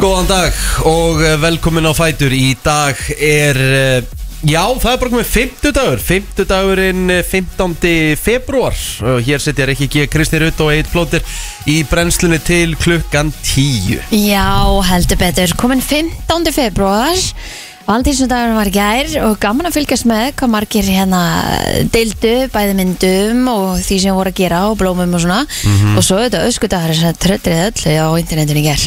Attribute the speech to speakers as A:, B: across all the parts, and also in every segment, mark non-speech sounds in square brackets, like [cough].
A: Góðan dag og eh, velkomin á Fætur Í dag er, eh, já það er bara komið 50 dagur 50 dagurinn 15. februar eh, og hér sittja Rikki G. Kristi Rutt og Eitt Plóter í brennslunni til klukkan 10
B: Já, heldur betur. Komin 15. februar Valentínsundagurinn var í gær og gaman að fylgjast með hvað margir hérna deildu, bæði myndum og því sem voru að gera og blómum og svona og svo auðvitað öskudagurinn sem tröttrið öllu á internetinu í gær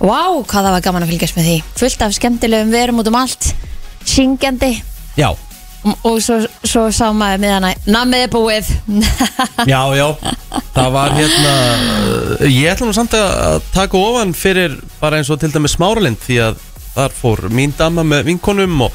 B: Vá, hvað það var gaman að fylgjast með því fullt af skemmtilegum verum út um allt syngjandi
A: Já,
B: og, og svo, svo sá maður með hana Nammið er búið [laughs]
A: já, já Það var hérna eh, Ég ætla nú samt að taka ofan fyrir bara eins og til dæmis smáralind því að þar fór mín dama með vinkonum og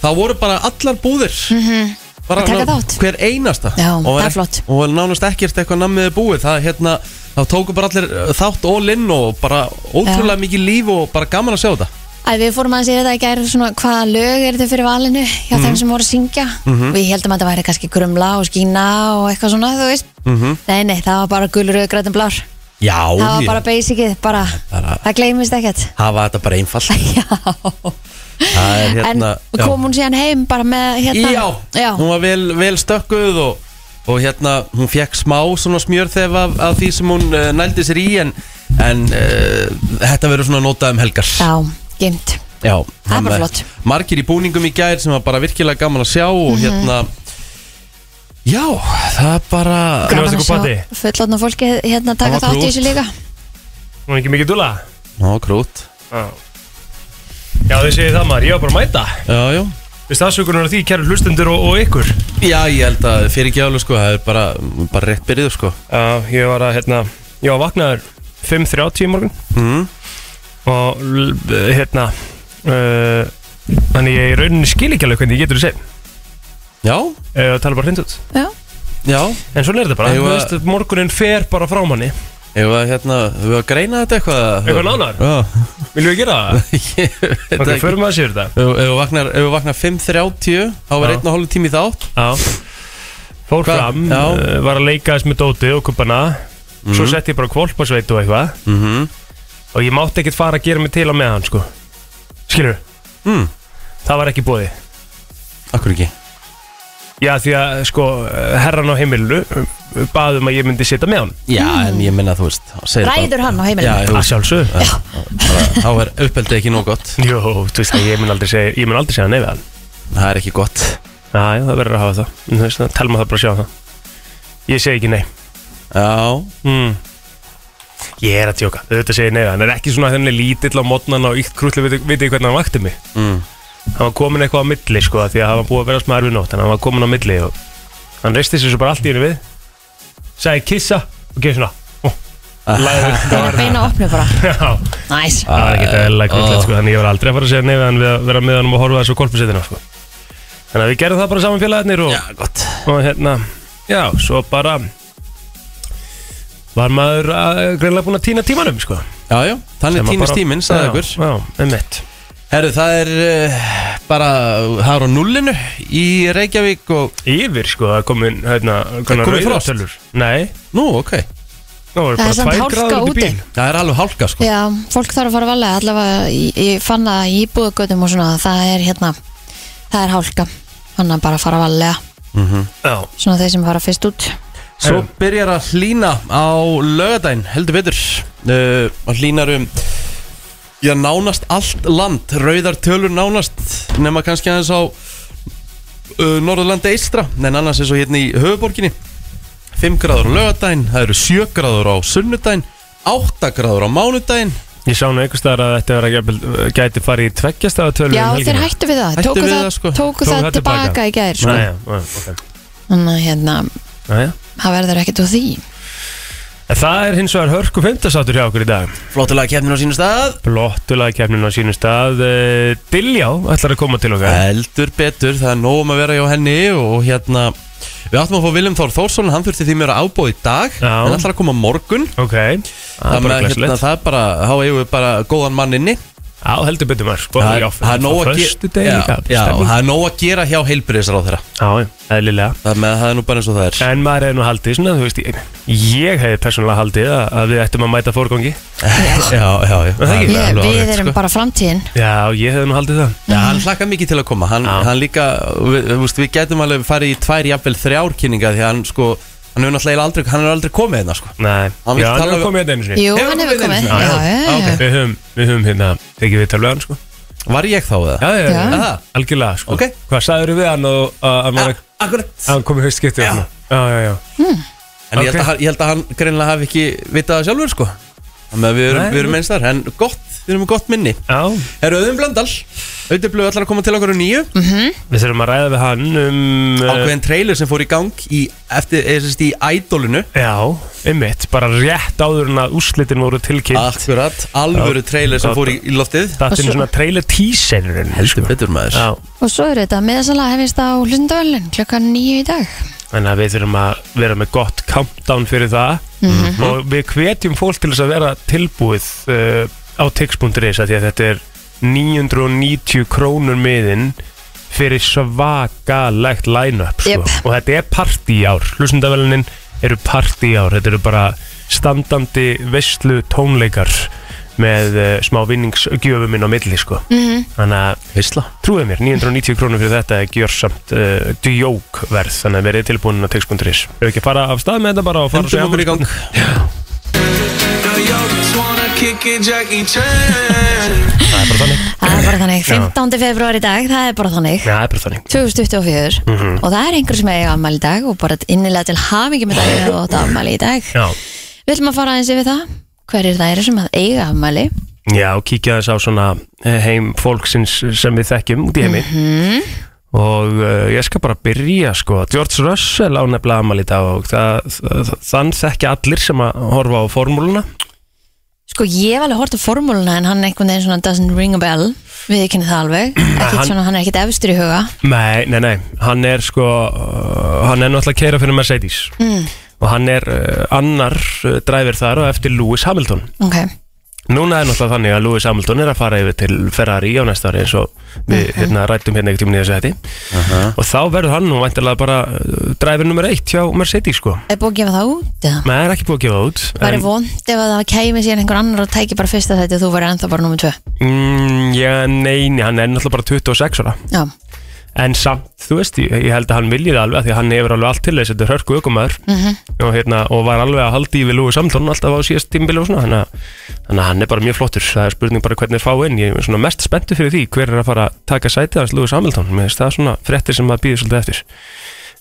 A: það voru bara allar búðir bara
B: Mhm. Að taka
A: ná-
B: þátt.
A: hver einasta
B: Já,
A: og
B: það er
A: ekki-
B: flott.
A: og var nánast ekkert eitthvað namnið er búið það hérna, þá tóku bara allir uh, þátt all in og bara ótrúlega mikið líf og bara gaman að sjá þetta
B: Æ, við fórum að segja þetta í gæri svona hvaða lög er þetta fyrir valinu hjá
A: Mhm.
B: þeim sem voru að syngja Við heldum að þetta væri kannski grumla og skína og eitthvað svona, þú veist
A: Mhm.
B: Nei, nei, það var bara gulur og grætum blár
A: já,
B: Það var
A: ég-
B: bara basicið, bara,
A: bara-
B: það gleymist ekkert [laughs]
A: hafa þetta bara einfalt
B: Já,
A: það er hérna
B: en
A: já.
B: kom hún síðan heim bara með hérna
A: Já, hún var vel, vel stökkuð og, og hérna, hún fekk smá svona smjörþef af, af því sem hún uh, nældi sér í en, en uh, þetta verður svona notað um helgar
B: Já, geimt
A: Já,
B: Það er
A: hann,
B: bara
A: eh,
B: flott.
A: Margir í búningum í gær sem var bara virkilega gaman að sjá og
B: Mhm.
A: hérna Já, það er bara
C: Hvernig varst
B: að
C: ykkur patti?
B: sjá fullotna fólki hérna taka
A: var
B: þátt í
A: krút.
B: þessu líka
C: Nú er ekki mikið dula
A: Ná, krút
C: Já þið segir það maður, ég var bara að mæta
A: Já, já
C: Vist afsökunar á því, kæru hlustendur og, og ykkur
A: Já, ég held að fyrir ekki álega sko, það er bara, bara rétt byrjuð sko
C: Já, ég var að, hérna, ég var vaknaður 5.30 í morgun
A: mm.
C: Og, l- b- hérna, uh, þannig ég í rauninni skil ekki alveg hvernig ég getur þið segið
A: Já,
C: Ég tala bara hreint út
B: Já,
A: Hérna. já,
C: En svona er þetta bara,
A: Eigum
C: þú
A: við
C: veist, morgunin fer bara frá manni
A: ef að hérna, við að greina þetta eitthvað
C: Eitthvað nánar?
A: Já, [laughs]
C: Viljum við gera það?
A: ég veit
C: Ok,
A: ekki
C: förum við að sér [laughs] þetta
A: Ef ef þú vaknar, ef þú vaknar 5.30 þá var
C: Já.
A: einn og hálf tími í þátt
C: Já Fór
A: Hvað?
C: fram,
A: Já.
C: uh, var að leika þess með dóti og kuppana Svo setti ég bara kvolpasveit og eitthvað
A: mm -hmm.
C: Og ég mátti ekkert fara að gera mig til á meðan sko Skilur,
A: mm.
C: það var ekki bóði
A: Akkur ekki
C: Já því að sko eh, herran á heimilu Baðum um að ég myndi setja með hann
A: Já, en ég minna þú veist segir
B: Ræður
A: bara-
B: hann á heimilinu?
A: Já, þú
C: Að
A: veist,
C: sjálfsög
A: bara, þá er uppeldið ekki nóg gott
C: Jó, þú veist að ég mun aldrei segja Ég mun aldrei segja nei við hann
A: Það er ekki gott
C: Næ, það verður að hafa það Þú veist, það telma það bara að sjá það Ég segi ekki nei
A: Já,
C: mm. Ég er að tjóka, þetta segir nei Hann er ekki svona þenni lítill á mótnan og ykt krullu Vitið viti hvernig hann vakti mig
A: mm.
C: Hann var komin eitthvað á milli sko af Því að hann var búið að vera smá erfið nótt En hann var komin á milli og hann reisti sér svo bara allt í henni við Sæði kissa og gefið svona ó, lagði-
B: það er beina opnu
A: [laughs]
B: bara
C: Já,
B: Næs
C: það var ekkert eðlilega
A: Ó.
C: kvöldlega sko Þannig ég var aldrei að fara að segja nei við hann Við að vera með hann og horfa þessu kolpusettina sko Þannig að við gerðum það bara saman félagarnir og,
A: já gott
C: og hérna, já, svo bara Var maður að, greinlega búin að týna tímanum sko
A: Já, já, þannig týnist tíminn, sagði ykkur
C: Já, einmitt
A: Herru, það er uh, bara, það er á nullinu í Reykjavík og
C: Yfir sko, það er komin, hérna konar
A: komið
C: rauðar
A: frost?
C: tölur. Nei,
A: Nú, ok
C: Nú,
B: Það er samt hálka úti.
A: Það er alveg hálka sko
B: Já, fólk þarf að fara valega allavega, ég, ég fann að í búðugötum og svona, það er hérna það er hálka, þannig að bara fara valega
C: Já,
B: svona þeir sem fara fyrst út
A: Svo
C: Herru.
A: byrjar að hlýna á lögadaginn, heldur betur uh, og hlýnar um já, nánast allt land rauðar tölur nánast nema kannski aðeins á uh, Norðurlandi eistra, en annars er svo hérna í höfuborginni 5 gráður á lögadaginn, það eru 7 gráður á sunnudaginn 8 gráður á mánudaginn
C: ég sá nú einhvers staðar að þetta vera jafnvel- eh, gæti farið í tveggjastafa tölur um
B: Já, þeir hættu við það,
A: Hættu
B: tóku
A: við
B: það,
A: það, sko.
B: tóku það tilbaka í gær sko.
C: Næja, ok
B: þannig að hérna,
C: Næja
B: það verður ekkert úr því
C: En það er hins vegar hörku fymtasátur hjá okkur í dag
A: Flottulega kefnin á sínu stað
C: Blottulega kemnin á sínum stað eh, Diljá ætlar að koma til okkar
A: Heldur betur, það er nóg um að vera hjá henni og hérna, við áttum að fá Viljum Þór Þórsson, hann þurfti því mér að ábúið í dag
C: Já.
A: en ætlar að koma á morgun
C: Ok, það
A: Það,
C: er bara
A: með, hérna,
C: glæsilegt
A: það er bara, þá eigum við bara góðan mann inni
C: Já, heldur betur maður sko.
A: Það er- það er nóg að
C: gera
A: gera Já, já, það er nóg að gera hjá heilbriðisar á þeirra
C: já, eðlilega
A: Það með það er nú bara eins og það er
C: En maður hefði nú haldið svona, þú veist Ég, ég hefði persónulega haldið að, að við ættum að mæta fórgangi
A: [laughs] Já, já, já
C: það ekki?
B: Ég,
A: er alveg
B: við
A: hárrétt,
B: erum
A: sko.
B: bara framtíðin
C: Já, ég hefði nú haldið það
A: Já, hann hlakka mikið til að koma Hann,
C: Já.
A: hann líka, við, við, við getum alveg farið í tvær, jafnvel þrjár kynninga Því að hann sko, hann er náttúrulega aldrei Hann er aldrei komið hérna sko
C: Nei,
A: Hann vill
C: já, hann
A: tala
C: hefur
A: við-
C: komið hérna einu sinni
B: Jú,
A: Hefur
B: hann
A: hann
B: hefur
A: verið
B: komið
A: einu sinni?
B: Já,
A: Já,
B: já,
A: ok.
B: já
C: Við höfum, við höfum hérna, tekið við talveg hann, sko
A: Var ég þá eða?
C: Já, já,
B: Já.
C: já, algjörlega, sko
A: Ok.
C: Hvað sagður við hann og að hann var-
A: Akkurat
C: að hann kom í haust skiptið
A: Já.
C: Já, já, já
A: En ég, held
C: Ok.
A: að, hann- ég held að hann greinlega hafi ekki vitað það sjálfur sko Þannig að við erum,
C: Nei.
A: við erum einstar En gott, við erum með gott minni
C: Já,
A: Herru, auðum blöndal Auðvitað blöðu allar að koma til okkur um nýju
C: við þurfum að ræða við hann um eh,
A: Ákveðin trailer sem fór í gang í, eftir, eða sérst í ædolinu
C: Já, einmitt, bara rétt áður en að úrslitin voru
A: Ah.
C: tilkynnt
A: Akkurat, alvöru trailer sem fór í, í loftið
C: Þetta er
B: Og svo-
C: svona trailer teaserinn sko.
A: Heldur betur maður
C: Já,
B: Og svo er þetta miðasala hefist á hlundavölin klukkan nýju í dag
C: þannig að við þurfum að vera með gott countdown fyrir það og við hvetjum fólk til þess að vera tilbúið uh, á tix.is af því að þetta er 990 krónur miðin fyrir svakalegt line-up sko.
B: Jep.
C: og þetta er partí í ár hlustendavelinin eru partí í ár þetta eru bara standandi veistlu tónleikar með uh, smá vinningsgjöfum inn á milli sko. þannig að
A: Veistla
C: Trúið mér, 990 krónur fyrir þetta er gjörsamt uh, djókverð þannig að verið tilbúin á text.is Ef ekki að fara af stað með þetta bara og fara um-
A: Hundum okkur í gang
D: Now y'all just wanna kick it, Jackie Chan.
C: Það er bara þannig
B: Það er bara þannig, 15. februar í dag, það er bara þannig
C: Já, það er bara þannig
B: 2024
C: Mhm.
B: og það er einhver sem eiga afmæli í dag og bara innilega til hamingi með daginn og þetta afmæli í dag
C: Já,
B: Við ætlum að fara aðeins yfir það hverjir það eru sem að eiga afmæli
C: Já og kíkja þess á svona eh, heim fólksins sem við þekkjum út í heimi og uh, ég skal bara byrja sko George Russell á nefnilega amal í dag og það, það, þann þekkja allir sem að horfa á formúluna
B: Sko ég hef alveg hort á formúluna en hann einhvern veginn svona doesn't ring a bell við kynna það
C: [clears throat]
B: alveg, ekkert
C: hann-
B: svona hann er ekkert efstur í huga
C: Nei, nei, nei, hann er sko uh, hann er náttúrulega að keira fyrir Mercedes
B: mm,
C: og hann er uh, annar uh, dræfir þar og eftir Lewis Hamilton
B: Ok,
C: Núna er náttúrulega þannig að Lewis Hamilton er að fara yfir til Ferrari á næsta ári eins og við hérna, rættum hérna ekkert tíma nýja sæti og þá verður hann nú væntalega bara uh, dræfir nummer eitt hjá Mercedes sko
B: er búið að gefa það út eða?
C: maður er ekki búið að gefa það út
B: Væri vond ef að það kæmi síðan einhver annar og tæki bara fyrsta þetta og þú verður ennþá bara nummer 2
C: mm, já, nei, nei, hann er náttúrulega bara 26 ára
B: Já,
C: en samt, þú veist, ég, ég held að hann viljið alveg af því að hann hefur alveg allt til þess, þetta er hörku ökumæður
B: Mhm.
C: og, hérna, og var alveg að haldi í við Lúi Samtón alltaf á síðast tímbili og svona þannig að, þannig að hann er bara mjög flottur, það er spurning bara hvernig er fáinn, ég er svona mest spenntu fyrir því hver er að fara að taka sætið hans Lúi Samtón mér finnst það svona fréttir sem maður býður svolítið eftir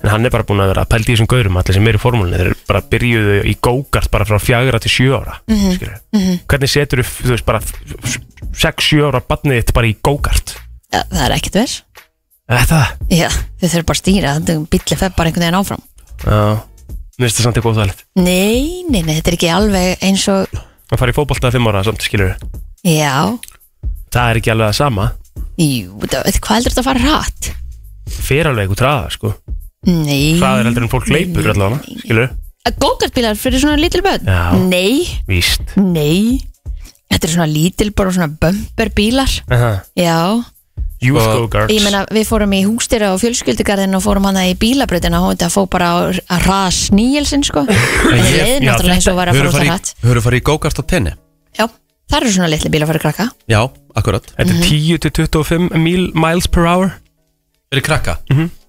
C: en hann er bara búin að vera að pældi í þessum gaurum allir sem eru í formúlinni, þeir eru bara byrjuðu í gókart bara frá fjagra til sjö ára mm hvernig setur þú veist bara 6-7 ára badnið þitt bara í gókart
B: Ja, það er ekkert verð
C: Þetta?
B: Já, þau þurfum bara að stýra, bíllið fer bara einhvern veginn áfram
C: Já, mér finnst það samt eitthvað óþægilegt
B: Nei, nei, nei, þetta er ekki alveg eins og
C: Að fara í fótbolta að fimm ára samt, skilur
B: Já,
C: Það er ekki alveg það sama
B: jú, það, hvað heldur þetta að fara hratt?
C: Fyrir alveg eitthvað traða, sko
B: Nei
C: Það er heldur um- en fólk leipur allavega, skilur
B: Gókartbílar fyrir svona lítil börn?
C: Já.
B: Nei,
C: Víst
B: nei Þetta er svona lítil, bara svona bumper bílar
C: Aha.
B: Já,
C: Youth
A: Og-
C: go guards
B: ég meina við fórum í húgstýra og fjölskyldugarðin og fórum hana í bílabröðina og þetta fó bara á- að hraða sníilsinn
C: [laughs]
B: sko En ég leið
C: já,
B: náttúrulega eins og var að fara út að hratt
A: Hörðu farið í go-kart á tenni
B: Já, það eru svona litli bílar fyrir krakka
A: Já, akkurat
C: Þetta
B: Mhm.
C: er 10 til 25 mil, miles per hour
A: Fyrir krakka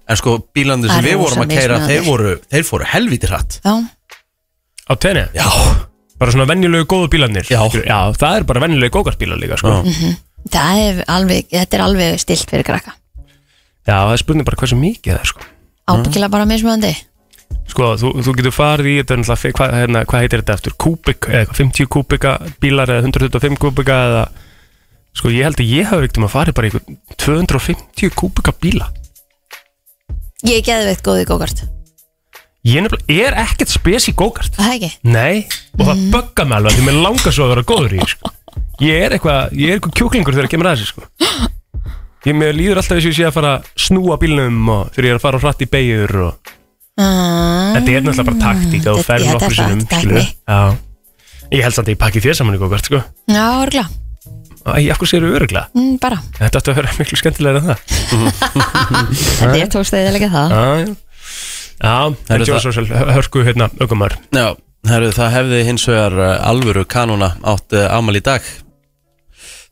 A: En sko, bílandir sem
B: Það er
A: við vorum
B: rosa
A: að keira
B: mismunandi.
A: þeir, voru, þeir fóru helvítið hratt
B: Já,
C: Á tenni?
A: Já,
C: Bara svona venjulegu góðu bílarnir
A: Já.
C: skilurðu. Já, það er bara venjulegu gókartbílar líka, sko
A: Já.
B: það er alveg, þetta er alveg stilt fyrir krakka
C: Já, það er spurning bara hversu mikið það er, sko
B: Ábyggilega bara mismöðandi
C: Sko, þú, þú getur farið í þetta er náttúrulega fi- hvað hérna, hva heitir þetta eftir, kúbik eða eitthvað, 50 kúbika bílar eða 125 kúbika eða sko, ég held að ég hafi veikt um að farið bara í einhvern 250 kúbika bíla
B: Ég er geðveikt góð í gókart
C: ég nefnilega er ekkert spes í gókart
B: Það er ekki
C: nei, og
B: Mm.
C: það böggar mig alveg því mér langar svo að vera góður í því, sko. ég er eitthvað, ég er eitthvað kjúklingur þegar ég kemur að þessu sko. ég mér líður alltaf þess að ég sé að fara að snúa bílnum og þegar ég er að fara á hratt í beigur og
B: Mm,
C: Þetta er náttúrulega bara taktík að þú
B: þetta-
C: ferð
B: já,
C: nokkur
B: þetta er
C: sinnum
B: það,
C: skilurðu.
B: tækni.
C: Já. Ég held samt að ég pakki þér saman í góðkvært sko.
B: Já, örgla
C: Æ, akkur séu öruglega
B: mm, bara,
C: Þetta ætti að vera miklu skemmtilega en það
B: þetta er tókst eðilega það
C: Já, já Já,
A: Herru,
C: Benji
A: það-
C: Vassarssell, hörku hérna, ökumar
A: Já, herru, það hefði hins vegar uh, alvöru kanóna átt uh, ámali í dag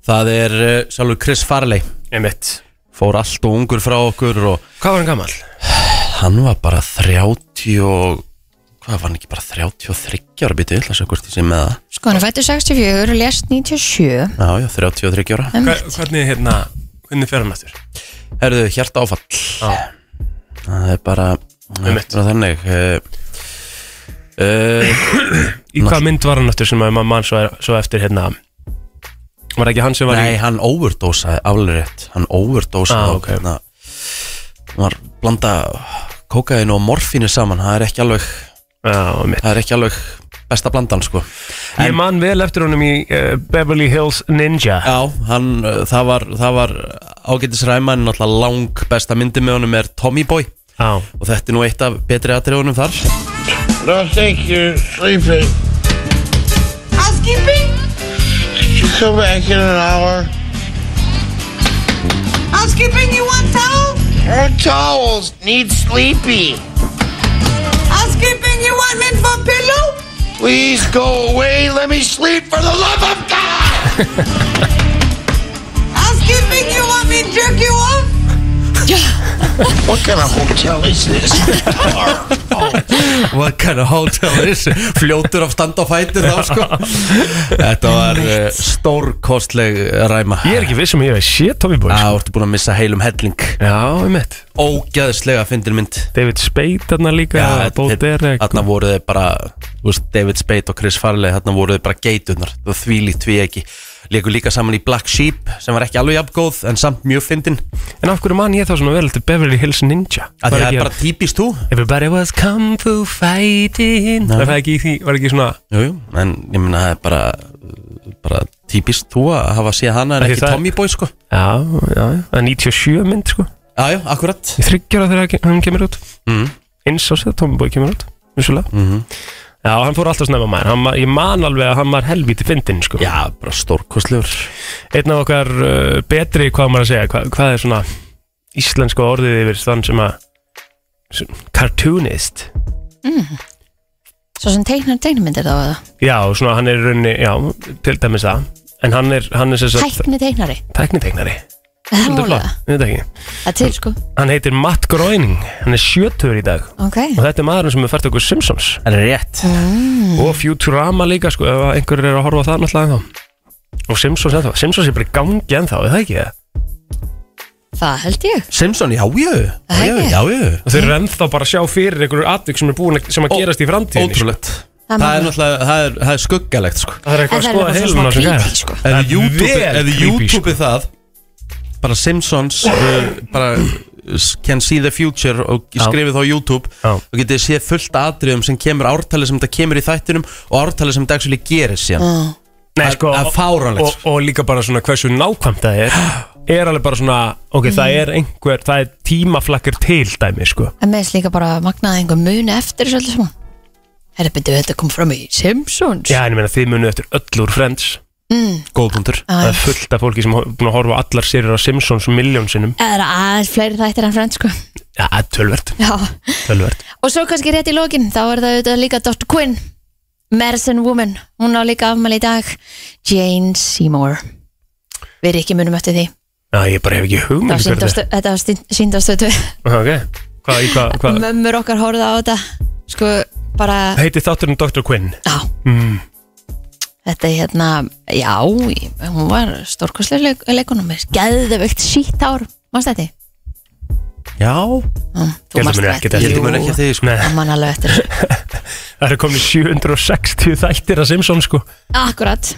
A: Það er uh, sjálfur Chris Farley
C: Emitt
A: Fór allt og ungur frá okkur og
C: Hvað var hann gammal?
A: hann var bara 30 og Hvað var hann ekki bara 33 ára býtið? Það sé hvort ég sé með það
B: sko hann er fættur 64 og lest 97
A: Já, já, 33 ára
C: Hvernig, hérna, hvernig fer hann aftur?
A: Herðu, hjarta áfall
C: Já.
A: Það er bara, það er
C: Einmitt.
A: bara þannig uh, uh,
C: Í hvað mynd var hann aftur sem að maður mann svo, svo eftir, hérna Var það ekki hann sem var
A: Nei,
C: í
A: hann overdósaði alveg rétt Hann overdósaði
C: Ah,
A: ah,
C: ok.
A: okay. hérna, var blanda kókaðin og morfínu saman það er ekki alveg,
C: Já, emitt
A: það er ekki alveg besta blandan sko
C: Ég man vel eftir honum í uh, Beverly Hills Ninja
A: Já, hann, uh, það var, það var ágætis ræma en náttúrulega lang besta myndi með honum er Tommy Boy
C: Já,
A: og þetta er nú eitt af betri atriðunum þar
E: No, thank you. Sleep it.
F: Housekeeping?
E: You come back in an hour.
F: Housekeeping, you want towel?
E: Our towels need sleepy.
F: Housekeeping, you want me for pillow?
E: Please go away. Let me sleep for the love of God.
F: Housekeeping, you want me to jerk you off?
E: What kind of hotel is this?
A: What kind of hotel is it? Fljótur af standa á fæti þá sko Þetta var uh, stórkostleg ræma
C: ég er ekki vissum að ég hef sé Tommy Boy
A: Það
C: sko.
A: ertu búin að missa heilum helling
C: Já, emitt
A: Ógæðslega fyndin mynd
C: David Spade þarna líka
A: Já,
C: Bo
A: þeir-
C: Derek
A: Þarna voru þeir bara þú veist, David Spade og Chris Farley Þarna voru þeir bara geiturnar Það því líkt því ekki Leku líka saman í Black Sheep Sem var ekki alveg jafngóð En samt mjög fyndin
C: En af hverju man ég þá svona vel eftir Beverly Hills Ninja?
A: Af
C: Var
A: því Það
C: ekki-
A: er bara típist þú
C: Everybody was kung fu fighting Var það ekki í því, var ekki svona
A: Jú, jú En ég meina það er bara Bara típist þú að hafa séð hana En
C: Af því
A: ekki
C: það er-
A: Tommy Boy sko
C: Já, já, já, það er 97 mynd sko
A: Já, já, akkurat
C: Ég þryggjara þegar hann ke- hann kemur út
A: mm.
C: Eins á sér, Tommy Boy kemur út, vissulega
A: Mhm.
C: Já, hann fór alltaf snemma maður hann, var- Ég man alveg að hann var helvíti fyndin sko
A: Já, bara stórkostlegur
C: Einn af okkar uh, betri, hvað á maður að segja hva, Hvað er svona íslenska orðið yfir þann sem að sem- Cartoonist
B: svo sem teiknar teiknmyndir þá eða?
C: Já, svona hann er í rauninni, já, til dæmis það En hann er, hann er sér satt
B: tækni teiknari
C: tækniteiknari
B: það er
C: Þetta er
B: málega,
C: flott, þetta ekki
B: það er til sko
C: Hann heitir Matt Groening, hann er sjötur í dag
B: ok,
C: og þetta er maðurinn sem er fært okkur Simpsons
A: Rétt
C: og Futurama líka sko, ef einhverjur er að horfa á það náttúrulega ennþá og Simpsons ennþá, Simpsons er bara í gangi ennþá, er það ekki það?
B: það held ég
A: Simpson, já, já Já, já,
B: Æi.
A: já, já
C: Og þeir eru ennþá bara að sjá fyrir einhverju atvík sem er búin að, sem að
A: Ó-
C: gerast í framtíðinni sko.
A: Ótrúlegt
B: Það er
A: Það
B: magnað.
A: er náttúrulega, það er, það er skuggalegt sko
C: Það
B: en
C: er eitthvað
B: það
C: að
B: er bara
C: skoða heilum á
B: svona
C: sem
B: svona
C: gæða
B: creepy sko
A: Ef
C: Það er
A: YouTube,
C: vel
A: ef
C: creepy, sko.
A: YouTube það bara Simpsons uh, bara uh, s- can see the future og
C: Já.
A: skrifið þá á YouTube
C: Já.
A: og getið séð fullt atriðum sem kemur ártalið sem þetta kemur í þættinum og ártalið sem þetta actually gerir síðan
C: Nei,
A: Það-
C: sko,
A: það er fáránlegt,
C: og, og líka bara svona hversu nákvæmt það er er alveg bara svona, ok,
B: Mm.
C: það er einhver það er tímaflakkar til dæmi sko.
B: en meðs líka bara magnaði einhver muni eftir þessu öllu saman herra byrju, þetta kom fram í Simpsons
C: Já, en ég meina þið munu eftir öll úr Friends
B: Mm.
A: Góð punktur
B: Æ.
C: Það er fullt af fólki sem er búin að horfa á allar sérir á Simpsons miljónsinnum
B: það er aðeins fleiri þættir en frend sko
C: Já, tölvert,
B: já.
C: tölvert
B: og svo kannski rétt í lokin þá er það auðvitað líka Dr. Quinn Madison Woman, hún á líka afmæli í dag Jane Seymour við erum ekki munum eftir því
C: Já, ég bara hef ekki
B: Það
C: hugmynd
B: var
C: hver
B: sýnd á
C: þetta
B: Stöð- þetta var síndastötu
C: er Ok, hvað, í hvað, hvað
B: mömmur okkar horfða á þetta sko bara
C: Heiti þátturinn Dr. Quinn
B: á,
C: mm.
B: þetta er hérna já, hún var stórkoslega leik, leikunum geðveikt sítt ár, mannst þetta?
A: Já,
B: Mm,
C: Ég
B: þú
C: held að
B: mannst
C: muni
B: það
C: ekkert
B: eftir.
A: ég
C: Jú.
A: heldur mér ekki að þið sko
C: Nei,
B: Það man alveg eftir þessu.
C: það eru komin 760 þættir að Simpsons sko
B: akkurat,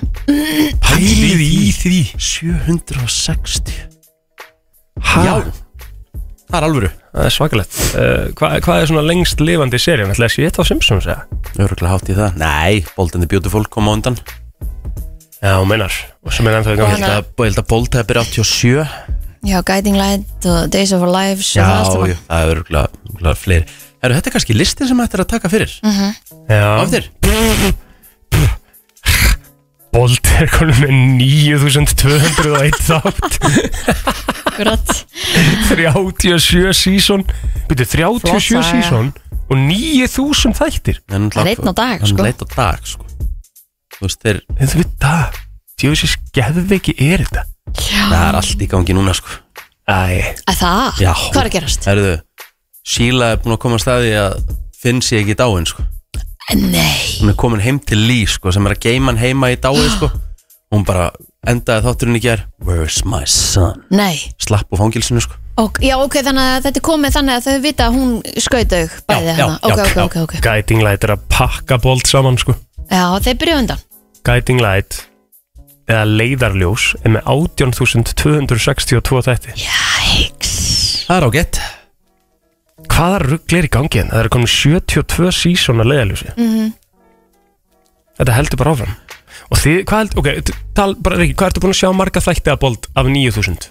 C: Hæðið í því
A: 760
C: ha?
A: Já, það er alvöru
C: Það er svakalegt uh, hvað, hvað er svona lengst lifandi serían? Ætlaði að sé þetta á Simpsons eða?
A: Öruglega hátt í það Nei, Bold and the Beautiful kom á undan
C: Já, hún meinar Og sem er ennþá í
A: Ég
C: gangi
A: held að, ég held að Bold hefði byrjað 87
B: já, Guiding Light og Days of Our Lives og það allt
A: Já,
B: saman.
A: já, það er öruglega fleiri Herru, þetta er kannski
B: Mhm.
A: listin sem þetta er að taka fyrir
C: Já,
A: Áttir
C: Bolt er konum með 9201 þátt [laughs]
B: akkurat
C: 37 season byrju 37
B: Flott saga.
C: season og 9000 þættir
B: Það er einn á dag, sko.
A: Það er einn á dag, sko Þú veist, þeir,
C: þetta við það djöfisins geðveiki er þetta
A: það er allt í gangi núna, sko
C: Æ,
B: Að Það,
A: Já.
B: hvað er að gerast?
A: Herðu, Sheila er búin að koma að staði að finn sér ekki í dáin, sko
B: Nei,
A: Hún er komin heim til Lee, sko, sem er að geima hann heima í
B: [gasps]
A: dái, sko Hún bara endaði þátturinn í ger Where's my son?
B: nei
A: Slapp úr fangilsinu, sko
B: ok, Já, ok, þannig að þetta er komið þannig að þau vita að hún skautaug bæði
A: Já,
B: hana
A: já,
B: Ok,
A: já,
B: ok,
A: já.
B: ok, ok
C: Guiding Light er að pakka Bolt saman sko
B: Já, þeir byrjuðu undan
C: Guiding Light eða leiðarljós er með 18.262 þætti
B: Jæks
A: Það er ágætt
C: hvaða rugl er í gangi hérna? það eru komin 72 season að leiðaljósi þetta heldur bara áfram og þið, hvað heldur, ok, t- tal bara Riki, hvað ertu búin að sjá marga þætti að bold af 9000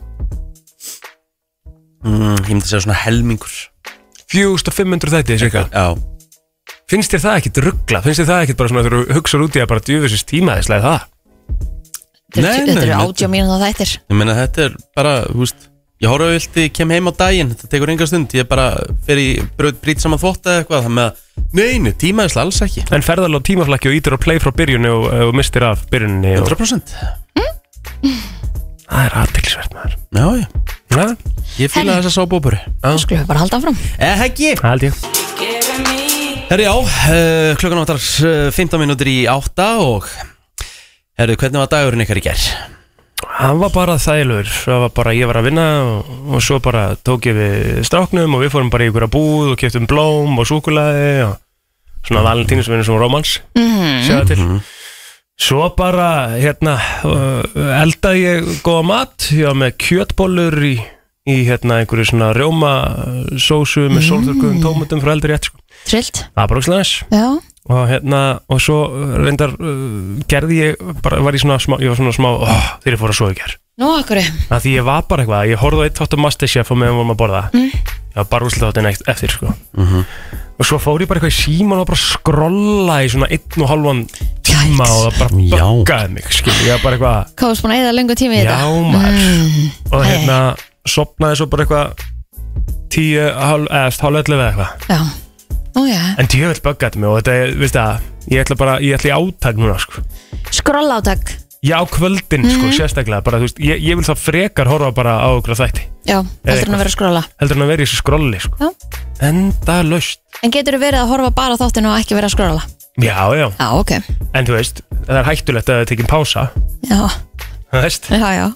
A: mm, Ég myndi að segja svona helmingur
C: 4500 þætti, cirka
A: Já,
C: finnst þér það ekkit ruggla, finnst þér það ekkit bara svona þegar þú hugsar út í að bara djöfisins tímaðislega það
A: Nei, nei,
B: Þetta eru
A: nei.
B: átjá mínum þá þættir
A: Ég meina þetta er bara, þú veist Ég horfa á vilti, kem heim á daginn, þetta tekur enga stund Ég bara fer í bröð brýt saman þvótt eða eitthvað Það með að, neini, tímaðislega alls ekki
C: en ferðarlega á tímaflakki og ítir á play frá byrjunni og, og mistir af byrjunni og,
A: 100%
C: það er aðtilsvert maður
A: Já, já,
C: ja,
A: ég
B: Herri.
A: fýla þessa Eh, sábópuru
B: Þá skulum við bara halda áfram
A: Eða ekki
C: það held ég
A: Herri, já, uh, klukkan áttar uh, 15 minútur í átta og Herri, hvernig var dagurinn ykkar í gær?
C: Hann var bara þægilegur, það var bara, ég var að vinna og, og svo bara tók ég við stráknum og við fórum bara í ykkur að búð og keftum blóm og súkulaði og svona valentínus sem er svona romans, sjáðu til. Svo bara, hérna, uh, eldaði ég góða mat, ég var með kjötbollur í, í hérna einhverju svona rjóma uh, sósu með sólþurkuðum tómatum frá eldur rétt, sko.
B: Trillt,
C: Það var bara ógislega næs
B: já
C: og hérna, og svo uh, reyndar uh, gerði ég, bara var ég svona smá, ég var svona smá, oh, þegar ég fór að sofa í ger
B: Nú, akkur
C: að því ég var bara eitthvað, ég horfði á eitt þátt um Masterchef og meðan við vorum að borða mm. ég var bara úrslit þáttin eitt eftir sko. og svo fór ég bara eitthvað í síman og bara skrolla í svona einn og halvan tíma
B: Yikes.
C: og það bara
A: Já.
C: böggaði mig skil, ég var bara eitthvað,
B: Hvað varst búin að eða lengur tími í
C: já
B: þetta?
C: maður og hérna, sopnaði svo bara eitthvað tíu, hálf, eða hálf ellefu eða eitthvað
B: Já Nú, já
C: en djöfell böggaði mig og þetta, veist það ég ætla bara, ég ætla í átag núna sko.
B: Skroll átak
C: já, kvöldin, sko,
B: Mhm.
C: sérstaklega bara, þú veist, ég, ég vil þá frekar horfa bara á okkur þætti
B: Já,
A: Eh,
B: heldur hann
C: eitthvað.
B: að vera að skrolla
C: heldur en að vera í þessu skrolli sko. enda löst
B: En getur verið að horfa bara á þáttinu og ekki vera að skrolla?
C: já, já,
B: Já, ok
C: en þú veist það er hættulegt að það er tekin pása
B: Já,
C: þú veist.
B: já, já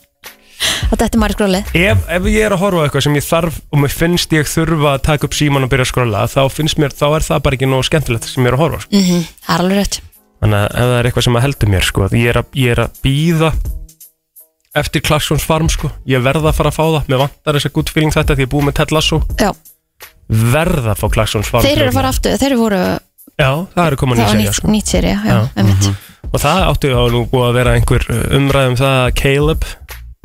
B: Og þetta er maður skrólið
C: ef, ef ég er að horfa á eitthvað sem ég þarf og mér finnst ég þurfa að taka upp síman og byrja að skrolla þá finnst mér, þá er það bara ekki nógu skemmtilegt sem ég er að horfa á, sko.
B: Það er alveg rétt
C: þannig að ef það er eitthvað sem að heldur mér sko, ég er að, ég er að býða eftir Klaxons farm sko. ég verða að fara að fá það, mér vantar þessa good feeling þetta því ég er búið með Ted Lasso
B: Já,
C: verða að fá Klaxons farm
B: þeir eru að fara aftur Þeir voru,
C: já, það eru komin
B: það
C: í
B: var
C: segja
B: nýtt, nýtt séri Já, Mhm.
C: Já.
B: einmitt
C: Og það átti á nú búið að vera einhver umræðum það að Caleb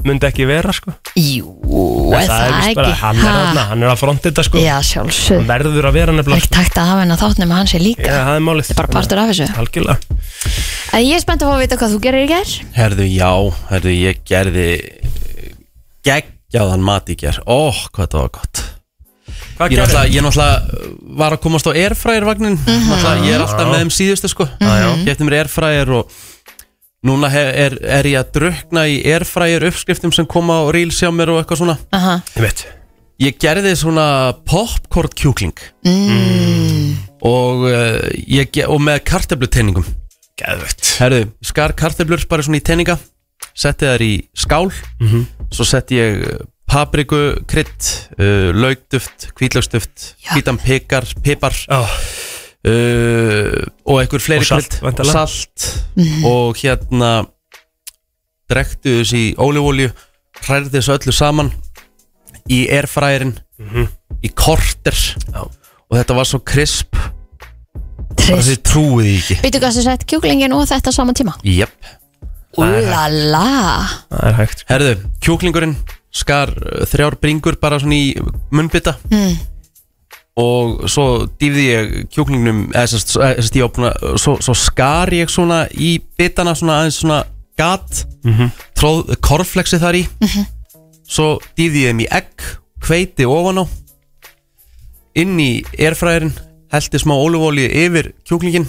C: myndi ekki vera sko
B: Jú, er það
C: víst bara,
B: ekki
C: hann er,
B: Ha?
C: hann, hann er að fronti þetta sko
B: Já,
C: Hann
B: sjálfsög
C: verður að vera
B: Það er
C: nefnilega sko.
B: ekki takt að hafa henn að þáttnum að hans er líka
C: Já, það er málið
B: Þetta er bara partur af þessu
C: Algjörlega
B: En Ég er spennt að fá að vita hvað þú gerir í ger
A: Herðu, já, herðu, ég gerði eh, geggjaðan mat í ger Ó, hvað þetta var gott Ég
C: Hvað gerir
A: náttúrulega,
C: það?
A: ég náttúrulega uh, var að komast á airfryer vagnin Ég er alltaf með þeim síðustu sko Ég eftir mér airfryer og Núna he- er, er ég að drukna í airfryer uppskriftum sem koma á reels hjá mér og eitthvað svona
B: Aha.
C: Ég veit
A: Ég gerði svona popcorn kjúkling og, uh, ég, ge- og með kartöfluteiningum
C: Geðvett
A: Herðu, skar kartöflur bara svona í teininga Setti þær í skál
C: Mhm.
A: Svo setti ég eh, papriku, krydd, uh, laugduft, hvítlaugsduft,
B: Já.
A: hvítan pekar, pipar
C: oh,
A: uh, og einhver fleiri
C: Og salt,
A: krydd.
C: væntanlega.
A: salt og hérna drektu þessu í ólífólju hrærði þessu öllu saman í airfryerin í korter
C: Mhm. Já.
A: og þetta var svo krisp bara
B: Trist
A: þið trúið því ekki
B: Býtu hvað sem sett kjúklingin og þetta á sama tíma
A: Jep.
B: Úlala
C: Það er hægt
A: Herðu, kjúklingurinn skar uh, þrjár bringur bara svona í munnbytta
B: Mm.
A: og svo dýfði ég eh, kjúklingnum eða sérst, sérst, ég opna, svo, svo skar ég svona í bitana svona aðeins svona gat tróð korflexi þar í svo dýði ég þeim í egg hveiti ofan á inn í erfræðin heldi smá ólufólíu yfir kjúklingin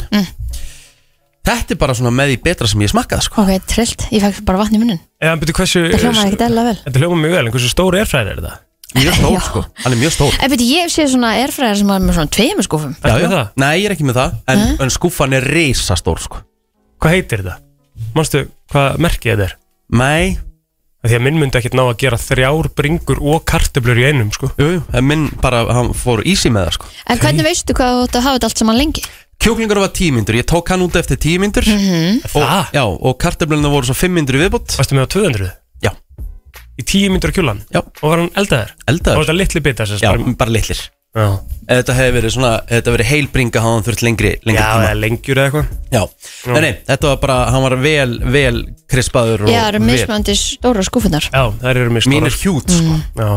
A: þetta er bara svona með í betra sem ég smakkaði sko.
B: Ok, trillt, ég fekk bara vatn í munnin
C: Eða, byrju, hversu
B: Það hljómaði ekkert eðla vel
C: Þetta hljóma mjög vel, en hversu stór erfræðir er þetta?
A: mjög
B: Já.
A: stór sko, hann er mjög stór
B: En beti, ég sé svona erfræðar sem var með svona tveimur skúfum
C: Ertu með það?
A: Nei, ég er ekki með það En, en skúfan er risastór sko
C: Hvað heitir þetta? Manstu hvað merkið þetta er?
A: Nei,
C: Af Því að minn myndi ekkert ná að gera þrjár bringur og kartöblur í einum, sko
A: jú, jú, en minn bara, hann fór ísi með það sko
B: En hvernig veistu hvað þú átt að hafa þetta allt saman lengi?
A: Kjúklingur var tímyndur, ég tók hann út eftir tímyndur mm
B: Mhm.
A: -hmm. og,
C: Það?
A: Já, og kartöflunum voru svo fimmyndur í viðbútt
C: Varstu með á 200?
A: Já.
C: Í 10 myndur kjúlan?
A: Já.
C: Og var hann eldaður? Og var
A: Eldaður,
C: þetta litli bita, sérst?
A: já, bara litlir
C: Já,
A: Ef Þetta hefði verið svona, ef þetta hefði verið heilbringa hann hann þurft lengri,
C: já
A: lengri tíma
C: eða lengjur eða eitthvað
A: Já, nei, nei, þetta var bara, hann var vel, vel krispaður og
B: Já, það eru
A: vel
B: mismöndi stóra skúfunar
C: Já, þær eru mér
A: Mín er
C: stórar
A: hjút
B: Mhm.
A: sko
C: Já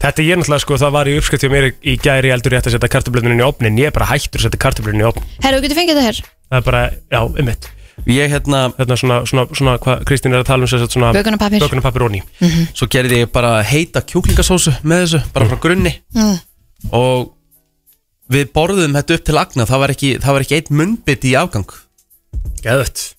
C: Þetta ég náttúrulega sko, það var í uppskrift hjá mér í- í gæri eldur rétt að setja kartöblunin í opnin Ég er bara hættur að setja kartöblunin í opnin
B: Herru, þú getur fengið þetta her
C: Það er bara, já, einmitt
A: Ég hérna,
C: Þetta er svona, svona, svona hvað Kristín er að tala um sér svona
B: Bökunarpappír.
C: Bökunarpappir onni
A: svo gerði ég bara heita kjúklingasósu með þessu, bara frá grunni
B: Mm.
A: og við borðum þetta upp til agna, það var ekki, það var ekki eitt munnbytt í afgang
C: Gæðut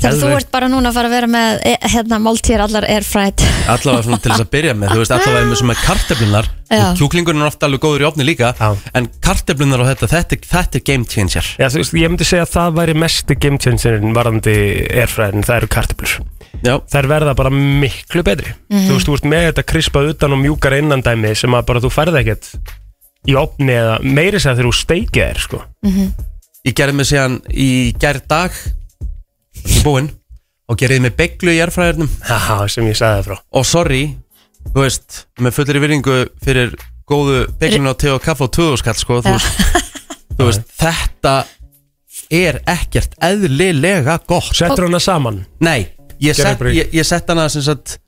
B: Þegar þú
C: Geðveikt.
B: ert bara núna að fara að vera með e, hérna, máltíðar allar airfried
A: allavega svona til þess að byrja með, þú veist allavega með sem er karteflunar,
B: Já.
A: kjúklingurinn er ofta alveg góður í ofni líka,
C: Já.
A: en karteflunar og þetta, þetta, er- þetta er game changer
C: Já, þú veist, ég myndi segja að það væri mesti game changerin varandi erfræðin, það eru kartöblur
A: Já,
C: Þær verða bara miklu betri Þú veist, þú veist með þetta krispað utan og mjúkar innandæmi sem að bara þú færði ekkert í opni eða meiri sér þegar þú steikið er sko.
A: ég gerði mig síðan í gerð dag í búinn og gerði mig beglu í erfræðurnum
C: Haha, sem ég sagði það frá
A: og sorry, þú veist með fullri virðingu fyrir góðu beglun á te og kaffa og töðuskall sko,
B: Já.
A: þú veist, þú
B: [laughs]
A: veist þetta er ekkert eðlilega gott
C: Settur hana saman
A: nei, ég
C: Gerðu
A: sett,
C: bara í-
A: ég, ég sett hana sem sagt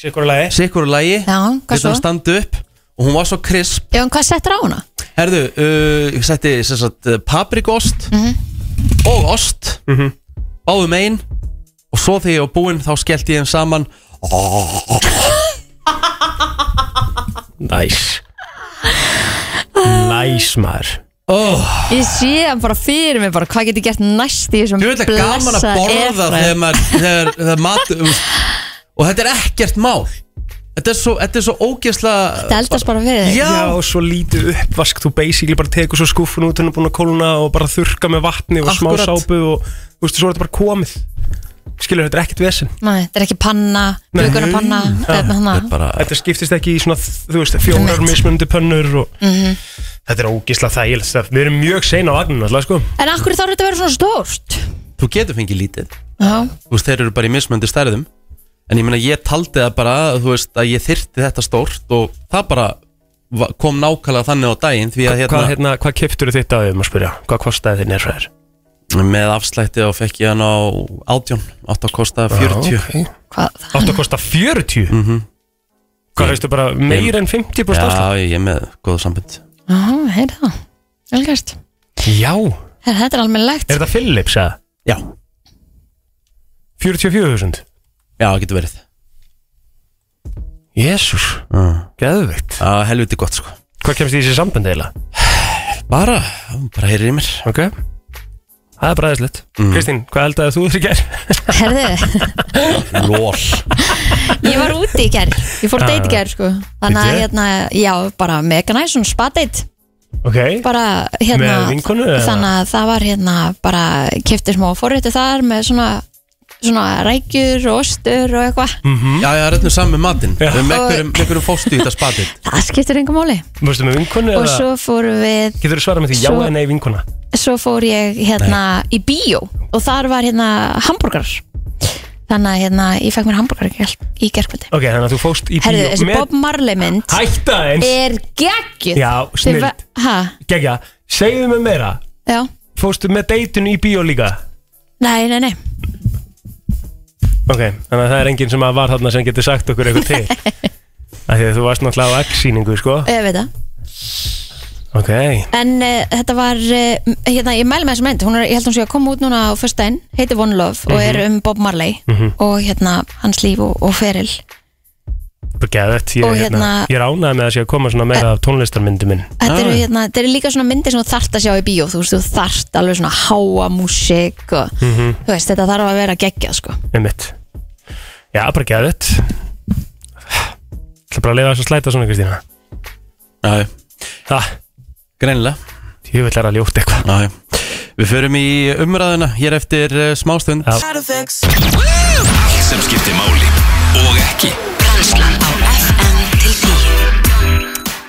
C: Sikkur lagi
A: sikkur og lægi,
B: Já, hvað svo?
A: standa upp og hún var svo krisp,
B: Já, en hvað settur á hana?
A: herðu uh, ég setti sem sagt uh, paprikost
B: Mhm.
A: og ost mm -hmm. báðum einn og svo þegar ég var búinn þá skellti ég þeim saman
C: Næs Næs maður
A: oh,
B: Ég sé hann bara fyrir mig bara, hvað getur gert næst í þessum
A: Þú veit að gaman að
B: blessa
A: borða
B: airfryer?
A: þegar maður, þegar, þegar mat um, og þetta er ekkert mál Þetta er svo, þetta er svo
B: Þetta
A: ógeðslega
B: eldast bara fyrir þig
A: Já,
C: Já, og svo lítið uppvask Þú basically bara tekur svo skúfun út Hún er búin að kóluna og bara þurka með vatni Og smá
A: Akkurat.
C: sápu og Þú veist, svo er þetta bara komið Skilur, þetta er ekkert vesen
B: Nei, þetta er ekki panna, hérna,
C: Nei.
B: blökunarpanna
A: þetta er bara
C: Þetta skiptist ekki í svona, þú veist, fjórar
B: Einmitt.
C: mismunandi pönnur og...
B: Mhm.
C: Þetta er ógisla þægilegt stöf. Við erum mjög sein á vagninu alltaf, sko
B: En af hverju þarf þetta að vera svona stórt?
A: Þú getur fengið lítið
B: Já,
A: Þú veist, þeir eru bara í mismöndi stærðum En ég meina, ég taldi það bara Þú veist, að ég þyrti þetta stórt Og það bara va- kom nákvæmlega þannig á daginn Því að hérna,
C: Hvað, hérna, hvað keftur þitt á þeim að spyrja? Hvað kostaði þinn erfæðir?
A: með afslætti Þá fekk ég hann á átjón Átt að kosta 40
B: hvað það?
C: Áttu að kosta 40? Hvað veistu bara, meir en 50% afslátt?
A: Já, ég er með góðu sambund
B: Já, heyrðu það, velgast
C: Já,
B: Her, Þetta er alveg legt sko.
C: er þetta Philips eða?
A: Já,
C: 44.000
A: já, getur verið
C: Jésús,
A: uh,
C: geðvikt
A: Helviti gott, sko
C: Hvað kemst í þessi sambandi eiginlega?
A: Bara, bara heyrir í mér
C: Ok Það er bræðislegt Kristín, hvað held að þú þurfi gær?
B: Herðu,
A: Lól
B: ég var úti í gær Ég fór
C: Já,
B: date í
C: já.
B: gær, sko Þannig að,
C: Bíddu.
B: hérna, já, bara mega næs Svona spa date
C: Ok
B: bara hérna
C: Með vinkonu, eða?
B: þannig að það var hérna bara kefti smá forrétti þar með svona svona rækjur og ostur og eitthvað
C: Mm.
A: Já, já, röndum saman með matinn
C: Já.
A: Með einhverjum, með einhverjum fórstu í þetta spatið
B: það skiptir engum máli
C: Vistu með vinkonu
B: og
C: eða?
B: svo fór við
C: Getur þú svarað með því já
B: Svo-
C: eða nei vinkona?
B: svo fór ég hérna í bíó og þar var hérna hambúrgar þannig að hérna ég fekk mér hambúrgar í gerkvöldi
C: Ok, þannig að þú fóst í
B: herðu þessi
C: með-
B: Bob Marley mynd
C: Hætta eins
B: er geggjur
C: Já, snilld.
B: hæ,
C: Gegja, segðu mig meira
B: já,
C: Fóstu með deitun í bíó líka?
B: nei, nei, nei
C: Ok, þannig að það er enginn sem að var þarna sem getur sagt
B: [laughs]
C: okkur eitthvað til Af því að þú varst náttúrulega á X-sýningu, sko
B: ég veit það,
C: Á Ok,
B: En uh, þetta var, uh, hérna, ég mæli með þessa mynd, hún er, ég held hún sé að koma út núna á fyrsta einn, heitir One Love og er um Bob Marley og hérna hans líf og, og feril.
C: bara geðvett Ég,
B: Og
C: er hérna,
B: hérna-
C: ég er ánægð með að sé að koma svona meira af tónlistarmyndi minn
B: Þetta eru,
A: Ah.
B: hérna, þetta eru líka svona myndir sem þú þarft að sjá í bíó, þú veist, þú þarft alveg svona háa músík og þú veist, þetta þarf að vera geggjað, sko.
C: Einmitt Já, bara geðvett Það bara að leiða þess að slæta svona, Kristína
A: Já, já,
C: Það,
A: greinilega
C: ég vil læra að ljóta eitthvað
A: Já, já. Við förum í umræðuna hér eftir uh, smástund
C: Já.
F: Side effects.
G: Allt sem skiptir máli og ekki
H: Brennslan á FM til 10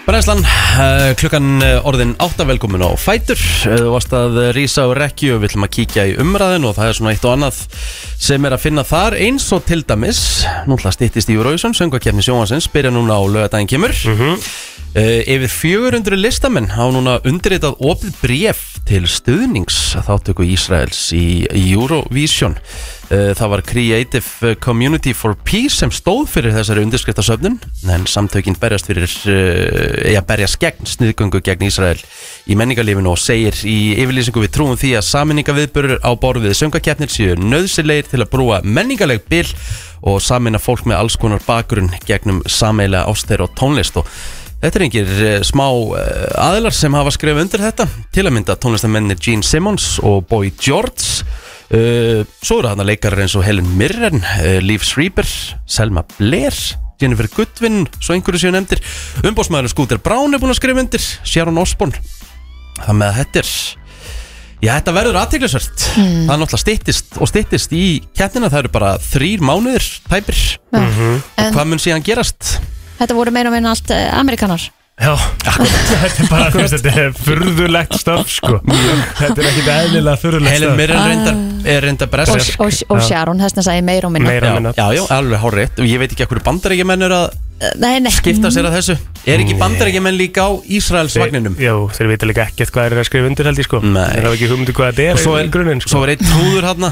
A: Brænslan, uh, klukkan eh, orðin átta velkomin á Fætur Eh, Þú varst að eh, rísa og rekju og við ætlum að kíkja í umræðin og það er svona eitt og annað sem er að finna þar eins og til dæmis Nú ætla að styttist í Eurovision, söngakefni sjónvansins, byrja núna á lögadaginn kemur mm Yfir 400 listamenn hafa núna undirritað opið bref til stuðnings þáttöku Ísraels í Eurovision Eh, Það var Creative Community for Peace sem stóð fyrir þessari undirskriftasöfnun en samtökin berjast fyrir eh, eða berjast gegn sniðgöngu gegn Ísrael í menningarlífinu og segir í yfirlýsingu við trúum því að saminningaviðbörur á borð við söngakeppnir séu nöðsilegir til að brúa menningarleg bil og samina fólk með alls konar bakgrunn gegnum sameilega ástæður og tónlist og Þetta er engir eh, smá eh, aðilar sem hafa skrifað undir þetta til að mynda tónlistamenni Gene Simmons og Boy George uh, svo eru þarna leikarar eins og Helen Mirren uh, Liv Schreiber, Selma Blair Jennifer Goodwin, svo einhverju séu nefndir umbósmaður Scooter Brown er búin að skrifa undir Sharon Osbourne það með að þetta er Já, þetta verður aðteglisvert Það er náttúrulega styttist og styttist í kettina Það eru bara þrýr mánuðir tæpir Mhm.
B: En
A: Hvað mun síðan gerast?
B: þetta voru meira og meina allt uh, amerikanar.
C: Já, þetta er bara, þetta er furðulegt stöf, sko Þetta er ekkit eðlilega furðulegt
A: Helen
C: stöf
A: Mirren reyndar, er reyndar
B: Og,
A: brest
B: og, og Sharon, þess að segja meira og minna.
C: Meira
A: Já,
C: minna
A: já, já, alveg hárrétt og ég veit ekki að hverju bandarækjumenn eru að
B: Nei, nei.
A: skipta sér að þessu Er ekki bandarækjumenn líka á Ísraels vagninum?
C: Þeir- Jú, þeir vita líka ekkert hvað þeir eru að skrifa undir held ég sko
A: Nei.
C: Þeir hafa ekki hugmyndu hvað þetta er
A: Og svo
C: í grunninn sko
A: Svo er einn trúður hann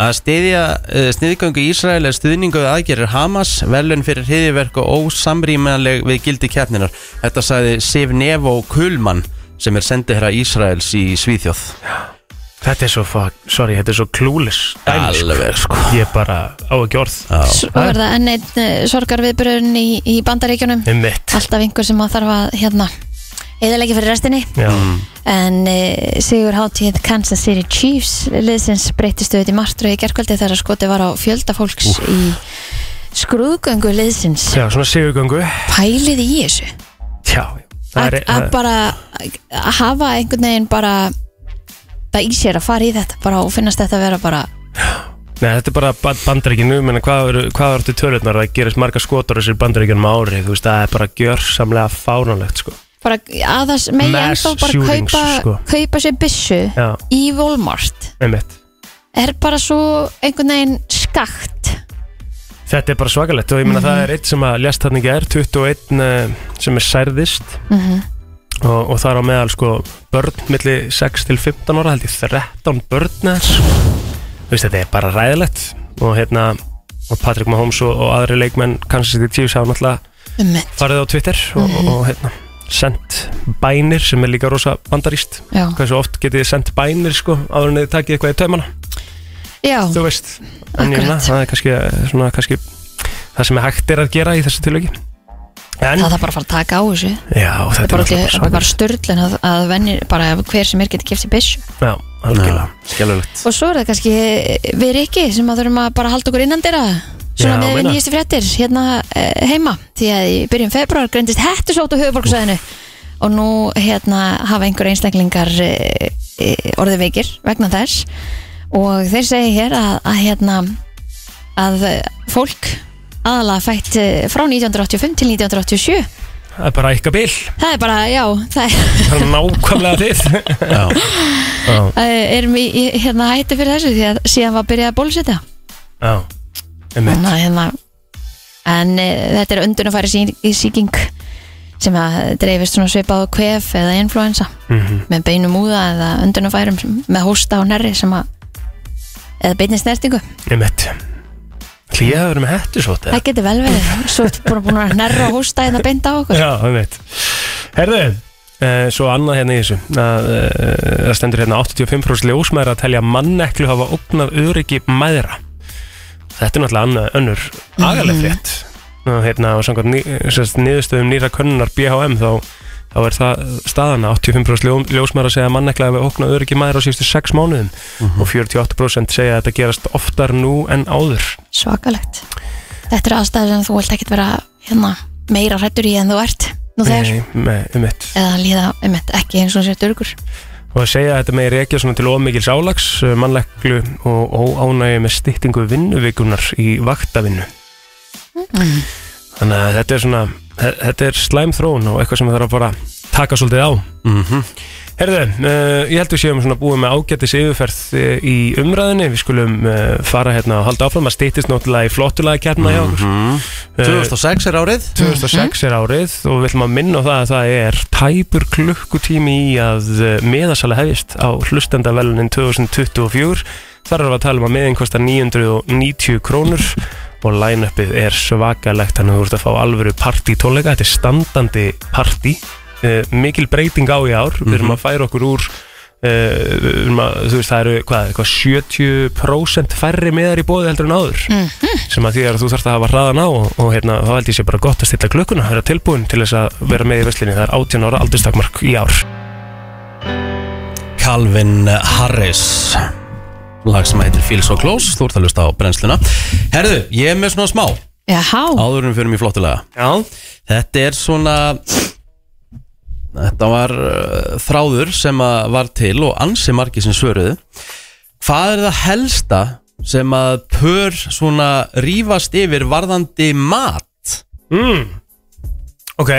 A: að stiðja uh, sniðgöngu í Ísrael er stuðningu við aðgerir Hamas velun fyrir hriðiverk og ósamrýmanleg við gildi keppninar Þetta sagði Siv Nevo Kulman sem er sendið herra Ísraels í Svíþjóð
C: Þetta er svo, fuck, sorry, þetta er svo klúlis
A: Alveg sko
C: Ég er bara á ekki orð
B: Svo er það enn einn uh, sorgarviðbrun í, í bandaríkjunum.
C: Með mitt
B: alltaf einhver sem að þarf að hérna eðalegi fyrir restinni
C: Já,
A: Mm.
B: en uh, Sigur Hátíð Kansas City Chiefs liðsins breytist auðvitað í martröð í gerkvöldi þegar skotið var á fjölda fólks í skrúðgöngu liðsins
C: já svona sigurgöngu
B: pælið í þessu
C: Já, það
B: að,
C: er,
B: að
C: það-
B: bara að hafa einhvern veginn bara það í sér að fara í þetta bara og finnast þetta að vera bara
C: Nei, þetta er bara bandaríkinu, menna, hvað eru hvað ertu tölurnar að gerist marga skotar þessir bandaríkjunum á ári, þú veist, það er bara gjörsamlega fáránlegt, sko.
B: bara að það megi
C: Mass
B: ennþá bara
C: shootings,
B: kaupa,
C: sko.
B: kaupa sér byssu
C: Já,
B: í Walmart
C: einmitt.
B: er bara svo einhvern veginn skakt
C: Þetta er bara svakalegt og ég meina það er eitt sem að lest þarna í gær, 21 eh, sem er særðist og, og það er á meðal sko börn milli 6 til 15 ára held ég 13 börn eða svo. Þú veist þetta er bara ræðilegt og hérna og Patrick Mahomes og, og aðri leikmenn kannski sér til tífs hafa náttúrulega
B: Einmitt,
C: farið á Twitter og, og, og hérna sendt bænir sem er líka rosa bandaríst
B: já.
C: hversu oft getið þið sendt bænir sko áður en þið takið eitthvað í taumana
B: já,
C: þú veist en ég meina,
B: Akkurat.
C: það er kannski, eh, svona, kannski það sem er hægt er að gera í þessu tilöki en,
B: það þarf bara að fara að taka á þessu Það
C: já, þetta
B: er bara, ekki, það er
C: bara
B: bara störlun að, að venjir, bara hver sem er getur kipt í byssu
C: já, algjörlega
A: Skelulegt
B: Og svo er það kannski eh, við Rikki sem að þurfum að bara halda okkur innan dyrra
C: Já,
B: Svona með við
C: meina.
B: nýjastu fréttir hérna eh, heima Því að í byrjun februar greindist hettusótt á höfuborgsæðinu Og nú hérna hafa einhver einstaklingar eh, eh, orðið veikir vegna þess Og þeir segja hér að, að hérna að eh, fólk aðalega fætt eh, frá 1985 til 1987
C: það er bara eitthvað bil,
B: Það er bara, já, það er
C: það er nákvæmlega þið
B: [laughs]
A: Já,
B: Eh, erum í, í hérna hætti fyrir þessu því að síðan var byrjað að bólusetja
C: já, einmitt
B: Þannig að hérna en e, þetta er undunafæri sí, í síking sem að dreifist svona svipað á kvef eða influensa með beinum úða eða undunafærum sem- með hósta og nærri sem að eða beinni snertingu
C: einmitt klíðaður með hættu svo þetta
B: það getur vel verið, svo ertu búin að búin að nærra og hósta eða beint á hérna okkur
C: já, einmitt herðu, Eh, Svo annað hérna í þessu að, eh, Það stendur hérna 85% ljósmæður að telja manneklu hafa ógnað öryggi mæðra Þetta er náttúrulega annað, önnur agaleg frétt og hérna og samkvæmt ný, sérst, niðurstöðum nýra könnunar BHM þá, þá er það staðan að 85% ljó, ljósmæður að segja að mannekla hafi ógnað öryggi mæðra á síðustu 6 mánuðum og 48% segja að þetta gerast oftar nú en áður
B: svakalegt Þetta er aðstæður sem þú vilt ekkert vera hérna, meira hrættur í en þú ert nú þegar,
C: Nei, með, um mitt
B: eða líða um ekki eins og sér dörgur
C: og að segja að þetta megi rekja svona til ómikils álags, eh, mannleglu og óánægi með styttingu vinnuvíkunar í vaktavinnu. Þannig að þetta er svona, þe- þetta er slæm þróun og eitthvað sem það þarf að bara taka svolítið á.
A: Mhm.
C: [laughs] Herðu, uh, ég held við séum svona búið með ágættis yfirferð eh, í umræðinni, við skulum uh, fara hérna og halda áfram að styttist náttúrulega í flottulega kjarna hjá okkur. Eh.
A: 2006 er árið
C: 2006 er árið og við ætlum að minna á það að það er tæpur klukkutími í að eh, miðasala hefist á hlustendavelunin 2024 þar erum við að tala um að miðin kostar 990 krónur og line-upið er svakalegt þannig að þú ert að fá alvöru partítónleika þetta er standandi partí uh, mikil breyting á í ár við erum að færa okkur úr Uh, um að, þú veist það eru hvað, hvað 70% færri miðar í bóði heldur en áður sem að því er að þú þarfst að hafa hraðan á og, og hérna, þá held ég sé bara gott að stilla klukkuna að vera tilbúin til þess að vera með í veslinni það er 18 ára aldurstakmark í ár
A: Calvin Harris lag sem heitir Feel So Close þú ert að lusta á brennsluna Herðu, ég er með svona smá
B: Jaha,
A: áðurum fyrir mig flottilega
C: Já,
A: Þetta er svona Þetta var uh, þráður sem að var til og ansi margir sem svöruðu Hvað er það helsta sem að pör svona rífast yfir varðandi mat?
C: mm. ok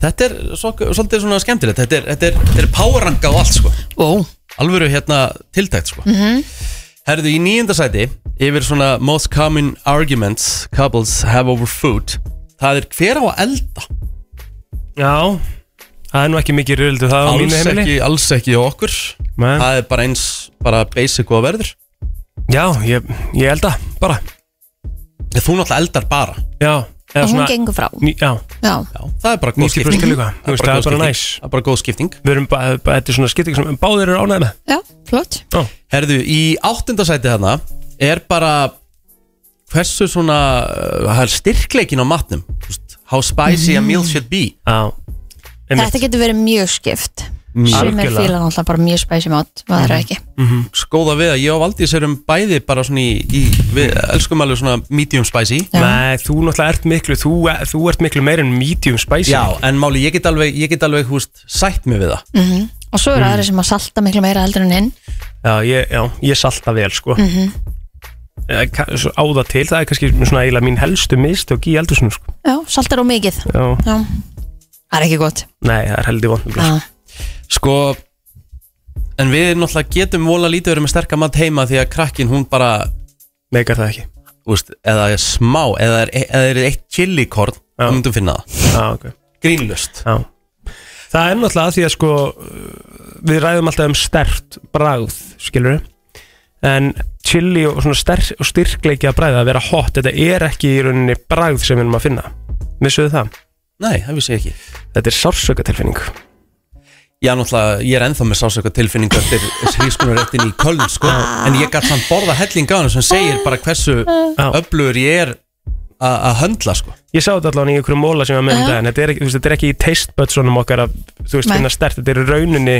A: Þetta er svo, svolítið svona skemmtilegt Þetta er, þetta er, þetta er powerranga og allt sko
B: ó,
A: alvöru hérna tiltækt sko Herðu í nýjunda sæti yfir svona most common arguments couples have over food það er hver á að elda
C: Já, það er nú ekki mikið röðildu það á mínu
A: alls
C: heimili
A: ekki, alls ekki hjá okkur
C: Men,
A: það er bara eins bara basic og að verður
C: Já, ég, ég held að, bara
A: En þú náttúrulega eldar bara
C: Já, eða
B: hún gengur frá
C: ný, Já,
B: Já,
A: Já, það er bara góð
C: 90%
A: skipting
C: líka. Þú veist, það er
A: góð
C: bara
A: skipting.
C: næs.
A: Það er bara góð skipting
C: við erum bara, bara þetta er svona skipting sem báðir eru ánægð með
B: já, flott
A: Herðu, í áttunda sæti þarna er bara hversu svona uh, það er styrkleikin á matnum Þú veist, how spicy a meal should be
C: Já,
B: Þetta getur verið mjög skipt
A: Mjög.
B: Sumir
C: Mm. Algjörlega. Mm.
B: fíla náttúrulega bara mjög spæsi mát og aðra ekki
A: skóða við Sko, að ég og Valdís erum bæði bara svona í, í við elskum alveg svona medium spicy
B: Já.
C: Nei, þú náttúrulega ert miklu, þú, e- þú ert miklu meir en medium spicy
A: Já, en máli, ég get alveg, ég get alveg húst sætt mig við það
B: Og svo
C: Mm.
B: eru aðra sem að salta miklu meira heldur en hinn
C: Já, ég, já, ég salta vel sko mm Áða til, það er kannski svona eiginlega mín helstu mistök í eldursunum sko
B: Já, saltar á mikið
C: já.
B: Já, það er ekki gott Ah,
C: Nei, það er heldur vond
B: Já,
A: Sko, en við náttúrulega getum vola lítið verið með sterka mat heima því að krakkin hún bara,
C: Meikar það ekki
A: úst, eða er smá eða er, eða er eitt chilikorn
C: Já.
A: þá myndum finna það,
C: já, okay.
A: grínlust
C: já. Það er náttúrulega af því að sko Við ræðum alltaf um stert bragð Skilur við En chili og svona sterk og styrkleiki að bræða að vera hot, þetta er ekki í rauninni bragð sem við erum að finna Vissuðu það?
A: Nei, það vissi ég ekki
C: Þetta er sársökatilfinning
A: Já, náttúrulega, ég er ennþá með sásöka tilfinningu eftir hrískunaréttin í Köln, sko En ég gætt samt borða helling á hann sem segir bara hversu öflugur ég er a- að höndla, sko
C: Ég sá þetta allavega í einhverju móla sem ég var með um daginn Þetta er, ekki- þú veist, þetta er ekki í taste budsonum okkar að, Þú veist,
B: Nei.
C: finna stert Þetta er í rauninni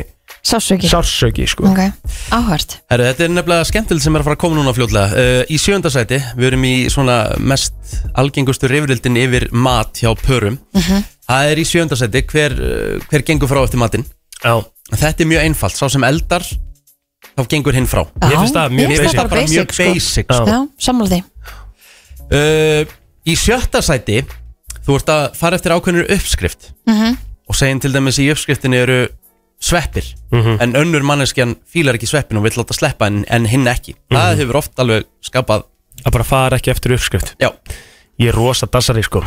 B: sársöki
C: sársöki sko.
B: Ok, áhört
A: Herru, þetta er nefnilega skemmtileg sem er að fara að koma núna fljótlega uh, Í sjönda sæti, við erum í svona mest algengustu rifrildin yfir mat hjá pörum Það er í sjönda sæti, hver, uh, hver gengur frá eftir matinn
C: Já,
A: Þetta er mjög einfalt, sá sem eldar, þá gengur hinn frá
C: Mér finnst það mjög
A: Mér
C: basic.
A: finnst það bara mjög
B: sko.
A: basic sko.
B: Já, sammála því
A: uh, Í sjötta sæti, þú ert að fara eftir ákveðnur uppskrift Og segjum til dæmis í uppskriftinni eru sveppir En önnur manneskjan fílar ekki sveppin og vill láta sleppa en, en hinn ekki Það hefur oft alveg skapað
C: að bara fara ekki eftir uppskrift
A: Já,
C: Ég er rosa dassari sko.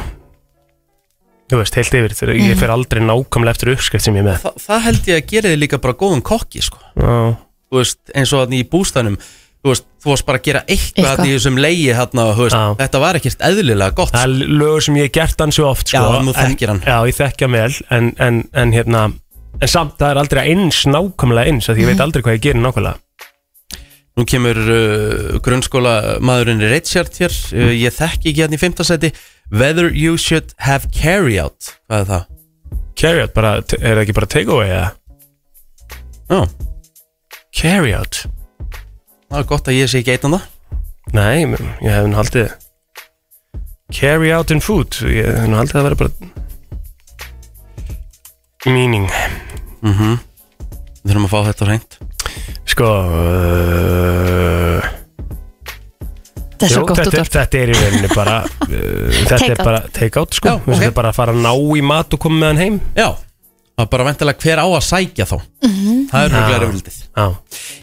C: Þú veist, heilt yfir þegar
B: Mhm.
C: Ég fer aldrei nákvæmlega eftir uppskrift sem ég er með
A: Þa, það held ég að gera þig líka bara góðum kokki sko.
C: Já,
A: Þú veist, eins og þannig í bústanum þú, veist, þú varst bara að gera eitthvað,
B: Eitthvað.
A: eitthvað. í þessum leigi þarna, þú veist,
C: Já.
A: þetta var ekkert eðlilega gott
C: Það
A: sko.
C: er lögur sem ég hef gert ansi oft sko,
A: Já, en þú
C: en-
A: þekkir hann.
C: Já, ég þekkja hann vel en, en, en hérna en samt það er aldrei eins nákvæmlega eins af því ég
B: Mhm.
C: veit aldrei hvað ég gerir nákvæmlega
A: Nú kemur uh, grunnskóla maðurinn Richard hér uh,
C: Mm.
A: Ég þekki ekki hann í fimmtasæti Whether you should have carry out Hvað er það?
C: Carry out, bara, er það ekki bara take away eða?
A: Já,
C: Carry out?
A: það er gott að ég sé ekki eitt um það
C: Nei, ég ég hef henni haldið Carry out in food Ég hef henni haldið að vera bara Meaning
A: Við þurfum að fá þetta reynd
C: Sko uh,
B: Það er svo
C: jú,
B: gott
C: þetta,
B: út
C: er- þetta er í rauninni
B: [laughs]
C: bara uh, Þetta
B: Take
C: er
B: out.
C: bara take out sko
A: Já,
C: Við
A: ok.
C: okay. bara að fara að ná í mat og koma með hann heim
A: Já, það er bara ventilega hver á að sækja þá Það er
C: Mhm. Já.
A: röglega röfildið
C: Já,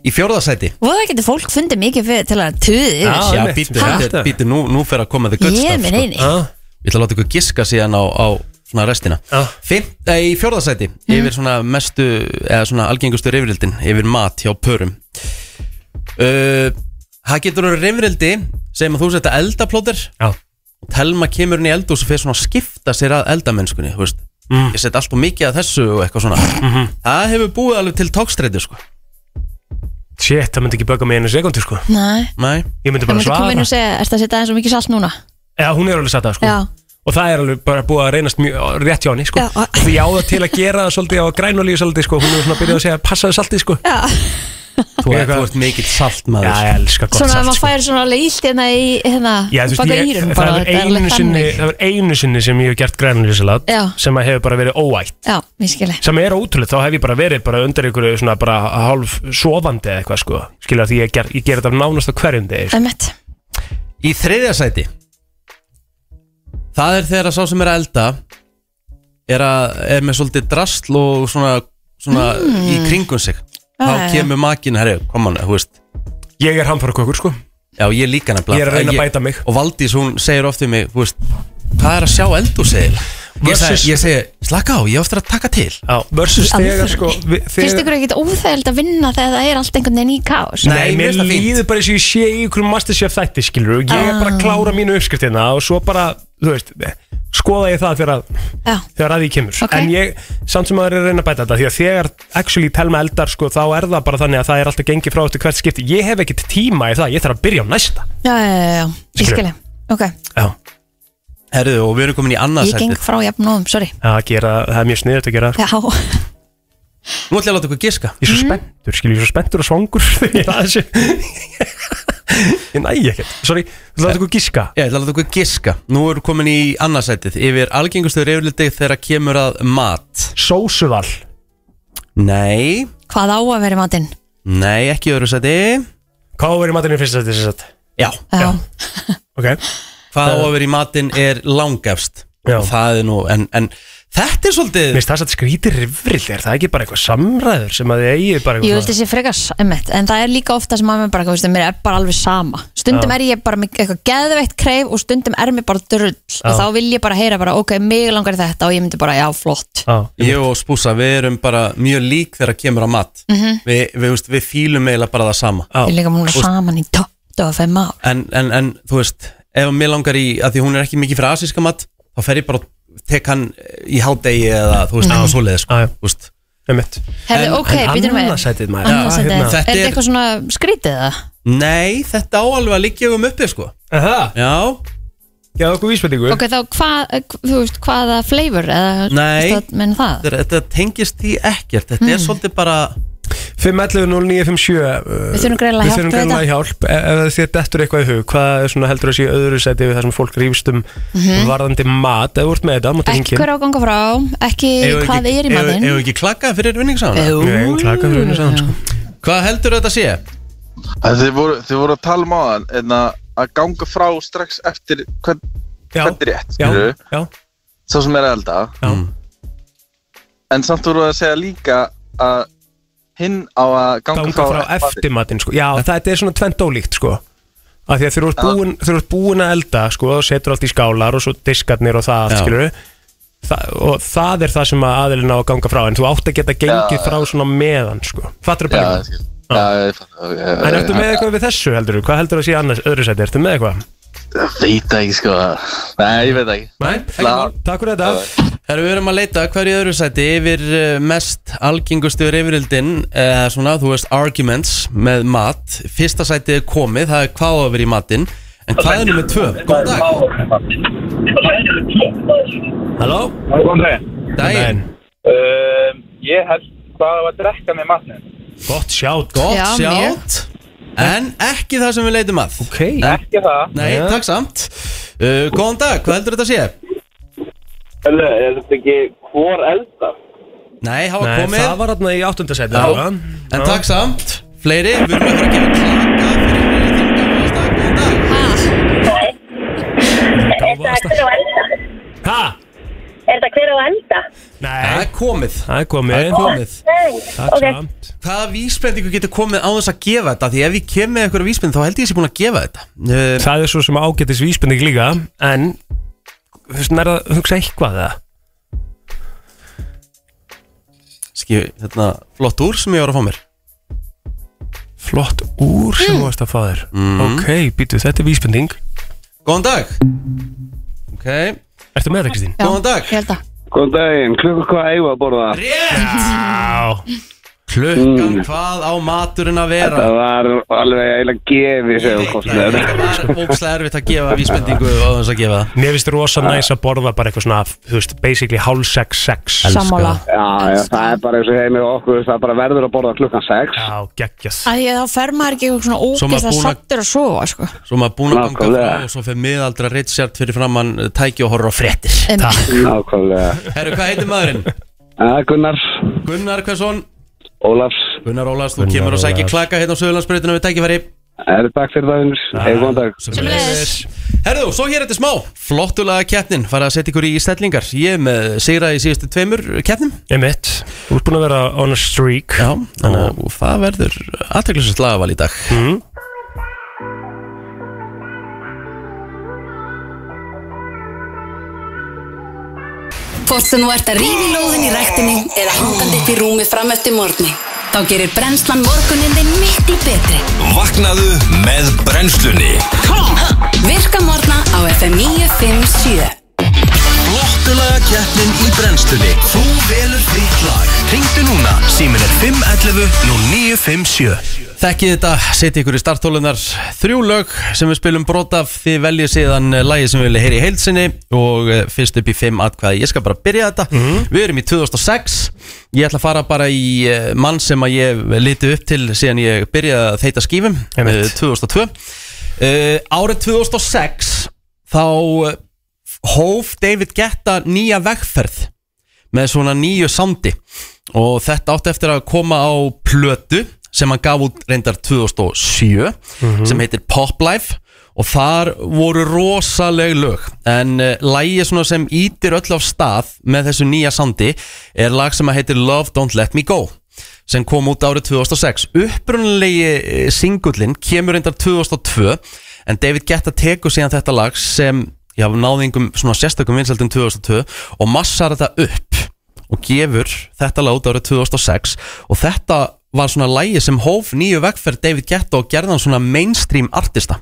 A: Í fjórðasæti
B: Voða getur fólk fundið mikið fyrir til að tuði yfir
C: Já, sko.
A: Já,
C: einmitt.
A: býttu,
C: Ha?
A: býttu, býttu, nú, nú fer að koma þið gutt
B: Ég er minn eini
C: já,
A: Ég ætla að láta ykkur giska síðan á, á svona restina
C: Já. Mhm.
A: Fim, eh, Í fjórðasæti Yfir svona mestu Eða svona algengustu rifrildin Yfir mat hjá pörum uh, Það getur verið rifrildi Segjum að þú setja eldaplóter
C: já
A: Telma kemur inn í eldús og fyrir svona að skipta sér að eldamennskunni Þú veist
C: Mhm.
A: Ég set allt og mikið að þessu og eitthvað svona Það hefur búið alveg til tókstreiti sko
C: Shit, það myndi ekki böga mig einu sekundu sko
B: Nei,
A: Nei
C: Ég myndi
B: það
C: bara
B: myndi koma inn
C: svara Mm.
B: og segja Ertu að setja aðeins og mikið salt núna?
C: Já, hún er alveg satt að sko
B: Já.
C: Og það er alveg bara búið að reynast mjög rétt hjá henni sko
B: Já.
C: Og Því á það til að gera það svolítið á grænolíu svolítið sko Hún er svona að byrja að segja passaðu saltið sko
B: Já,
A: Þú,
C: Eitthvað-
A: þú ert mikill saltmaður
C: Já, ég elska gott
B: svona að
C: salt
B: maður
C: sko.
B: fær svona alveg illt hérna í hérna
C: Já, þú
B: baka
C: veist,
B: írum
C: ég,
B: bara
C: það er
B: þetta
C: einu
B: alveg
C: sinni
B: þannig.
C: Það er einu sinni sem ég hef gert grænulísalat
B: Já.
C: sem að hefur bara verið óætt
B: Já, mér skilji
C: sem er ótrúlega, þá hef ég bara verið bara undir einhverju svona bara hálf sofandi eða eitthvað sko, skilja því ég ger, ég ger þetta nánast á hverjum degi, sko.
B: Emmett,
A: Í þriðja sæti Það er þegar að sá sem er að elda er, að, er með svolítið drasl og svona, svona í kringum sig Þá
B: Hmm. já, já.
A: kemur makin, herri, koman, þú veist
C: ég er hamfara sko
A: Já, ég líka nefnilega
C: Ég er að reyna að bæta mig.
A: Og Valdís, hún segir oft við mig, þú veist Hvað er að sjá eldu, segir ég,
C: Versus-
A: segi- ég segi, slaka á, ég á eftir að taka til
C: Já, versus
B: Alveg.
C: þegar sko við-
B: finnst
C: þegar-
B: ykkur ekkert óþægild að vinna þegar það er allt einhvern veginn í kaos?
A: Nei,
C: Nei,
A: mér
C: mér
A: finnst það fínt.
C: líður bara eins og ég sé í ykkur Masterchef þætti, skilur Ég er bara að klára mínu uppskriftina og svo bara, þú veist, skoða ég það þegar að,
B: Já,
C: þegar að því kemur
B: Ok.
C: En ég, samt sem að er að reyna að bæta þetta Því að þegar actually telma eldar, sko, þá er það bara þannig að það er alltaf gengið frá eftir hvert skipti Ég hef ekkert tíma í það, ég þarf að byrja á næsta
B: já, já, já, já, ég
C: Skilurðu?
B: skilji Ok,
C: Já,
A: Herðu, og við erum komin í annað
B: ég geng
A: sæti
B: frá jafnóðum, sorry
C: að gera, það er mjög sniðut að gera sko.
B: Já, [laughs] já,
A: Nú ætla ég að láta ykkur giska
C: Ég er svo spenntur, skilur, ég er svo spenntur og svangur [laughs] Þegar ég er að þessu Ég næ ekkert, sorry, þú látum ykkur giska
A: Já, ég ætla að láta ykkur giska Nú erum komin í annað sætið Yfir algengustu reyfliti þegar kemur að mat
C: Sósuval,
A: Nei,
B: hvað á að vera í matinn?
A: nei, ekki í öðru sæti
C: hvað á að vera í matinu fyrst þetta, þetta?
A: Já,
B: Já,
C: Já. Ok,
A: hvað á að vera í matinn er langefst
C: Já.
A: Það er nú, en, en þetta er svolítið
C: Mér finnst það satt skrítið rifrill, er það ekki bara eitthvað samræður sem að þið eigið bara
B: Ég
C: eitthvað
B: vildi sé frekar emmett, en það er líka ofta sem að mér bara, þú veist, mér er e- bara alveg sama stundum
C: Já.
B: er ég bara með eitthvað geðveitt kreif og stundum er mér bara drull og þá vil ég bara heyra bara, ok, mig langar í þetta og ég myndi bara, já, flott
C: Já,
A: Ég og Spúsa, við erum bara mjög lík þegar kemur að mat mm -hmm. Við, við, veist, við fílum eiginlega bara það sama
C: Já.
B: við líka múna saman í topp, það var fimm ár
A: en, en, en þú veist, ef að mér langar í að því hún er ekki mikið fyrir asíska mat þá fer ég bara og tek hann í hádegi eða þú veist, eitthvað svoleiði sko,
C: Já, já.
A: þú veist.
C: einmitt
B: Herðu,
A: En-
B: ok, býtum við
C: Annarsætið maður
B: Annarsæti, er
C: Já, hérna.
A: Þetta
B: þetta
A: er-
B: eitthvað svona skrítið það?
A: Nei, þetta á alveg að liggja um uppi sko
C: Aha,
A: Já,
C: ég hafði okkur vísbendingu
B: Ok, þá hvað, eh, þú veist, hvaða flavor eða,
A: Nei.
B: þú veist, menn það?
A: þetta, þetta tengist því ekkert Þetta er svolítið bara
C: 511-0957 uh,
B: Við þurfum greinilega
C: Við
B: hjálp
C: þurfum
B: við
C: greinlega hjálp E- Ef þið dettur eitthvað í hug Hvað er svona heldur að sé í öðru sæti við það sem fólk rýfst um
B: Mhm.
C: varðandi mat eða vort með þetta, máttu
B: Ekki
C: hengið
B: hver á að ganga frá, ekki
A: Eigum við
B: hvað
A: ekki-
B: er í
A: eigum-
B: matinn
A: eigum við ekki klakka fyrir vinningsána
C: Nei, klaka fyrir henni saman sko
A: Hvað heldur þetta sé?
I: En Þið voru, þið voru að tala um áðan en að, að ganga frá strax eftir hvern,
C: Já,
I: hvern rétt,
C: já,
I: skilur
C: já,
I: sá sem er að elda
C: já
I: en samt voru að segja líka að hinn á að ganga,
C: ganga frá eftirmatinn sko. Já, þetta er svona tvent ólíkt sko. að því að þegar þú ert búin, þegar þú ert búin að elda sko, og setur allt í skálar og svo diskarnir og það,
A: Já.
C: skilur Þa, og það er það sem að aðilin á að ganga frá en þú átt að geta gengið frá svona meðan sko. fattur
I: Já,
C: bara
I: ég skil. já, ég fatt
C: en ertu með eitthvað við þessu heldur hvað heldur að sé annars öðru sæti, ertu með eitthvað
I: Veit það ekki sko Nei, ég veit það ekki
C: Nei, ekki
I: Nei.
C: mál, takk fyrir þetta
A: Þegar við erum að leita hverju öðru sæti yfir eh, mest algengustu reyfrildin eða svona, þú veist, arguments með mat Fyrsta sætið er komið, það er hvað á að vera í matinn En hvað er nummið tvö? Góðan dag,
C: Halló?
A: daginn,
J: Ehm, Ég held hvað var að drekka með matnum
C: Gott
B: Já,
C: sjátt
A: gott
B: mjög.
A: sjátt En ekki það sem við leitum að
C: Ok
A: Nei,
J: Ekki það
A: nei
C: Já.
A: takk samt uh, Góðan dag, hvað heldur þetta sé?
J: Hörru, er þetta ekki hvor eldar?
A: Nei, hafa
C: Nei,
A: komið
C: það var þarna í áttundasæti
A: Já. En takk samt, fleiri, við erum ekki að gefa klaka fyrir þingar Góðan dag
C: Ha?
K: Er þetta hver á enda?
A: Það
C: Nei
A: er komið,
C: Það er
A: það
C: komið
A: er komið
K: Nei,
C: Takk
K: ok.
C: samt
A: Hvaða vísbendingu getur komið á þess að gefa þetta? Því ef ég kem með einhverja vísbendingu þá held ég að ég sé búin að gefa þetta uh,
C: Það er svo sem ágætis vísbending líka En Þú veist, nærða að hugsa eitthvað eða
A: Skif, hérna, flott úr sem ég var að fá mér
C: Flott úr sem þú varst að fá þér Ok, býtu, þetta er vísbending
A: Góðan dag Ok,
C: Ertu með það, Kristín?
B: Já,
A: Góðan dag.
B: Ég held að
J: Góðan daginn, klukka hvað eigum við að borða?
C: Já
A: klukkan
J: Mm.
A: hvað á maturinn að vera?
J: Það var alveg eiginlega gefið sem við
A: Nei,
J: kostnaður
A: þetta var bókslega erfitt að gefa vísbendingu á þess að gefa það
C: Mér finnst rosa næs að borða bara eitthvað svona Þú veist, basically hálf sex, sex
A: Elska
B: sammála
A: það.
J: Já, já, það er bara eins og heimið okkur, það er bara verður að borða klukkan 6
C: Já, geggjast
B: Að ég þá fer maður ekki eitthvað svona
A: Svo maður
B: ógist að
A: búin að-
B: sattur að sofa sko.
A: Svo maður búin að ganga
J: Nákvæmlega.
A: frá og svo fyrir miðaldra Richard fyrir framann eh, tæki og horror og fréttir
B: um,
J: Nákvæmlega
A: Herru, hvað heitir maðurinn?
J: Ja, Gunnars,
A: Gunnar Hversson
J: Ólafs,
A: Gunnar Ólafs, þú kemur og sækir
C: Ólafs.
A: klaka hérna á Söðurlandsbreytinu við tækifæri
J: er takk fyrir það vinnur, hefur góðan dag
B: Sömuleiðis.
A: Herðu, svo hér eftir smá Flottulega keppnin, fara að setja ykkur í stellingar Ég er með sigra í síðustu tveimur keppnum
C: Emitt, þú ert búin að vera on a streak
A: Já, og það verður aðteklisast lagaval í dag
H: Hvort sem þú ert að rífi lóðin í rættinni eða hangandi upp í rúmi fram eftir morgni þá gerir brennslan morgunin þinn miklu betri.
G: Vaknaðu með brennslunni
H: Virka morgna á FM 957
G: Flottulega keppnin í brennslunni Þú velur þitt lag Ringdu núna, símin er 511 0957
A: Þekkið þetta, setja ykkur í starttólunar Þrjú lög sem við spilum brot af Þið veljið síðan lagi sem við viljið heyri í heilsinni Og eh, fyrst upp í fimm atkvæði Ég skal bara byrja þetta Við erum í 2006 Ég ætla að fara bara í eh, mann sem að ég liti upp til Síðan ég byrjaði að þeita skífum
C: Einmitt.
A: eh, 2002 uh, Árið 2006 Þá eh, hóf David Guetta nýja vegferð með svona nýju sándi og þetta átti eftir að koma á plötu sem hann gaf út reyndar 2007 sem heitir Pop Life og þar voru rosaleg lög en uh, lægi svona sem ítir öll af stað með þessu nýja sándi er lag sem að heitir Love Don't Let Me Go sem kom út árið 2006 upprunalegi singullin eh, kemur reyndar 2002 en David Guetta tekur síðan þetta lag sem já, náði einhverjum svona sérstakum vinsaldum 2002 og massar þetta upp og gefur þetta lát árið 2006 og þetta var svona lægi sem hóf nýju vegferð David Guetta og gerði hann svona mainstream artista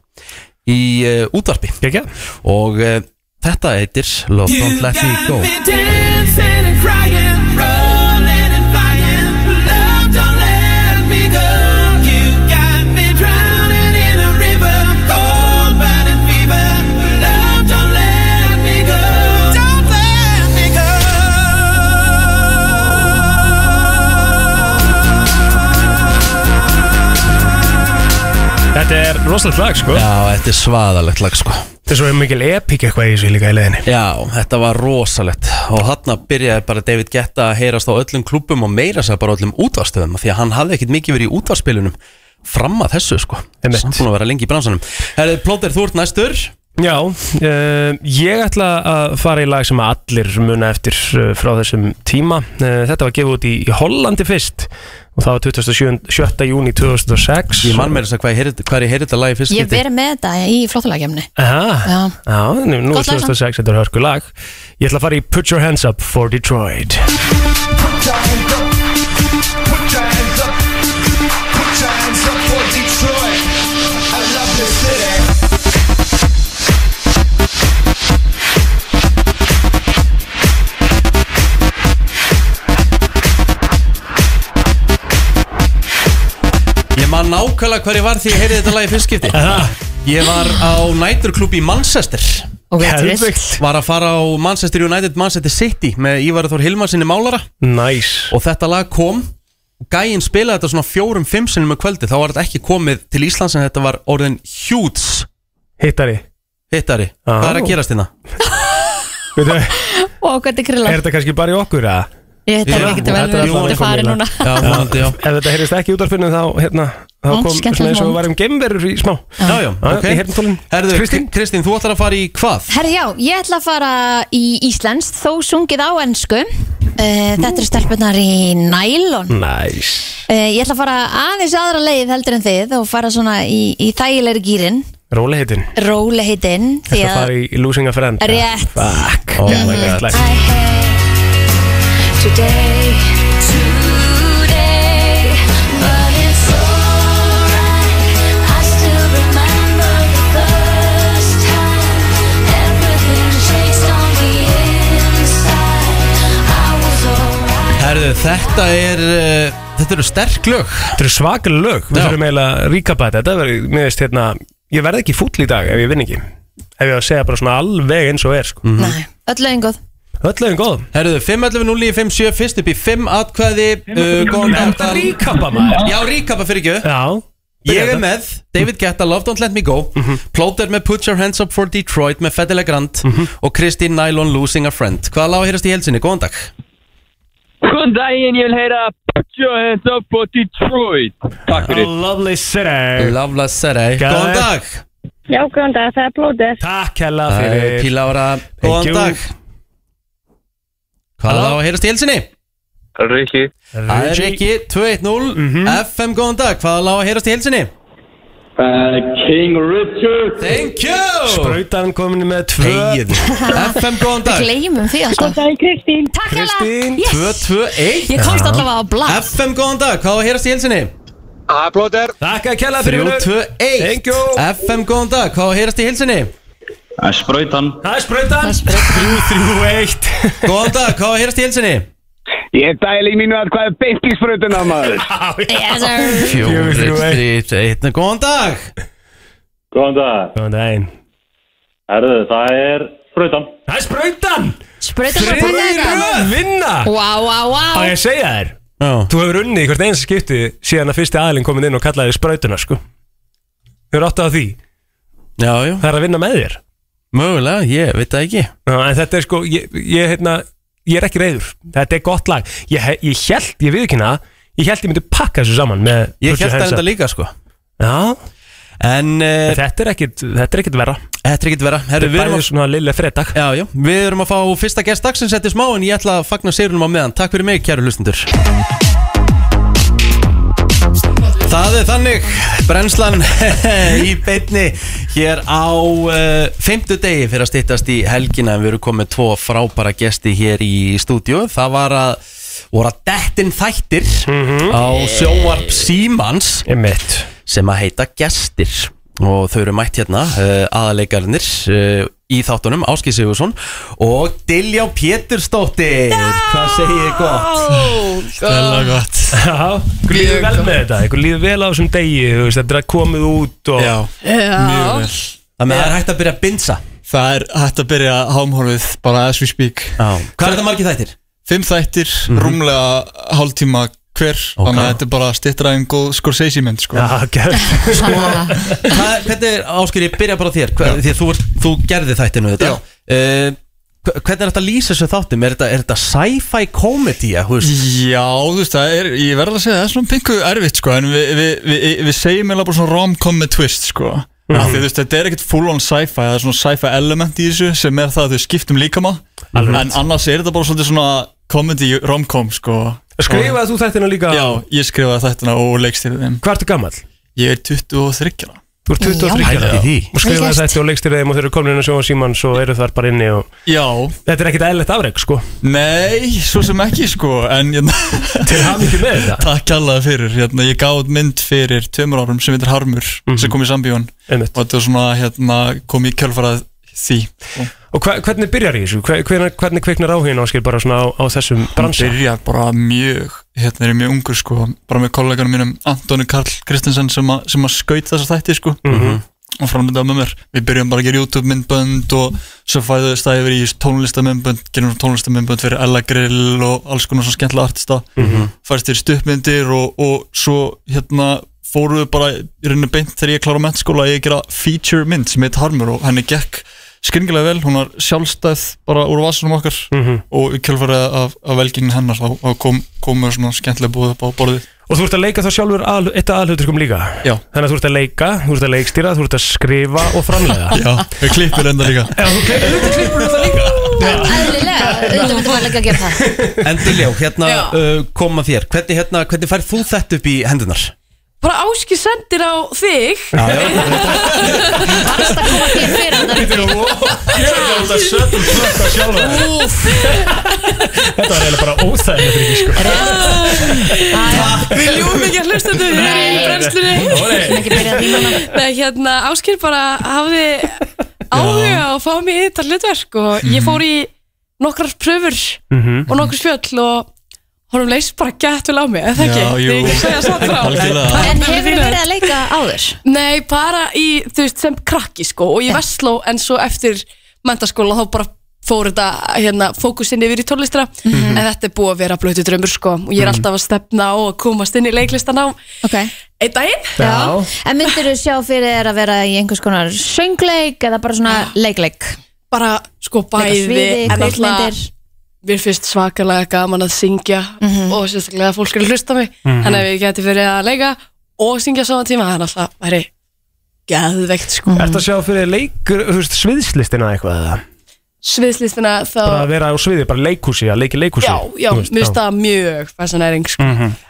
A: í uh, útvarpi
C: Gekja?
A: og uh, þetta heitir Love Don't Let Me Go
D: dancing and crying, rolling and flying. Love, don't let me go. You got me drowning in a river, cold burning fever. Love, don't let me go. Don't let me go.
C: Þetta er rosalegt lag, sko
A: Já, þetta er svaðalegt lag sko
C: Þetta er svo mikil epík eitthvað í þessu líka í leiðinni
A: Já, þetta var rosalegt og þarna byrjaði bara David Guetta að heyrast á öllum klubum og meira sér bara á öllum útvarstöðum því að hann hafði ekkit mikið verið í útvarspilunum fram að þessu sko
C: Einmitt.
A: Samt búin að vera lengi í bransanum Herðið Plóter, þú ert næstur
C: Já, uh, ég ætla að fara í lag sem að allir muna eftir uh, frá þessum tíma uh, Þetta var gefið út í, í Hollandi fyrst og það var 27. 7. júni 2006
A: Ég man meira þess að hvað ég heyrði, hvað ég heyrði þetta lagi fyrst
B: Ég verið með þetta í flottulegjumni
C: Aha,
B: Já.
C: já, nú, nú er
B: Gott lag samt.
C: 2006, þetta er hörku lag Ég ætla að fara í Put Your Hands Up for Detroit
A: nákvæmlega hvar ég var því ég heyrði þetta lag í fyrst skipti Ég var á næturklubbi í Manchester
B: Ok, Helvíkt. trist.
A: Var að fara á Manchester United, Manchester City með Ívar Þór Hilmarsinni málara
C: Nice
A: Og þetta lag kom Gæinn spilaði þetta svona fjórum, fimm sinnum með kvöldi Þá var þetta ekki komið til Íslands en þetta var orðin huge
C: Hittari
A: Hittari, hvað er að gerast hérna?
B: [laughs]
C: Veitu,
B: Og hvað þetta er
C: er
B: grillar
C: þetta kannski bara í okkur eða?
B: Ég veit ekki, þetta vel verið Þetta er farið núna
A: vonandi, já.
C: Ef þetta heyrist ekki í útvarfinu þá, hérna, þá
B: Vont,
C: kom
B: skemmtilegt
C: svona eins og
B: vont.
C: við varum geimverur í smá
A: Já, já,
C: Já,
A: ok
C: í heyrnartólin.
A: Herðu,
C: Kristín?
A: Kristín, þú ætlar að fara í hvað?
B: Herri já, ég ætla að fara í Íslands þó sungið á ennsku uh, Þetta eru stelpunar í nælon
C: Næs
B: uh, Ég ætla að fara aðeins aðra leið heldur en þið og fara svona í, í þægilegri gýrin
C: Róli heitin
B: Róli heitinn því
C: Þetta
B: að
C: fari í Losing a Friend
B: Rétt.
C: Fuck
A: Oh
C: yeah,
A: my
C: yeah,
A: God.
C: like-
L: Today, today, but it's alright. I still remember the first time everything shakes on the inside. I was alright.
A: Herðu, þetta er uh, Þetta eru sterk lög
C: Þetta eru svakar lög Við
A: Já.
C: þurfum eiginlega að ríkapa þetta Þetta verður, mér veist, hérna Ég verð ekki fúll í dag ef ég vinn ekki Ef ég á að segja bara svona alveg eins og er sko.
A: Mhm.
C: mm -hmm.
B: öll lögin góð
C: Öll lögum góðum
A: Herðu, 5.11.09.57 Fyrst upp í 5 atkvæði uh, Góðan dag
C: Þetta
A: Dan.
C: ríkapa maður
A: Já, ríkappa fyrir ekki
C: Já
A: Ég er með David Guetta, Love Don't Let Me Go
C: Mhm.
A: Plóter með Put Your Hands Up for Detroit með Fedele Grant
C: Mhm.
A: og Kristín Nylon Losing a Friend Hvað lág að heyrast í helsinni? Góðan dag
M: Góðan daginn, ég vil heyra Put your hands up for Detroit Takk
C: A
M: fyrir
C: lovely city
A: Lovla Serei Góðan dag
N: Já, góðan dag, það er blóðið.
C: Takk hella
A: Æ,
C: fyrir
A: Pílára,
C: Thank you.
A: Eh, góðan dag Hvað lág að heyrast í helsinni?
M: Riki
A: Það er ekki
C: Mhm.
A: 210 FM, góðan dag Hvað lág að heyrast í helsinni?
M: Uh, King Richard
A: Thank you
C: Sprautan komin með tvö [laughs]
A: Egið FM, góðan dag
B: Gleimum því alltaf
N: Það er Kristín.
B: Takk
C: Kristín,
B: hella yes.
A: 221
B: Ég komst allavega á blað
A: FM, góðan dag, hvað á að heyrast í helsinni?
O: Aha, plóter
C: Takk að kella fyrir vinur.
A: 321
C: Thank you.
A: FM, góðan dag, hvað á að heyrast í helsinni?
P: Það er spröytan
C: Það er sprautan [laughs] 331
A: Góðan dag, hvað á að heyrast í helsinni?
Q: Ég dæli í mínu að hvað er beint í sprutuna maður
B: Yes, sir.
A: 431 Góðan dag
P: Góðan dag
C: Góðan daginn
P: Herðu, það er spröytan
C: Það er sprautan
B: Sprautan bara að taka
C: Þriðir
B: þetta
C: að vinna
B: Vá, vá,
C: Á ég
B: vá
C: að segja þér
A: Já,
C: Þú hefur unnið í hvert einsta skipti síðan að fyrsti aðlinn komin inn og kallaði þig sprautuna sko Þú eru áttið á því
A: já, já,
C: Það er að vinna með þér
A: mögulega, ég veit það ekki
C: Já, en þetta er sko, ég, ég, heitna, ég er ekki reyður Þetta er gott lag Ég, he- ég held, ég viðkynna Ég held ég myndi pakka þessu saman með
A: Ég
C: Put Your
A: held það
C: Hands Up.
A: enda líka, sko
C: Já,
A: En eh,
C: þetta er ekkit, þetta er ekkit verra
A: þetta er ekkert vera Herru, við
C: Bæðið
A: erum
C: að...
A: að
C: svona lilla fredag
A: Já, já, við erum að fá fyrsta gest dagsins eftir smá en ég ætla að fagna sigrunum á meðan Takk fyrir mig, kæru hlustendur Það er þannig, brennslan [laughs] í beinni hér á uh, fymtu degi fyrir að styttast í helgina en við erum komið tvo frábæra gesti hér í stúdíu það var að voru að dettin þættir á sjóarp Símans
C: Emmett
A: sem að heita Gestir og þau eru mætt hérna uh, aðaleikarinnir uh, í þáttunum Áski Sigursson og Diljá Pétursdóttir hvað segir ég gott? Stella gott
C: Já, ykkur líður vel með þetta Ykkur líður vel á þessum degi þú veist, Þetta er að komið út og
R: Já, mjög vel
A: Það með það er hægt að byrja að binsa
R: Það er hægt að byrja hámhorfið bara as we speak
A: Já. Hvað er þetta margir þættir?
R: Fimm þættir, rúmlega hálftíma hver Þannig að þetta er bara stittra en góð Scorsese mynd sko.
C: Já, gerð
A: Hvað, hvernig er, Áskir, ég byrja bara á þér hvað, því að þú, ert, þú gerði þættinu þetta uh, hvernig er þetta að lýsa þessu þáttum? Er þetta, er þetta sci-fi komedi?
R: [laughs] Já, þú veist, það er, ég verð að segja, það er svona pingu erfitt sko, En við vi, vi, vi, vi segjum eiginlega bara svona rom-com með twist sko.
P: Mhm.
R: mm. Því þú veist, þetta er ekkert full on sci-fi Það er svona sci-fi element í þessu Sem er það að þau skiptum líkama
C: Alveg.
R: En annars er þetta bara svolítið svona Comedy rom-com sko.
C: Skrifaði þú þættina líka
R: Já, ég skrifaði þetta og leikstýrði þeim
C: Hvað ertu gamall?
R: Ég er 23 ára
C: Þú ert 23
A: Pældi
C: ára.
A: því.
C: Og
B: Vel
C: skrifaði
B: gert.
C: þetta og leikstir þeim og þeir eru komin inn á sjóa síman Svo eru þar bara inni og
R: Já,
C: Þetta er ekkit eðlilegt afreg sko
R: Nei, svo sem ekki sko En ég,
C: Til hann ekki með þetta
R: [laughs] takk alveg fyrir hérna, Ég gáð mynd fyrir Mhm. tveimur árum sem heitir Harmur sem kom í sambíón
C: Einmitt.
R: Og þetta var svona hérna, kom í kjölfarað því
C: Og hva, hvernig byrjar í þessu? Hve- Hvernig, hvernig kviknar áhugin áskil bara svona á, á þessum bransa?
R: Hann byrjar bara mjög, hérna er ég mjög ungur sko, bara með kolleganum mínum Antoni Karl Kristinsen sem, að- sem að skaut þessa þætti sko
C: Mhm.
R: og framönda með mér. Við byrjum bara að gera YouTube myndbönd og svo fæðuðist það yfir í tónlistamyndbönd, gerum tónlistamyndbönd fyrir Ella Grill og alls konar svona skemmtilega artista,
C: Mhm.
R: fæðist þér stuppmyndir og, og svo hérna fóruðu bara í rauninu beint þegar ég klára mettskóla að ég gera feature mynd sem heit Harmur og henni gekk skringilega vel, hún var sjálfstæð bara úr vasunum okkar
C: Mhm.
R: og í kjálfarið af, af velgingin hennar þá þá kom, komur svona skemmtilega búið upp á borðið
C: Og þú ert að leika þá sjálfur al, eitt af aðhauturkum líka
R: Já.
C: Þannig að þú ert að leika, þú ert að leikstýra, þú ert að skrifa og framlega
R: Já, við klippir enda líka
B: Æðlilega, auðvitað myndum að leika að gera það
A: Endiljá, hérna uh, koma þér Hvernig, hérna, hvernig færð þú þetta upp í hendunar?
L: Bara áski sendir á þig
C: Þetta sötum flökk á sjálfa Þetta var eiginlega bara óþægilegt fyrir ekki
L: Við ljúum ekki að hlusta þetta Við erum í brennslunni Nei, hérna, Áskir bara hafði áhuga á að fá mig í þetta hlutverk og ég fór í nokkrar pröfur
C: Mhm.
L: og nokkur spjöll og honum leist bara gett vel á mig, eða ekki?
C: Já, jú.
L: Þegar ég segja satt frá
C: Algjörlega.
B: En hefur þú verið að leika áður?
L: Nei, bara í, þú veist, sem krakki sko og í Vestló en svo eftir mentaskóla þá bara fór þetta hérna, fókusinn yfir í tónlistina
C: Mhm.
L: en þetta er búið að vera blötu drömmur sko og ég er
B: Mhm.
L: alltaf að stefna á að komast inn í leiklistan á
B: okay.
L: einn daginn
B: Já. En myndir þú sjá fyrir þér að vera í einhvers konar söngleik eða bara svona leikleik?
L: Bara sko
B: Leika sviði,
L: bæði en alltaf
B: kvikmyndir.
L: mér finnst svakalega gaman að syngja og sérstaklega að fólk er að hlusta á mig
B: Mhm.
L: þannig að við getum verið að leika og syngja saman tíma þannig að það væri geðveikt sko
C: Ertu að sjá fyrir leikur, þú veist, sviðslistina eitthvað eða?
L: sviðslistina þá
C: Bara að vera á sviði, bara leikhúsi, að leiki leikhúsi
L: Já, já, mér finnst það mjög fascinæring sko.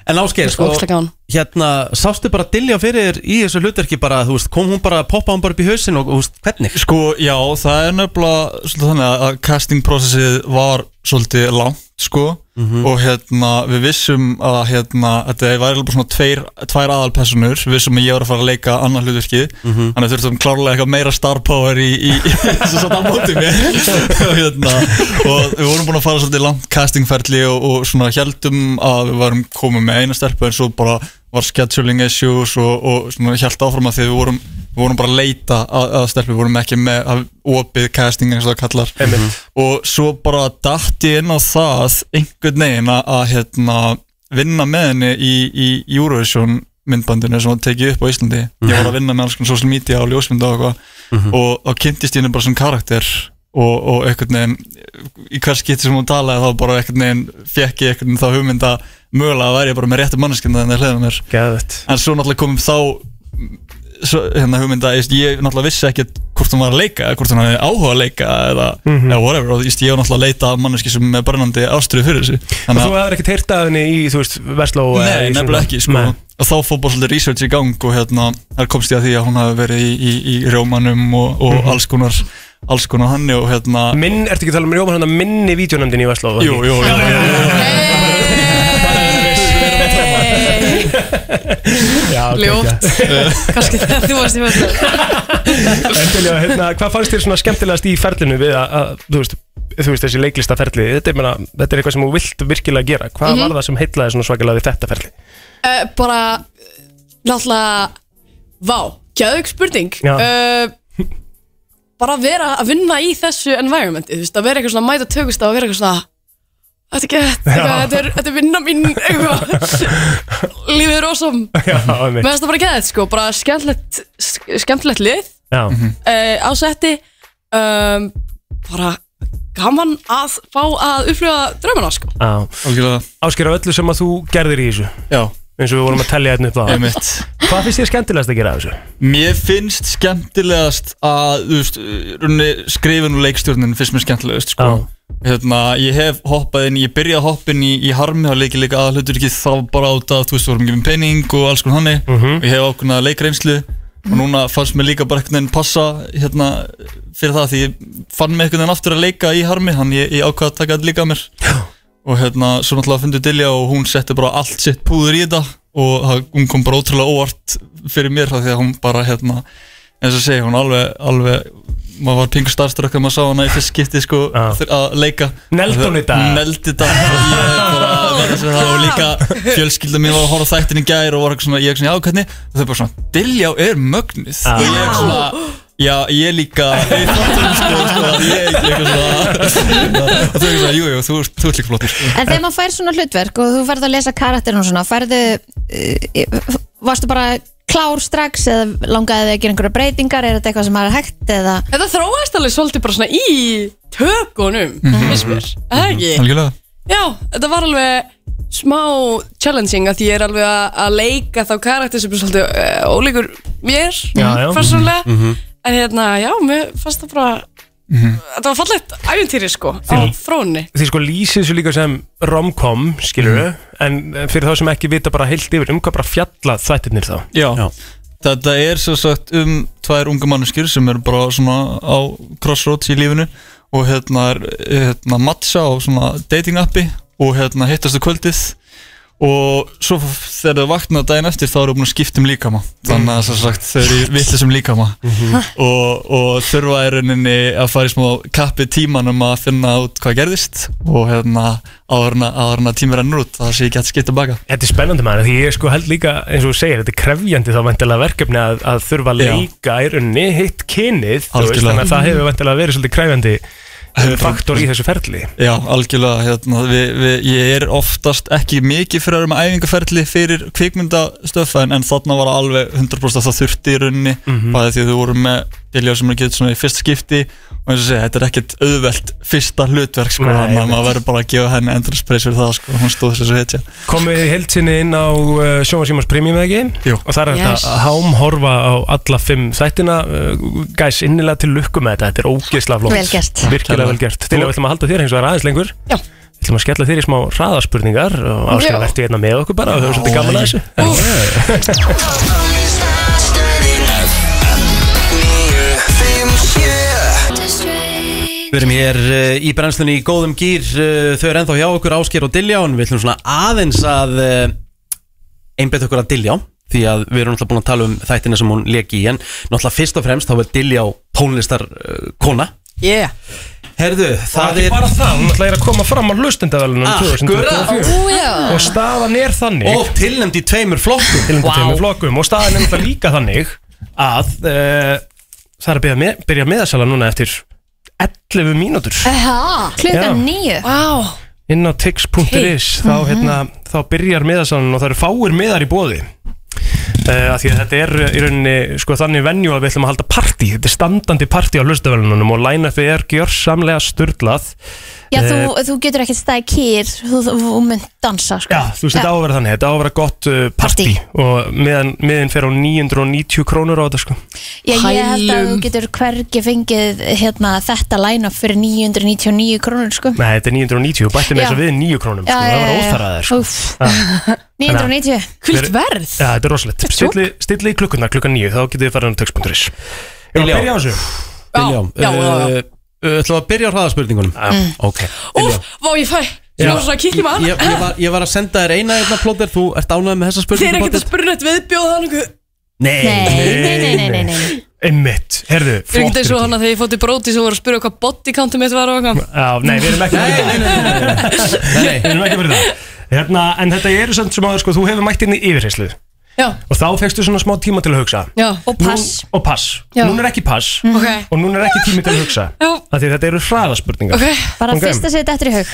A: En áskeið, sko,
L: Ógeðslega gaman.
A: hérna, sástu bara Dilja fyrir þér í þessu hlutverki bara, þú veist, kom hún bara, poppa hún bara upp í hausin og, þú veist, hvernig?
R: Sko, já, það er nefnilega svolítið þannig að- að castingprocessið var svolítið langt, sko og hérna, við vissum að hérna, þetta var eitthvað svona tveir, tvær aðalpersonur, við vissum að ég var að fara að leika annar hlutverkið, þannig að þurftum klárlega eitthvað meira star power í, í, í [laughs] sem satt á móti mér og hérna, og við vorum búin að fara svolítið langt castingferli og, og svona heldum að við varum komið með eina stelpu en svo bara var scheduling issues og, og svona held áfram að því við vorum, við vorum bara að leita að, að stelpu, við vorum ekki með að opið casting eins og það kallar Mhm.
C: Einmitt.
R: og svo bara datt ég inn á það einhvern veginn að, að hérna, vinna með henni í, í Eurovision myndbandinu sem var tekið upp á Íslandi ég var að vinna með alls konar social media og ljósmynda og eitthvað
C: Mhm.
R: og þá kynntist ég henni bara sem karakter og, og einhvern veginn í hvers geti sem hún talaði þá bara einhvern veginn fekk ég einhvern veginn þá hugmynd að mögulega væri ég bara með hérna réttu manneskjönda en það hliða mér
C: Geðvægt.
R: en svo náttúrulega komum þá svo, hérna hugmynda, ég, ég náttúrulega vissi ekkert hvort hún var að leika, eða hvort hún hafði áhuga að leika eða,
C: Mhm.
R: eða whatever, og ég, ég var náttúrulega að leita að manneski sem er brennandi ástriðu fyrir þessu
C: Og þú hefur ekkert heyrt af henni í, þú veist, Vestló eða
R: Nei,
C: í svona-
R: nefnilega ekki sko.
C: Nei.
R: Og þá fór bara svolítið research í gang og hérna, þar komst ég að því að hún hafi verið í, í, í Rjómanum og, og
C: Mhm.
R: alls konar alls konar hann og hérna
C: Minn, ertu ekki að tala um Jóman hann að minni vídjónæmdin í Vestló?
R: Jú, jú, jú,
C: Já, ok,
L: Ljótt.
C: ok.
L: Kannski þegar þú varst í völdu
C: Endilega, hérna, hvað fannst þér svona skemmtilegast í ferlinu við að, að þú veist, þú veist þessi leiklistaferli, þetta er, meina, þetta er eitthvað sem þú vilt virkilega gera, hvað
L: Mhm.
C: var það sem heitlaði svona svakalega við þetta ferli? [laughs]
L: uh, Bara, náttúrulega Vá, geðug spurning
C: Já.
L: uh, Bara að vera að vinna í þessu environmenti Þú veist, að vera eitthvað svona að mæta tökust að vera eitthvað svona Þetta er gett, eitthvað,
C: Já.
L: þetta er, þetta er vinna mín eitthvað, Lífið er ósum
C: Já,
L: Mér
C: einmitt.
L: finnst það bara geðið, sko, bara skemmtilegt, skemmtilegt lið
C: Já.
R: Mhm.
L: uh, ásetti um, bara gaman að fá að upplifa drömmuna sko.
C: Já, áskýra öllu sem að þú gerðir í þessu
R: Já
C: eins og við vorum að tellja hérna upp á
R: Einmitt.
C: Hvað finnst þér skemmtilegast að gera af þessu?
R: Mér finnst skemmtilegast að þú veist, runni, skrifin og leikstjórnin finnst mér skemmtilegast sko. hérna, ég hef hoppað inn, ég byrjaði að hoppa inn í, í harmi og leiki líka aðhlutur ekki þá bara át að þú veist, við vorum gefin pening og alls konar hannig
C: Mhm.
R: og ég hef ákveðna leikreinslu og núna fannst mér líka bara einhvern veginn passa hérna, fyrir það því ég fann mig einhvern veginn aftur að leika í harmi hann ég, ég ákvað að taka þetta líka að mér og hérna, svo náttúrulega fundið Dilja og hún setti bara allt sitt púður í þetta og það- hún kom bara ótrúlega óvart fyrir mér af því að hún bara hérna, eins og segja, hún alveg, alveg maður var pingu starströkk að maður sá hana í fyrst skipti sko þur- að leika
C: Neldi hún í dag?
R: Neldi dag Ég
L: [laughs]
R: bara verða sem það og líka fjölskylda mín var að horfa á þættin í gær og var eitthvað svona, ég ekki svona, já hvernig og þau bara svona, Diljá er mögnuð og ég ekki svona, já ég
L: [laughs]
R: líka ég þáttum sko, sko, ég ekki eitthvað svona
L: [laughs]
R: og þau ekki svona, jú, jú, þú, þú ert líka flottur sko.
B: En þegar maður fær svona hlutverk og þú færð að lesa karakterinn og svona, færðu, uh, varstu bara klár strax eða langaði þig að gera einhverja breytingar, er þetta eitthvað sem maður er hægt eða...
L: Þetta þróast alveg svolítið bara svona í tökunum, finnst mér. Er Það ekki?
R: Algjörlega
L: Já, þetta var alveg smá challenging að því ég er alveg að- að leika þá karakter sem er svolítið uh, ólíkur mér, persónulega. En hérna, já, mér fannst það bara,
A: Mhm.
L: þetta var fallegt æventýri sko, á
C: Þín-
L: þróunni.
C: Því sko lýsið þessu líka sem romcom, skilur við
R: Mm.
C: En eh, fyrir þá sem ekki vita bara heilt yfir um hvað bara fjalla þættirnir þá
R: Já, þetta er sem sagt um tvær unga manneskjur sem eru bara svona á crossroads í lífinu og hérna er hérna, matcha á svona dating appi og hérna hittastu kvöldið og svo f- þegar þau vakna daginn eftir þá eru búin að skipta um líkama þannig að sem sagt þau eru vitlis um líkama
C: Mhm.
R: [laughs] og, og þurfa í rauninni að fara í smá kappi tímanum að finna út hvað gerðist og hérna áður en að- áður en að tími rennur út það sé ekki hægt að skipta baka
C: Þetta er spennandi maður, því ég sko held líka, eins og þú segir, þetta er krefjandi þá vantilega verkefni að, að þurfa að
R: Já.
C: leika í rauninni hitt kynið, þú veist,
R: Algjörlega.
C: þannig að það hefur vantilega verið svolítið krefjandi eh, faktor í þessu ferli.
R: Já, algjörlega, hérna, við, við, ég er oftast ekki mikið fyrir að vera með æfingarferli fyrir kvikmyndastöfðan en þarna var alveg 100% að það þurfti í rauninni
C: Mhm.
R: bæði því að þú voru með Dilja sem er getið svona í fyrst skipti og eins og segja, þetta er ekkert auðvelt fyrsta hlutverk sko,
C: Nei,
R: þannig að
C: einmitt.
R: maður verður bara að gefa henni endurins preys fyrir það sko, hún stóð þessu hetja
C: Komið í heldsinni inn á uh, Sjóma Sjómas Premium eða ekki? Jú. Og það er yes.
R: Yes.
C: þetta að hámhorfa á alla fimm þættina, uh, gæs innilega til lukku með þetta, þetta er ógeðslega flott.
B: Vel gert.
C: Virkilega vel gert. Til að við ætlum að halda þér hins vegar aðeins lengur. Já. Við ætlum að skella þér í smá hraðaspurningar og
S: Já.
C: áskilja verðtu hérna með okkur bara og höfum svolítið gaman að þessu.
A: Við erum hér uh, í brennslunni í góðum gýr uh, Þau eru ennþá hjá okkur Ásker og Diljá En við ætlum svona aðeins að uh, einbetta okkur að Diljá Því að við erum náttúrulega búin að tala um þættina sem hún leki í En náttúrulega fyrst og fremst þá er Diljá tónlistar uh, kona
L: Yeah.
A: Herðu, það
C: ekki
A: er
C: bara það, hún ætlaði að koma fram á hlustendavælunum
A: Akkurat.
C: og staðan er þannig
A: Og tilnæmd í tveimur flokkum
C: tilnæmd í
A: Vá.
C: tveimur flokkum og staðan er náttúrulega líka þannig að uh, það er að byrja, með, byrja meðasala núna eftir 11 mínútur
B: Aha, klukkan
C: Já.
B: nýju.
L: Wow.
C: inn á tix.is þá,
B: Mhm.
C: hérna, þá byrjar miðasalan og það eru fáir miðar í bóði uh, af því að þetta er eh, í rauninni sko, þannig venju að við ætlum að halda partí þetta er standandi partí á hlustavelunum og line-upið er gjörsamlega sturlað
B: Já, þú,
C: Eh,
B: þú getur ekkert staði kýr, þú, þú, þú mynd dansa, sko.
C: Já, þú veist, þetta á að vera þannig, þetta á að vera gott uh, partí og meðan, meðin fer á 990 krónur á þetta sko
B: Já, ég held að
C: Hælum.
B: þú getur hvergi fengið hérna, þetta line-up fyrir 999 krónur, sko.
C: Nei, þetta er 990 og bætti með
B: Já.
C: þess að við 9 krónum sko, það var óþaraðir sko
B: Úff, 990.
C: Hvilt verð? Já, þetta er rosalegt Stilli, stilli í klukkuna, klukkan 9, þá getið þið farið um tökspunduris Ég var að
A: Diljá.
C: byrja á þessu
A: Diljá,
L: já, já, já.
A: uh, uh, ætlum við að byrja á hraðaspurningunum
C: Mm.
A: Ok, Diljá
L: Vá, ég fæ, ég var svona að kíkja
A: ég, ég,
L: maður.
A: var, ég var að senda þér eina
T: hérna,
A: einna plóter Þú ert ánægð með þessa
L: Þeir er
A: spurningu
L: ekkert að spurra eitt viðbjóð hann einhver.
A: Nei,
L: nei.
C: Einmitt, herðu,
L: Ég er ekkert eins og
C: flottur
L: hann að þegar ég fótti bróti sem voru að spyrja hvað body countum mitt var og eitthvað.
C: Já, nei, við erum ekki að byrja það [laughs] Nei, nei, við erum ekki að byrja það Hérna, en þetta eru samt sem áður sko, þú hefur mætt inn í yfirheyslu
L: Já.
C: Og þá fegstu svona smá tíma til að hugsa
L: Já. Og
C: pass Nú, Og pass,
L: Já.
C: núna er ekki pass
L: Ok.
C: Og núna er ekki tími til að hugsa
L: Já.
C: Af Því þetta eru hraðaspurningar
L: Ok.
B: Bara
C: Ok.
B: okay. fyrsta sétt eftir í hug.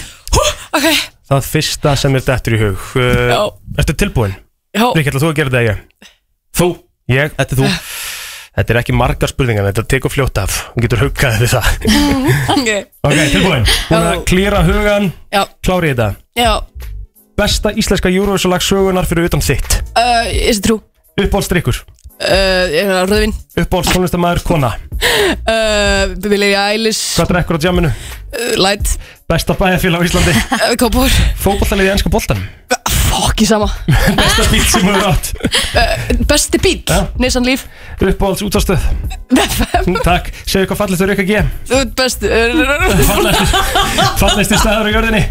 C: Það fyrsta sem er dettur í hug uh, Ertu tilbúin?
L: Já
C: Rík, ætla þú að gera þetta ég? Þú Ég
A: Þetta er þú
C: Þetta er ekki margar spurningar, þetta tekur fljótt af Hún getur huggaði við það
L: Ok.
A: [laughs]
C: Ok, tilbúin Búin að klýra hugan
L: Já.
C: Klári þetta
L: Já,
C: Besta íslenska Eurovision lag sögunar fyrir utan þitt
L: uh, is it true?
C: Uppbólstrykkur
L: Uh, ég er að röðvin.
C: Uppbóls tónlistamæður kona
L: Uh, Billy Eilish.
C: Hvað drekkur á djáminu?
L: Uh, light.
C: Besta bæjarfélag á Íslandi
L: [laughs] Uh,
A: [laughs]
L: Kópúr.
C: Fótballtalið í ennska boltan
L: Fokki sama.
C: Besta bíl sem þú átt
L: Besti bíl. Nissan Leaf.
C: Uppbóls útastöð Takk, segðu hvað fallist þú Rikka G
L: Þú ert besti.
C: Fallistu staður á jörðinni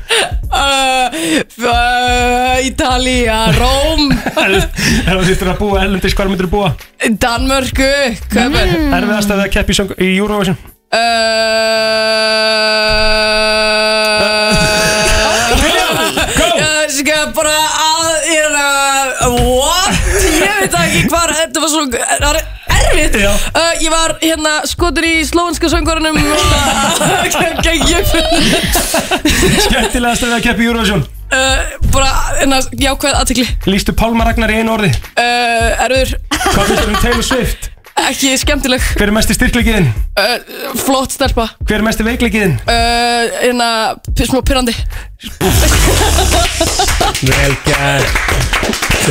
L: Uh, Ítalía, Róm,
C: Er það sýttur að búa, erlendis, hvar myndir þú búa? Mm.
L: Danmörku, Köpen.
C: Erfiðast að það keppi í Eurovision
L: Uh, [laughs] Ég skal bara að Ég er að What? Ég veit það ekki hvar Þetta var svo Það var erfitt uh, Ég var hérna uh, skotur í slóanska söngvarunum [laughs]
C: Skemmtilegast að við að keppa í Eurovision
L: uh, Bara hérna, Jákvæð aðtikli
C: Lýstu Pálma Ragnar í einu orði
L: uh, Erður
C: Hvað finnst þér um Taylor Swift?
L: Ekki skemmtileg
C: Hver er mesti styrkleikiðin?
L: uh, Flott stelpa
C: Hver er mesti veikleikiðin?
L: uh, Hérna p- Smá pyrrandi
C: Vel gert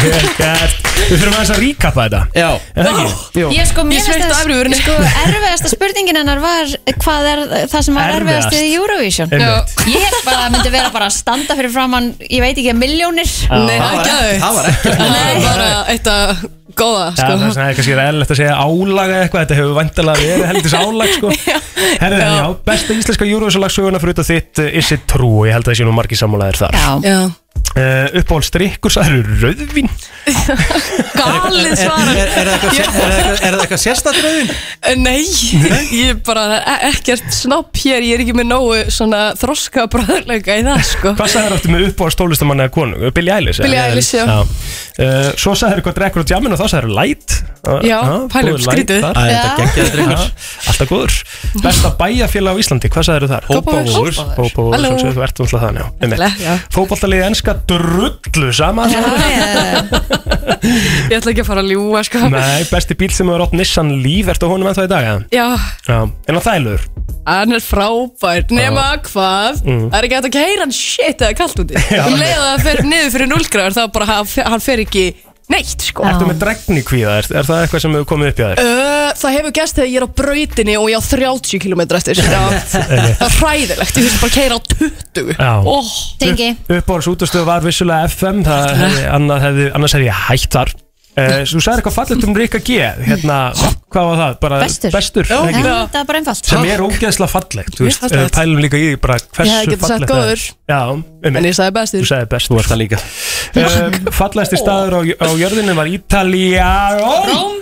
C: Vel gert Við þurfum aðeins að ríkappa þetta Já Er það ekki?
B: Ég sko, mér
L: Ég sveikti
B: finnst
L: efri
B: að
L: vörinni.
B: sko, erfiðasta spurningin hennar var hvað er það sem var
C: Erfiðast.
B: erfiðast í Eurovision
C: Einmitt.
B: Ég bara myndi vera bara að standa fyrir framann, ég veit ekki, miljónir
C: Nei, það var ekki- það var ekki-
L: Nei, bara eitt að góða
C: Já, það er
L: sko.
C: svona kannski eðlilegt að segja álaga eitthvað, þetta hefur vandalega verið heldis álag sko. Herðu, [laughs] já. já, besta íslenska júruvísalagssöguna fyrir þetta þitt uh, Is it true, og ég held að það sé nú margir sammálaðir þar
L: Já.
C: uh, Uppáhald strikkur, það eru rauðvin
L: Galið svara
T: Er það eitthvað sérstætt rauðin?
L: Nei, ég bara það er e- ekkert snopp hér, ég er ekki með nógu svona þroska bræðurleika í það sko
C: Hvað sagður áttu með uppáhald stólistamanna eða konu? Billy Eilish?
L: Billie
C: eða?
L: Eilish, já.
C: Uh, Svo sagður hvað drekkur á djamin og þá sagður light Uh,
L: Já,
C: uh,
L: pælum,
C: góður light
L: skrítið.
C: þar.
L: Æ, þetta Já. geggjaður drykkur.
C: Já, Alltaf góður Besta bæjarfélag á Íslandi, hvað sagður þar?
L: Kópavogur. Kópavogur.
C: Hópavóður,
L: Halló.
C: sjálfsögðu, þú ert náttúrulega þannig já, einmitt.
L: Náttúrulega, já.
C: Fótboltalið enska drullu saman sko.
L: Ég ætla ekki að fara að ljúa sko
C: Nei, besti bíl sem hefur átt Nissan Leaf Ertu á honum ennþá í dag, eða?
L: Já,
C: Já, en á þælur
L: hann er frábær, nema hvað,
C: Mm.
L: það er ekki hægt að kæra hann shit eða kallt úti
C: [laughs]
L: Um leið að það fer niður fyrir núlgráður þá bara hann- hann fer ekki neitt sko
C: Ertu með dregni kvíða, er, er það eitthvað sem hefur komið upp í þér?
L: Uh, það hefur gæst þegar ég er á brautinni og ég á 30 km
C: [laughs]
L: eftir Já.
C: einmitt.
L: Það er hræðilegt, ég finnst bara að keira á 20
C: Já.
L: oh. Tengi
C: Uppáhalds útastöð var vissulega FM það hefði, annað hefði, Annars hefði ég hætt þar uh,
L: Mm.
C: Þú sagði eitthvað fallegt um Rika G Hérna, hvað var það? Bara,
B: Bestur,
C: Bestur
B: Já,
C: ekki?
B: það er bara einfalt
C: Sem er ógeðslega fallegt Þú
B: Mjög
C: veist, uh,
B: fallegt.
C: pælum líka í því bara
L: Ég hefði
C: hversu
L: getað sagt
C: fallegt það er
L: góður.
C: Já, um
L: En ég sagði bestur
C: Þú sagði best Þú varst það líka um, Fallegasti staður á, á jörðinu var Ítalía Róm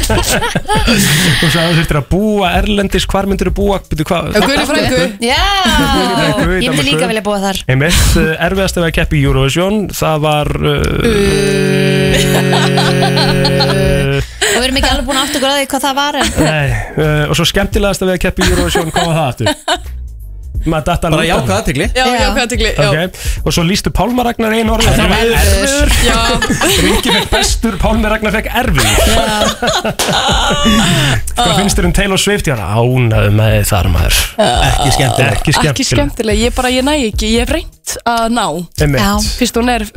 C: [laughs] Þú sagði þú þurftir að búa Erlendis Hvar myndir þú búa? Býtu, hvað?
B: Guðni frængu Já,
C: Guðni frænku í
B: ég myndi
C: Danmörku.
B: líka vilja búa þar
C: Einmitt, uh, erfiðast að vera að keppa í Eurovision Það var [laughs] uh,
B: Og við erum ekki alveg búin að átta okkur á því hvað það var
C: [laughs]
B: en
C: Nei, uh, og svo skemmtilegast að vera að keppa í Eurovision Hvað var það aftur? Maður datt
T: Bara
C: alveg út á
T: jákvæð
C: það.
T: athygli.
L: Já, já, hvað tegli
C: Ok, Og svo lístu Pálma Ragnar einu orð
T: Það var erfiður.
C: Ringi fekk bestur, Pálmi Ragnar fekk erfið
T: Ah.
C: Hvað finnst þér um Taylor Swift? Já, ánæðu með þið þar maður Ekki skemmtileg Ekki
L: Ekki
C: skemmtileg
L: skemmtileg, ég bara, ég næ ekki, ég hef reynt að ná
C: Einmitt. Já.
L: Fyrst hún er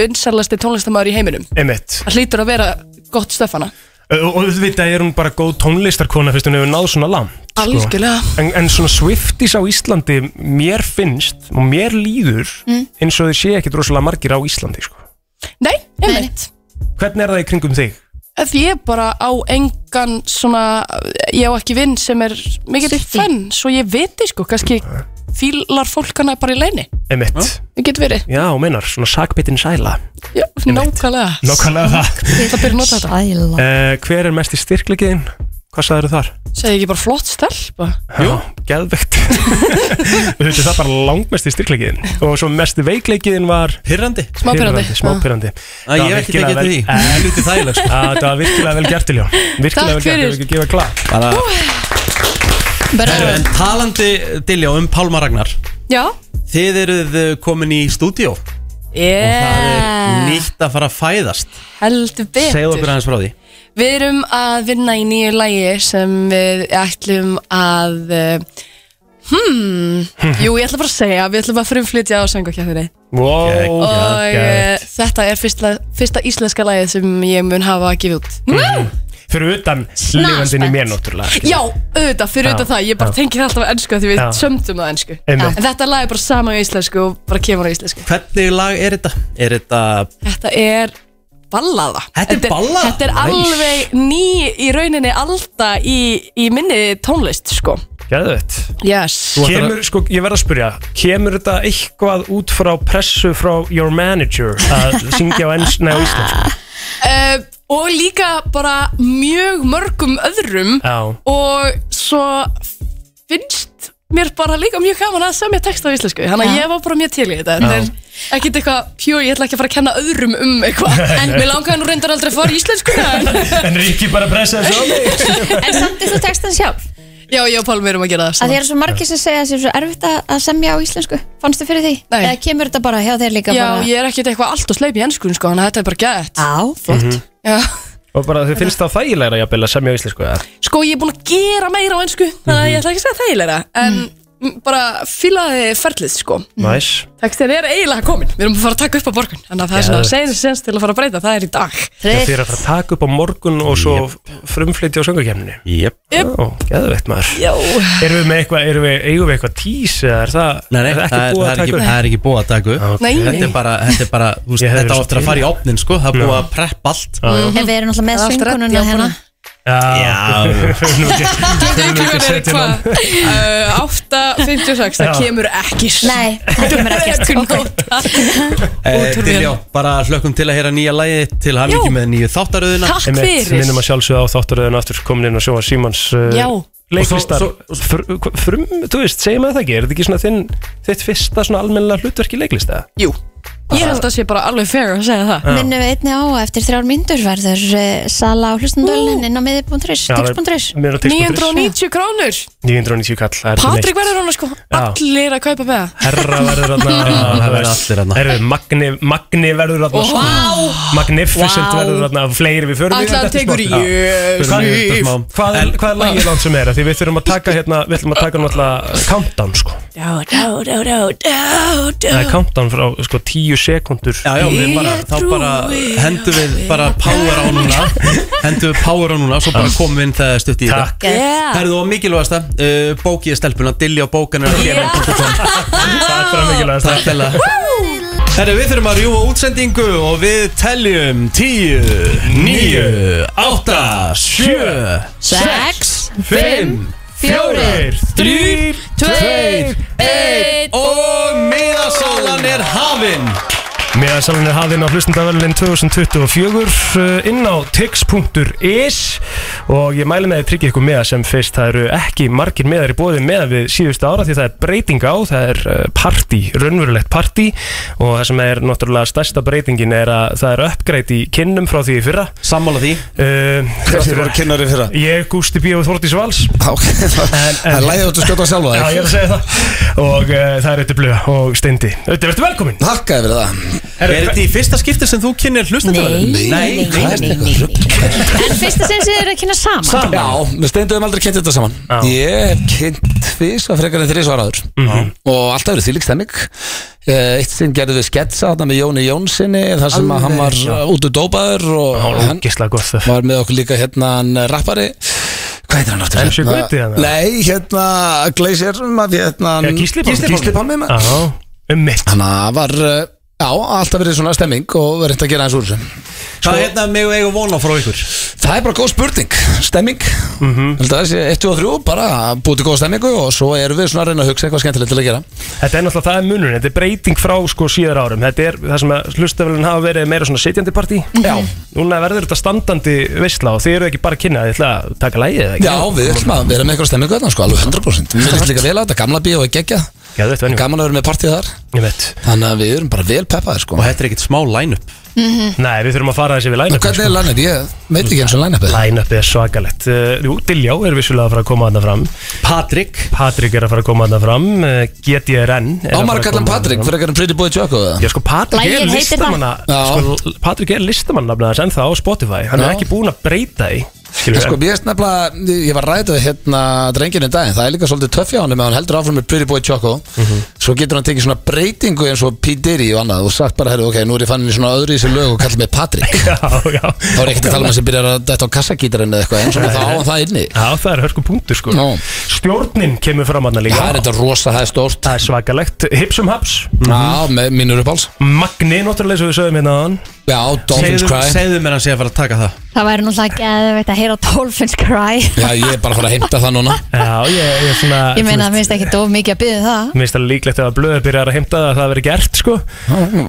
L: vinsarlasti tónlistamæður í heiminum
C: Einmitt
L: Það hlýtur að vera gott stöfana
C: Eh, Og og auðvitað er hún bara góð tónlistarkona fyrst hún hefur náð svona langt sko.
L: Algjörlega.
C: en, en svona Swifties á Íslandi mér finnst og mér líður
L: Mm.
C: eins og þið sé ekkit rosalega margir á Íslandi sko.
L: Nei, einmitt
C: Hvernig er það í kringum þig?
L: Ef ég bara á engan svona, ég á ekki vinn sem er mikið fenn, svo ég viti sko, kannski fílar fólkana bara í leini
C: Emitt
L: Við getum verið
C: Já, meinar, svona sakbyttin sæla
L: Já, nákvæmlega
C: Nákvæmlega það [laughs]
L: Það byrja að nota þetta
B: Sæla
C: uh, Hver er mest í styrklegiðin? Hvað sagður þar?
L: Segði ekki bara flott stelpa
C: Jú [laughs] Geðvegt Þú veitir það bara langmest í styrklegiðin Og svo mest veiklegiðin var Pyrrandi
L: Smá pirrandi.
C: Smá pyrrandi
T: Æ, ég hef ekki tekið eftir því. Helviti þægileg,
C: [laughs]
T: sko.
C: Eh, Það var virkilega vel gert til hjá
T: Takk
C: Virkilega vel gert
T: fyrir.
C: Ég vil ekki gefa klap
T: Bara Herru, En talandi Diljá um Pálma Ragnar
L: Já
T: Þið eruð uh, komin í stúdíó
L: Yeah
T: Nýtt að fara að fæðast
L: Heldur
T: Segðu okkur
L: Eh. betur
T: aðeins frá því
L: Við erum að vinna í nýju lægi sem við ætlum að eh,
T: [laughs]
L: Hmm Jú, ég ætla bara að segja Við ætlum að frumflytja á söngvakjafinu
C: Wow
L: Og eh,
C: geggjað.
L: þetta er fyrsta, fyrsta íslenska lagið sem ég mun hafa að gefa út Mm.
C: Mhm. Fyrir utan Lífandin í mér náttúrulega
L: Já, auðvitaf, fyrir
C: Já,
L: auðvitað það, ég bara
C: já.
L: tengi það alltaf að ennsku því við
C: Já.
L: sömdum það ennsku
T: Einmitt.
L: En þetta lag er bara saman á íslensku og bara kemur á íslensku
T: Hvernig lag er þetta? Er þetta
L: Þetta er ballaða Þetta er
T: ballaða?
L: Þetta er
T: Nice.
L: alveg ný í rauninni alda í, í minni tónlist sko
C: Geðvett
L: Yes
C: Kemur, sko, ég verð að spyrja Kemur þetta eitthvað út
L: [laughs]
C: frá pressu frá your manager að syngja á ennsna á íslensku?
L: Uh, og líka bara mjög mörgum öðrum
C: Já.
L: og svo finnst mér bara líka mjög gaman að semja text á íslensku þannig að
B: Já.
L: ég var bara mjög til í þetta þetta
C: Já.
L: er ekkert eitthvað pure, ég ætla ekki að fara að kenna öðrum um
C: [laughs]
L: eitthvað en mér langaði nú reyndar aldrei að fara í íslenskuna en
C: En Ríkki bara pressaði svo
B: En samt er þú textan sjálf
L: Já, já, Pálmi erum að gera það
B: Að því eru svo margir sem segja að það er svo erfitt að að semja á íslensku Fannstu fyrir því? Nei. Eða kemur þetta bara hjá þér líka
L: Já,
B: bara
L: ég er ekkert eitthvað allt og sleip í ennskun sko, þannig að þetta er bara gett
B: Já,
R: Mhm.
C: flott
L: Já.
C: Og bara þið finnst það þægilegra jafnvel að semja á íslensku eða?
L: Sko, ég er búin að gera meira á ennsku þannig að ég ætla ekki að segja þægilega en
B: Mhm.
L: mm. bara fílaði ferlið sko
C: Næs
L: Textin er eiginlega komin, við erum að fara að taka upp á borgun Þannig að það er svona
C: Geðvegt.
L: senast sens til að fara að breyta, það er í dag
C: Það fyrir að fara að taka upp á morgun og svo frumflytja á söngakemni
A: Jep
L: Jep.
C: Ó, geðveitt maður
L: Já
C: Erum við með eitthvað, erum við, eigum við eitthvað tís eða er það
A: Nei, nei,
C: er
A: það er- það
C: búið
A: er
C: að
A: ekki-
C: taka upp?
A: það er ekki búið að taka upp
C: Nei, nei.
A: Þetta er bara, þetta er bara, þú veist,
C: Ég hefði
A: þetta á
C: svo
A: eftir að fara í
C: til.
A: opnin, sko Það er búið að preppa allt
B: En við erum náttúrulega með
L: Það er allt rétt,
B: svingununa
L: já,
B: hérna
A: Já,
C: [laughs]
L: Klukkan er eitthvað uh, 8.56,
A: Já.
L: það kemur ekki
B: Nei, það kemur
L: [laughs] ekkert
A: Eh, Diljá, bara hlökkum til að heyra nýja lægi til hann
L: Já.
A: með nýju þáttaröðuna
L: Takk [laughs] Einmitt, fyrir.
C: minnum að sjálfsögða á þáttaröðun aftur komin inn og sjóa Simons
L: Já.
C: leiklistar
A: Og
C: fr, hva- frum, þú veist, segjum að það ekki er þetta ekki svona þinn, þitt fyrsta svona almennilega hlutverk í leiklista?
L: Jú Ég held að sé bara alveg fair að segja það
C: Já.
B: Minnum við einni á að eftir þrjár myndur verður eh, sala á hlustandölinn inn á miði.ris,
C: Já, það er-
B: tix.ris
C: miðinn á tix punktur is.
L: 990 krónur
C: 990 kall, það er til
L: Patrik
C: neitt.
L: verður hana sko,
C: Já.
L: allir að kaupa með það
C: [laughs] Herra verður
A: það verður
C: þarna Herru, Magni, Magni verður þarna sko.
L: Vá.
C: Magnificent
L: Vá.
C: verður þarna Fleiri við förum
L: Ætli hann tekur í- Jöss.
C: Hvað, hvað er, hvað er lagið langt sem er? Af Því við þurfum að taka hérna Við ætlum að taka náttúrulega countdown sko.
L: Dá, dá, dá, dá, dá,
C: Það er
L: dá
C: countdown frá sko, tíu sekundur
A: Já, já, við bara, þá bara hendum við bara power á núna Hendum við power á núna, svo bara komum við inn þegar stutt í þetta
D: Takk. Yeah.
A: Herðu og mikilvægasta, uh, bókið stelpuna, Diljá bókanur yeah.
C: Takk fyrir mikilvægasta
A: Takk fyrir Herru, við þurfum að rjúfa útsendingu og við teljum 10, 9, 8, 7,
D: Sex,
A: 5,
D: fjórir,
A: 3,
D: tveir,
A: 1 Og miðasálan er hafinn
C: Meðasalinn er hafinn á hlustendavælinn 2024 uh, inn á tix.is og ég mæli með að tryggja ykkur meða sem fyrst það eru ekki margir meðar í bóði meða við síðustu ára því það er breyting á, það er uh, partí, raunverulegt partí og það sem er náttúrulega stærsta breytingin er að það er uppgreitt í kynnum frá því í fyrra
A: Sammála því
C: uh,
R: Hvernig voru kynnari fyrra?
C: Ég, Gústi B. og Þórdís Vals
R: [laughs] Það er læðið út að skjóta sjálfa
C: Já, ég er að segja það Og uh, það er Ötti Blöð og Steindi Ötti, verður velkomin
R: Takkaði fyrir það
A: Er þetta í fyrsta skipti sem þú kynir hlustendavælinn?
R: Nei, nei, nei, nei,
B: En fyrsta sem þið eru að kynna saman
R: Já, við steinduðum aldrei kynnt þetta saman Ég hef kynnt fyrst að frekar en þrið svar aður
D: Mhm.
R: Og alltaf verið þýlík stemming Eh, Eitt sinn gerðum við sketsa þarna með Jóni Jónssoni Þar sem að hann var
C: já.
R: út og dópaður Og hann var með okkur líka hérna hann rappari Hvað heitir hann áttur?
C: MC Gauti, eða?
R: Nei, hérna Gleisir hérna,
C: Já, Gísli Pálmi.
R: Gísli Palmi
C: Já, um mitt
R: Þannig að það var, eh, já, alltaf verið svona stemming Og verið að gera eins úr þessu
A: Hvað hérna mig og eiga vona frá ykkur?
R: Það er bara góð spurning, stemming mm -hmm. Það sé 1, 2 og 3, bara búið til góð stemmingu og svo erum við svona að reyna að hugsa eitthvað skemmtilegt til að gera
C: Þetta er náttúrulega það er munurinn, þetta er breyting frá sko síðar árum Þetta er það sem að hlustafélun hafa verið meira svona sitjandi partí Mhm. Já Núna verður þetta standandi veistla og þið eru ekki bara að kynna, þið ætla að taka lægið eða ekki
R: Já, við ætlum að vera með eitthvað stemmingu þarna, sko, alveg 100% Mér finnst líka vel að þetta gamla bíó er geggja Gaman að vera með partíð þar
C: Ég veit
R: Þannig að við erum bara vel peppaðir, sko
A: Og þetta er ekkert smá line-up
C: Nei, við þurfum að fara þessi við line-up
R: Hvernig er line-up? Ég veit ekki eins og line-upið
C: Line-upið er svakalegt uh, Jú, Diljá er vissulega að fara að koma þarna fram
A: Patrik
C: Patrik er að fara að koma þarna fram uh, GDRN er að
R: Ámar
C: fara að
R: kallan
C: koma þarna
R: Patrik, fyrir
C: fram.
R: eitthvað Pretty Boy Jocko
C: Já, sko, Patrik er
R: Lagið heitir það.
C: listamanna sko, Patrik er listamanna nafnaðans ennþá á Spotify Hann
R: Já.
C: er ekki búinn að breyta því skilur
R: En
C: við,
R: sko,
C: en-
R: mér finnst nefnilega, ég var ræðið hérna drenginu í daginn, það er líka svolítið töff hjá hann ef hann heldur áfram með Pretty Boy Choco svo getur hann tekið svona breytingu eins og P. Diddy og annað og sagt bara, herru, ok, nú er ég fannin í svona öðru í þessu lög og kallar mig Patrik
C: [laughs] Já, já Þá
R: er ekkert að tala um að sem byrjar að detta á kassagítarinn eða eitthvað, eins og þá á hann það inni
C: Já, það er hörku punktur sko
R: Nó.
C: Stjórnin kemur fram hann líka
R: Það er þetta rosa, það er stórt
C: Það er svakalegt, hipsum haps
R: Já, með mínur uppáls
C: Magni, náttúrulega, sem við sögum hérna á hann
R: Já,
A: Dolphins Segðu- Cry. segðu mér að sé að fara að taka það
B: Það væri náttúrulega geðveikt að heyra Dolphins Cry
R: Já, ég er bara að fara að heimta það núna
C: Já, ég, ég er svona
B: Ég meina það finnst ekki dof mikið að byggja það
C: Mér finnst það líklegt ef að blöðu byrjar að heimta það að það veri gert sko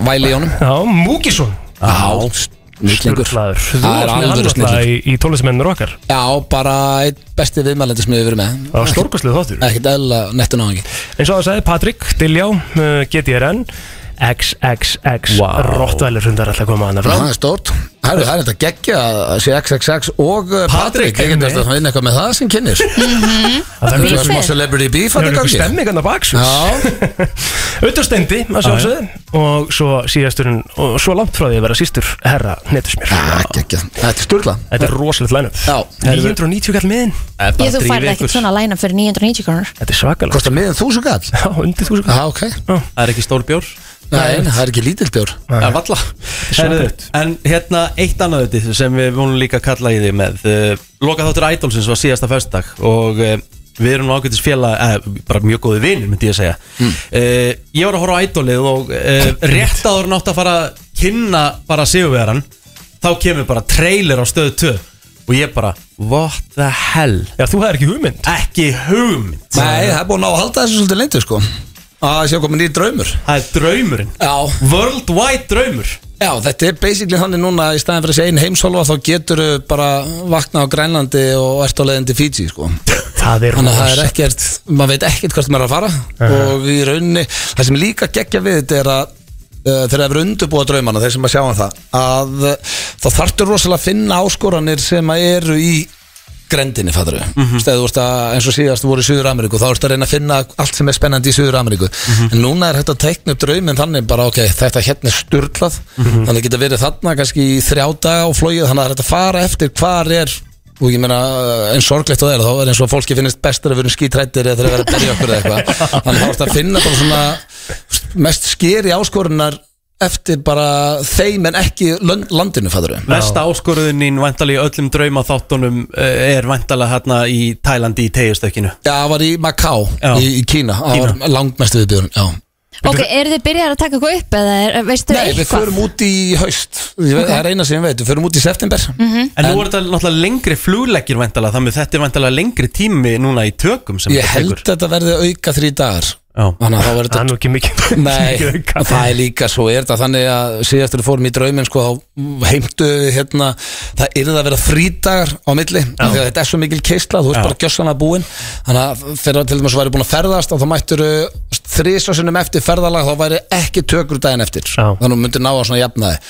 R: Væli í honum
C: Já, Múkisson
R: Já, Snillingur.
C: Sturlaður. Þú
R: Það
C: varst með hann
R: er alvöru
C: alltaf
R: snillingur.
C: í, í tónlistamennur okkar
R: Já, bara einn besti viðmælandi sem við hefur verið með
C: Það var stórkostlið þáttur
R: Ekkert eðla nettu náðingi
C: Eins og það sagði Patrik, Diljá, uh, GTRN XXX wow. Rottvælir hundar alltaf koma hann að
R: Það
C: fram
R: er stórt Herru, Það er þetta geggja að sé XXX og uh, Patrik
C: Patrik,
R: Ég
C: einmitt.
R: getur að vinna eitthvað með það sem kynnir
C: Það
R: Það
C: er
R: er
C: mjög
R: smá
C: fyrir.
R: celebrity beef
C: Það er einhver
R: gangi.
C: stemming hann að baks [laughs] Uttarstendi, að
R: Já, já.
C: sjálfsögðu Og svo síðasturinn, og svo langt frá því að vera sístur Herra, netusmjör
R: Ah, Þetta er sturla
C: Þetta er rosalegt lænum 990 kall miðin
B: Ég þú færði ekkert svona læna fyrir 990 krónur
C: Þetta er svakalegt
R: Kostar miðan þúsund kall?
C: Já, undir þúsund
R: kall Já, ok
A: Það er ekki stór bjór
R: Nei, það er ekki lítill bjór
A: Það er valla Herðu, En hérna eitt annað þetta sem við vonum líka að kalla í því með uh, Loka þáttur Idolsins var síðasta föstudag og uh, við erum nú ágætis félag, eh, bara mjög góði vinir myndi ég að segja
R: Mm.
A: uh, Ég var að horfa á Idolið og uh, rétt áður nátt að fara að kynna bara sigurvegaran Þá kemur bara trailer á stöðu 2 og ég bara, what the hell
C: Já, þú hefði ekki hugmynd
A: Ekki hugmynd
R: Nei, það er búin að ná að halda þessu svolítið leintu sko Að það sé að koma nýr draumur
A: Það er draumurinn
R: Já
A: Worldwide draumur
R: Já, þetta er basically þannig núna í staðin fyrir að segja einn heimsálfa þá getur bara vakna á Grænlandi og ert á leiðin til Fiji sko
C: Það er
R: Þannig að það er ekkert, maður veit ekkert hvert maður er að fara og í rauninni, það sem líka geggja við þetta er að uh, þegar það er undurbúa draumana, þeir sem að sjá um það að uh, þá þarftur rosalega að finna áskoranir sem að eru í grendinni, fattur við mm þú veist að eins og síðast voru í Suður Ameríku þá ertu að reyna að finna allt sem er spennandi í Suður Ameríku en núna er hægt að teikna upp drauminn þannig bara ok, þetta hérna er sturglað þannig geta verið þarna kannski í þrjá daga á flóið, þannig að það er hægt að fara eftir hvar er og ég meina eins sorglegt og það er þá er eins og fólki finnist bestur að vera um skítrættir eða þeir vera að berja okkur eða eitthvað þannig þá ertu að finna bara svona mest skeri áskorunar eftir bara þeim en ekki lönd, landinu fæður
A: Mesta áskoruðin væntalega í öllum draumaþáttunum eh, er væntalega hérna í Tælandi í tegjastökkinu
R: Já, það var í Macá í, í Kína, það
A: Kína.
R: var langmestu viðbjörn já.
B: Ok, eru þið byrjar að taka eitthvað upp eða er, eh, veistu
R: Nei, við
B: eitthvað?
R: förum út í haust Ég veit-
B: Ok.
R: Það er eina sem ég veit, við förum út í september
B: Mhm.
A: En nú er þetta náttúrulega lengri flugleggir væntalega þannig að þetta er væntalega lengri tími núna í tökum sem
R: Ég held að þetta verði auka þrý dagar Þannig að þá verður
C: Það er nú ekki mikið [laughs]
R: [laughs] Nei,
C: mikið auka.
R: það er líka svo er þetta þannig að síðast þegar við fórum í drauminn sko, þá heimtu við hérna það yrði að vera frídagar á milli af því að þetta er svo mikil keisla, þú veist bara gjössan að búin þannig að þegar til dæmis væri búin að ferðast og þá mættur þrísasunum eftir ferðalag þá væri ekki tökur daginn eftir Já. þannig að myndir ná að svona jafnaði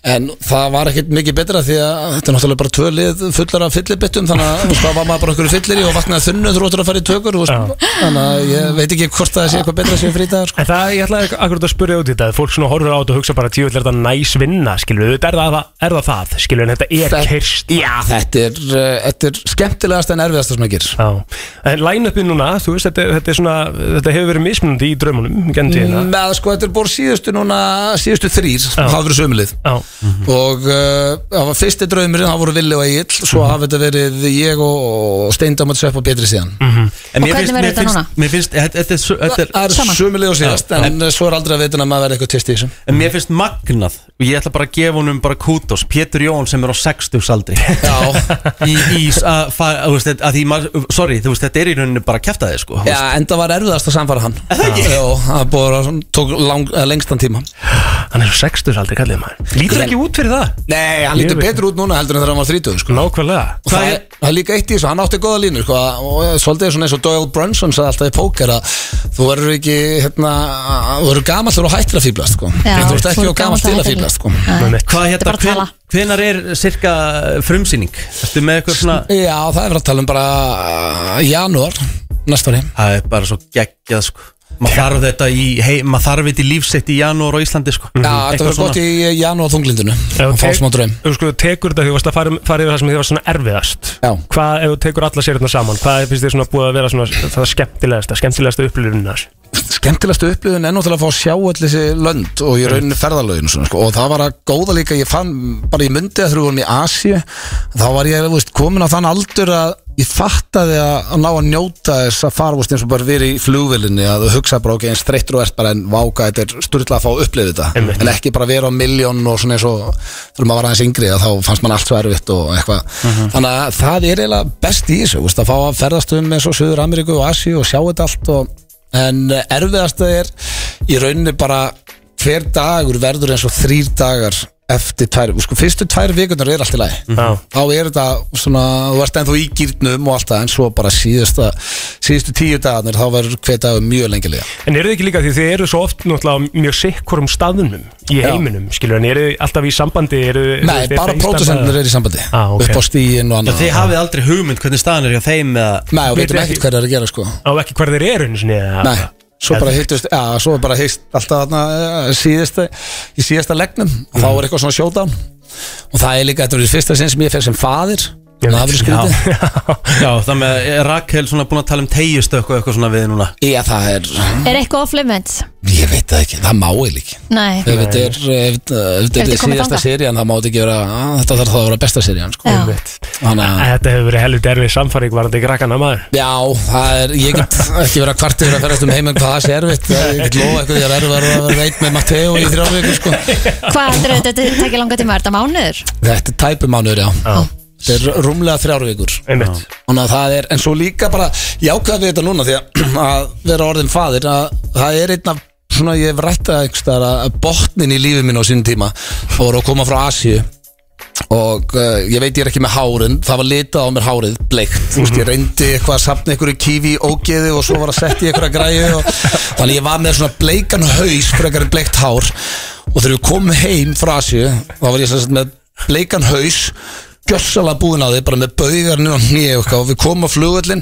R: En það var ekkert mikið betra því að þetta er náttúrulega bara tvö lið fullar af fyllibittum þannig að þú veist, það var maður bara okkur fyllir í og vaknaði þunnu þróttur að fara í tökur þú veist. þannig að ég veit ekki hvort það sé eitthvað betra sem frítagar
C: En það, ég ætlaði akkurat að spyrja út í þetta Fólk svona horfir á þetta og hugsa bara Tíu, þetta er næs vinna, skilur við Er það er það, það skilur við, en þetta
R: Þetta-
C: er kyrst
R: Já, þetta er, uh, þetta er skemmtilegast en erfiðast sem það gerir
C: Já, en line-upið núna, þú veist, þetta, þetta er svona Þetta hefur verið mismunandi í draumunum Genn tíðina
R: með sko þetta er búin síðustu núna síðustu þrýr, það hafa verið sömulið og uh, það var fyrsti draumurinn það voru Villi og Egil, svo hafa þetta verið ég og, og Steindamöld Svepp og Pétri síðan
A: En mér
R: Og hvernig
A: finnst,
R: verður
A: mér
R: þetta núna?
A: finnst, mér finnst þetta, þetta er, svo- þetta
R: Það er Saman. sömulega og síðast, en, en svo er aldrei að veitin að maður verði eitthvað tist í þessum
A: En mér finnst magnað og ég ætla bara að gefa honum bara kútos Pétur Jón sem er á 60 aldri Já [laughs] Í, í að, fa, að, veist, að því, maður- sorry, þú veist, þetta er í rauninu bara að kæfta þig sko
R: Já, en það var erfiðast að samfara hann Jó, það búið að svona- tók lang, eh, lengstan tíma
C: Hann er svo sextur aldrei, kallið maður Lítur ekki út fyrir það?
R: Nei, hann
C: Ég
R: lítur
C: veit
R: betur út núna heldur en þegar hann var 30 sko.
C: Nákvæmlega
R: Og það, er, það er líka eitt í þessu, hann átti góða línu sko, og svolítið svona eins og Doyle Brunson sagði alltaf í póker að þú verður ekki hérna, þú verður gamall þegar þú hættir að fýblast sko.
B: Já,
R: en þú ert
B: þú ert
R: ekki og gamall
B: gamall
R: til
B: þegar
R: að
B: hættir.
R: fýblast sko.
A: Hvað
R: Þetta er
A: hérna,
R: bara
A: hven,
R: tala.
A: hvenar er cirka frumsýning? Ertu með eitthvað svona
R: Já, það er verið að tala um bara uh, janúar næsta ári
A: Það er bara svo geggjað sko Maður þarf þetta í, hei, maður þarf þetta í lífsett í janúar á Íslandi sko
T: Mhm.
R: Já, þetta verður gott í janúar þunglindinu
C: Ef
R: að fá
C: tek-
R: smá draum
C: Ef Þú sko, tekur þetta, þú varst að fara, um- fara yfir það sem þið var svona erfiðast
R: Já.
C: Hvað, ef þú tekur alla sérna saman Hvað finnst þið svona búið að vera svona Það skemmtilegasta, skemmtilegasta upplifunum þar
R: skemmtilegstu upplifun er náttúrulega að fá að sjá öll þessi lönd og ég rauninni ferðalögin svona, sko. og það var að góða líka, ég fann bara ég myndi að þegar við vorum í Asíu þá var ég þú veist, komin á þann aldur að ég fattaði að, að ná að njóta þess að fara þú veist, eins og bara verið í flugvilinni að þú hugsa bara ok, eins þreyttur og ert bara en váka þetta er styrla að fá að upplifa þetta
C: Einmitt.
R: en ekki bara vera á miljón og svona eins og þegar maður var aðeins yngri að þá fannst mann allt svo erfitt og eitthvað þannig að það er eiginlega best í þessu þú veist, að fá að ferðast um eins og Suður Ameríku og Asi og sjá þetta allt og, en erfiðast er í rauninni bara hver dagur verður eins og þrýr dagar eftir tvær, sko, fyrstu tvær vikunar er allt í lagi
C: Já.
R: þá er þetta svona, þú ert ennþá í gýrnum og allt það, en svo bara síðasta síðustu tíu dagarnir, þá verður hver dagur mjög lengi lega.
C: En eru þið ekki líka því þið eru svo oft náttúrulega á mjög sikkurum staðunum í
R: Já.
C: heiminum, skilur, en eru þið alltaf í sambandi? Eru,
R: Nei, bara pródusentnir er í sambandi
C: ah,
R: upp á stíin
T: Já,
R: og annað
T: þið hafið aldrei hugmynd hvernig staðan er hjá þeim eða...
R: Nei, og veitum ekkert hvað það er að gera sko
C: Á ekki hvað þeir eru einu sinni eða-
R: Nei, svo
C: Eða-
R: bara hittust Já, svo bara hittst alltaf þarna eh, síðasta, í síðasta legnum og þá er eitthvað svona showdown og það er líka, þetta er í fyrsta sinn sem ég fer sem faðir þannig að það verður skrítið
T: Já, já þannig að er Rakel svona búin að tala um tegjustökk og eitthvað svona við núna
R: Já, það er
B: Er eitthvað off limits?
R: Ég veit það ekki, það má ég líka
B: Nei
R: Ef þetta er, ef, ef þetta
B: Ertu
R: er
B: komið
R: síðasta
B: þangað?
R: serían það má þetta ekki vera, að, þetta þarf þá að vera besta serían sko.
B: Já.
R: Þannig að
C: Þetta hefur verið helviti erfið samfæring varandi krakkana maður
R: Já, það er, ég get ekki verið að kvartu fyrir að ferast um heiminn hvað það sé erfitt Ég get lofa eitthvað, ég er erfið að vera veit með Matteo í þrjá vikur [laughs] sko
B: Hvað heldur þetta þetta tekja langa tíma? Er þetta mánuður?
R: Þetta er tæpumánuður, já. Þetta er rúmlega þrjár vikur.
C: Einmitt.
R: Þannig að það er, en svo líka bara, ég ákveða við þetta núna því að, [clears throat] að vera orðin faðir, að það er einn af, svona ég hef rætt að einhvers staðar að- að botnin í lífi mínu á sínum tíma fór að koma frá Asíu og uh, ég veit ég er ekki með hárin það var litað á mér hárið, bleikt þú veist, ég reyndi eitthvað að sapna einhverju kífi ógeði og svo var að setja í einhverja græju og... þannig ég var með svona bleikan haus frekar en bleikt hár og þegar við komum heim frá Asíu þá var ég sem sagt með bleikan haus gjössalega búin á því, bara með baugarnir og hnið og, eitthvað. og við komum á flugullin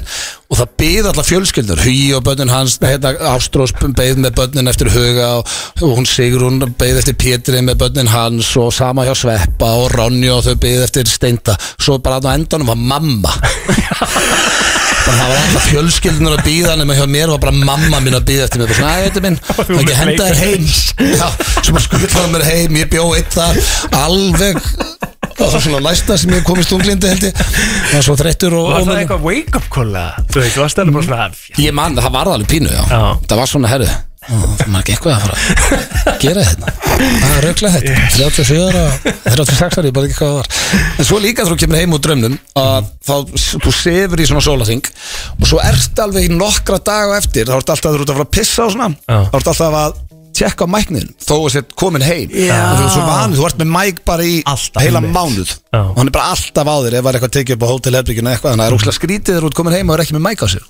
R: og það byði alla fjölskyldur Hugi og börnin hans, hérna Ástrós beið með börnin eftir Huga og, og hún Sigrún beið eftir Pétri með börnin hans og sama hjá Sveppa og Ronja og þau beið eftir Steinda svo bara að á endanum var mamma Bara það var alltaf fjölskyldunar að býða nema hjá mér var bara mamma mín að býða eftir mér bara svona, æ, þetta
C: [laughs]
R: minn, það er ekki að henda þér heim [laughs] já, svo bara skullaði mér heim ég bjó eitt þar, alveg það var svona næsta sem ég komist unglindi held ég, það var svo þreyttur og,
C: Var
R: og
C: það eitthvað wake up call eða? Þú veist, varst það bara svona
R: ég man, það var alveg pínu, já, það var svona herðu það var ekki eitthvað að fara að gera þetta það er rauglega þetta, 37 ára 36 ára, ég bara ekki hvað það var en svo líka þegar þú kemur heim úr draumnum að þá, þú sefur í svona sólaþing og svo ert alveg í nokkra daga á eftir, þá ert alltaf þú ert að fara að pissa og svona, þá ert alltaf að tjekka á mæknin, þó að sett komin heim
T: Já.
R: og þú ert svo vanið, þú ert með mæk bara í Ah. alltaf, heila mánuð og hann er bara alltaf á þér ef það er eitthvað tekið upp á hótelherbygginu eitthvað, þannig að það er úkslega skrítið þegar þú ert komin heim og er ekki með mæk á sér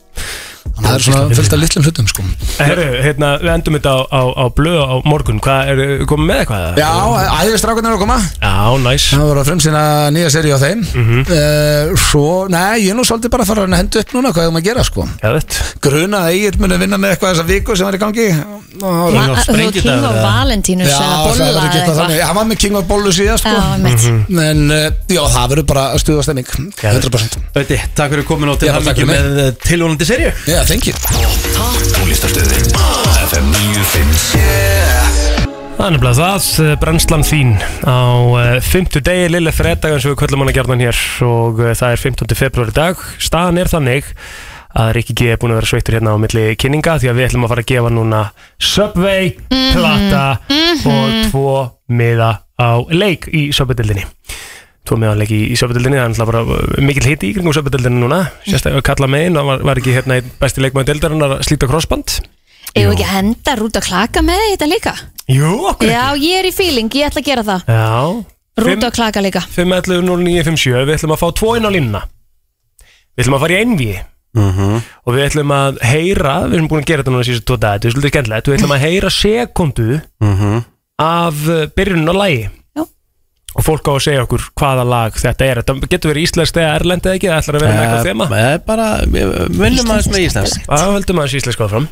R: þannig að það er svona fullt af litlum hlutum sko
C: Herru, hérna, við endum þetta á, á, á blöð á morgun Hvað, er komið með eitthvað? eða?
R: Já, æðistrákunar eru að koma
C: Já, næs
R: Það voru að frumsýna nýja seri á þeim mm Svo, nei, ég er nú svolítið bara að fara að henda upp núna hvað ég um að gera sko
C: Geðvett.
R: Gruna að ég muni að vinna með eitthvað þessa viku sem var í gangi Og-
B: Ma- þú ert King of Valentínus
R: Já,
B: eða
R: það
B: bolla
R: verður ekki eitthvað
B: eða
R: þannig Hann var með King of Bollu síðast sko.
B: Já, einmitt.
R: En uh, já, það verður bara stuðastemming 100%
T: Ötti, takk fyrir komin og til
R: Já, takk
T: hamingju
R: fyrir mig.
T: með eh, tilvonandi serju
R: Já, thank you
G: Tónlistarstöðin FM 957
C: Það er nefnilega það, eh, brennslan þín á uh, 50 degi, lille fredag eins og við kvöllum hana gerðan hér og uh, það er 15. februar í dag. Staðan er þannig að Rikki G er búin að vera sveittur hérna á milli kynninga því að við ætlum að fara að gefa núna Subway, Plata og tvo miða á leik í Subway-dildinni. Tvo miða á leik í, í Subway-dildinni, það er náttúrulega bara eh, mikill hiti í kringum Subway-dildinni núna. Sérstaklega kalla megin, það var, var ekki hérna einn besti leikmaður dildarinnar að slíta krossband.
B: Eða ekki að henda rúta klaka með þig þetta líka
C: Jú, okkur
B: Já, ég er í feeling, ég ætla að gera það
C: Já Fimm-
B: Rúta klaka líka
C: 5.11.09.57 Við ætlum að fá tvo inn á línuna Við ætlum að fara í einví
T: Mhm.
C: Og við ætlum að heyra Við erum búin að gera þetta núna síðan tvo dag Þetta er svolítið skemmtilegt Við ætlum að heyra sekundu
T: Mhm.
C: Af uh, byrjunum á lagi Já Og fólk á að segja okkur hvaða lag þetta er Þetta getur verið íslenskt eða erlend eða ekki Það ætlar að vera með eitthvað
T: Eh,
C: þema
T: eh, bara, við vinnum aðeins með Íslands
C: Já, höldum aðeins íslensk áfram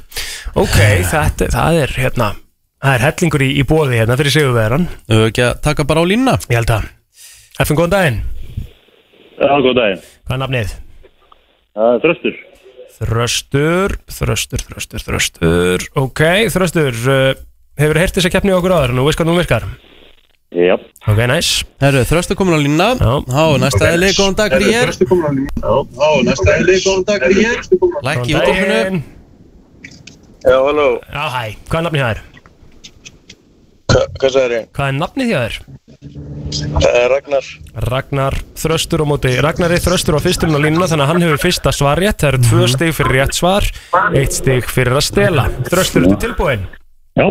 C: Ok, þetta, það er hérna Það er hellingur í, í bóði hérna fyrir sigurveðaran
T: Þau ekki að taka bara á línuna
C: Ég held að Efum góðan daginn
U: Já, góð daginn
C: Hvað er nafnið?
U: Það er þröstur
C: Þröstur, þröstur, þröstur, þröstur Ok, þröstur uh, Hefur heyrt þess að keppni okkur áður Nú veist hvað nú virkar
U: Jáp
C: Ok, næs
T: Herru, þröstu komin á línuna Já, næsta okay. eðli, góðan dag, Ríðar
U: Þröstur komin á línu Já, næsta eðli, góðan dag, Ríðar
T: Lækki í útdófinu
U: Já, halló
C: Já, hæ, hvað er nafnið hjá þér?
U: Hvað sagði ég?
C: Hvað er nafnið hjá þér?
U: Það er Ragnar
C: Ragnar þröstur á móti Ragnari þröstur á fyrsturinn á línuna Þannig að hann hefur fyrsta svar rétt Það eru tvö stig fyrir rétt svar Eitt stig fyrir að stela Þröstur, ertu tilbúinn?
U: Já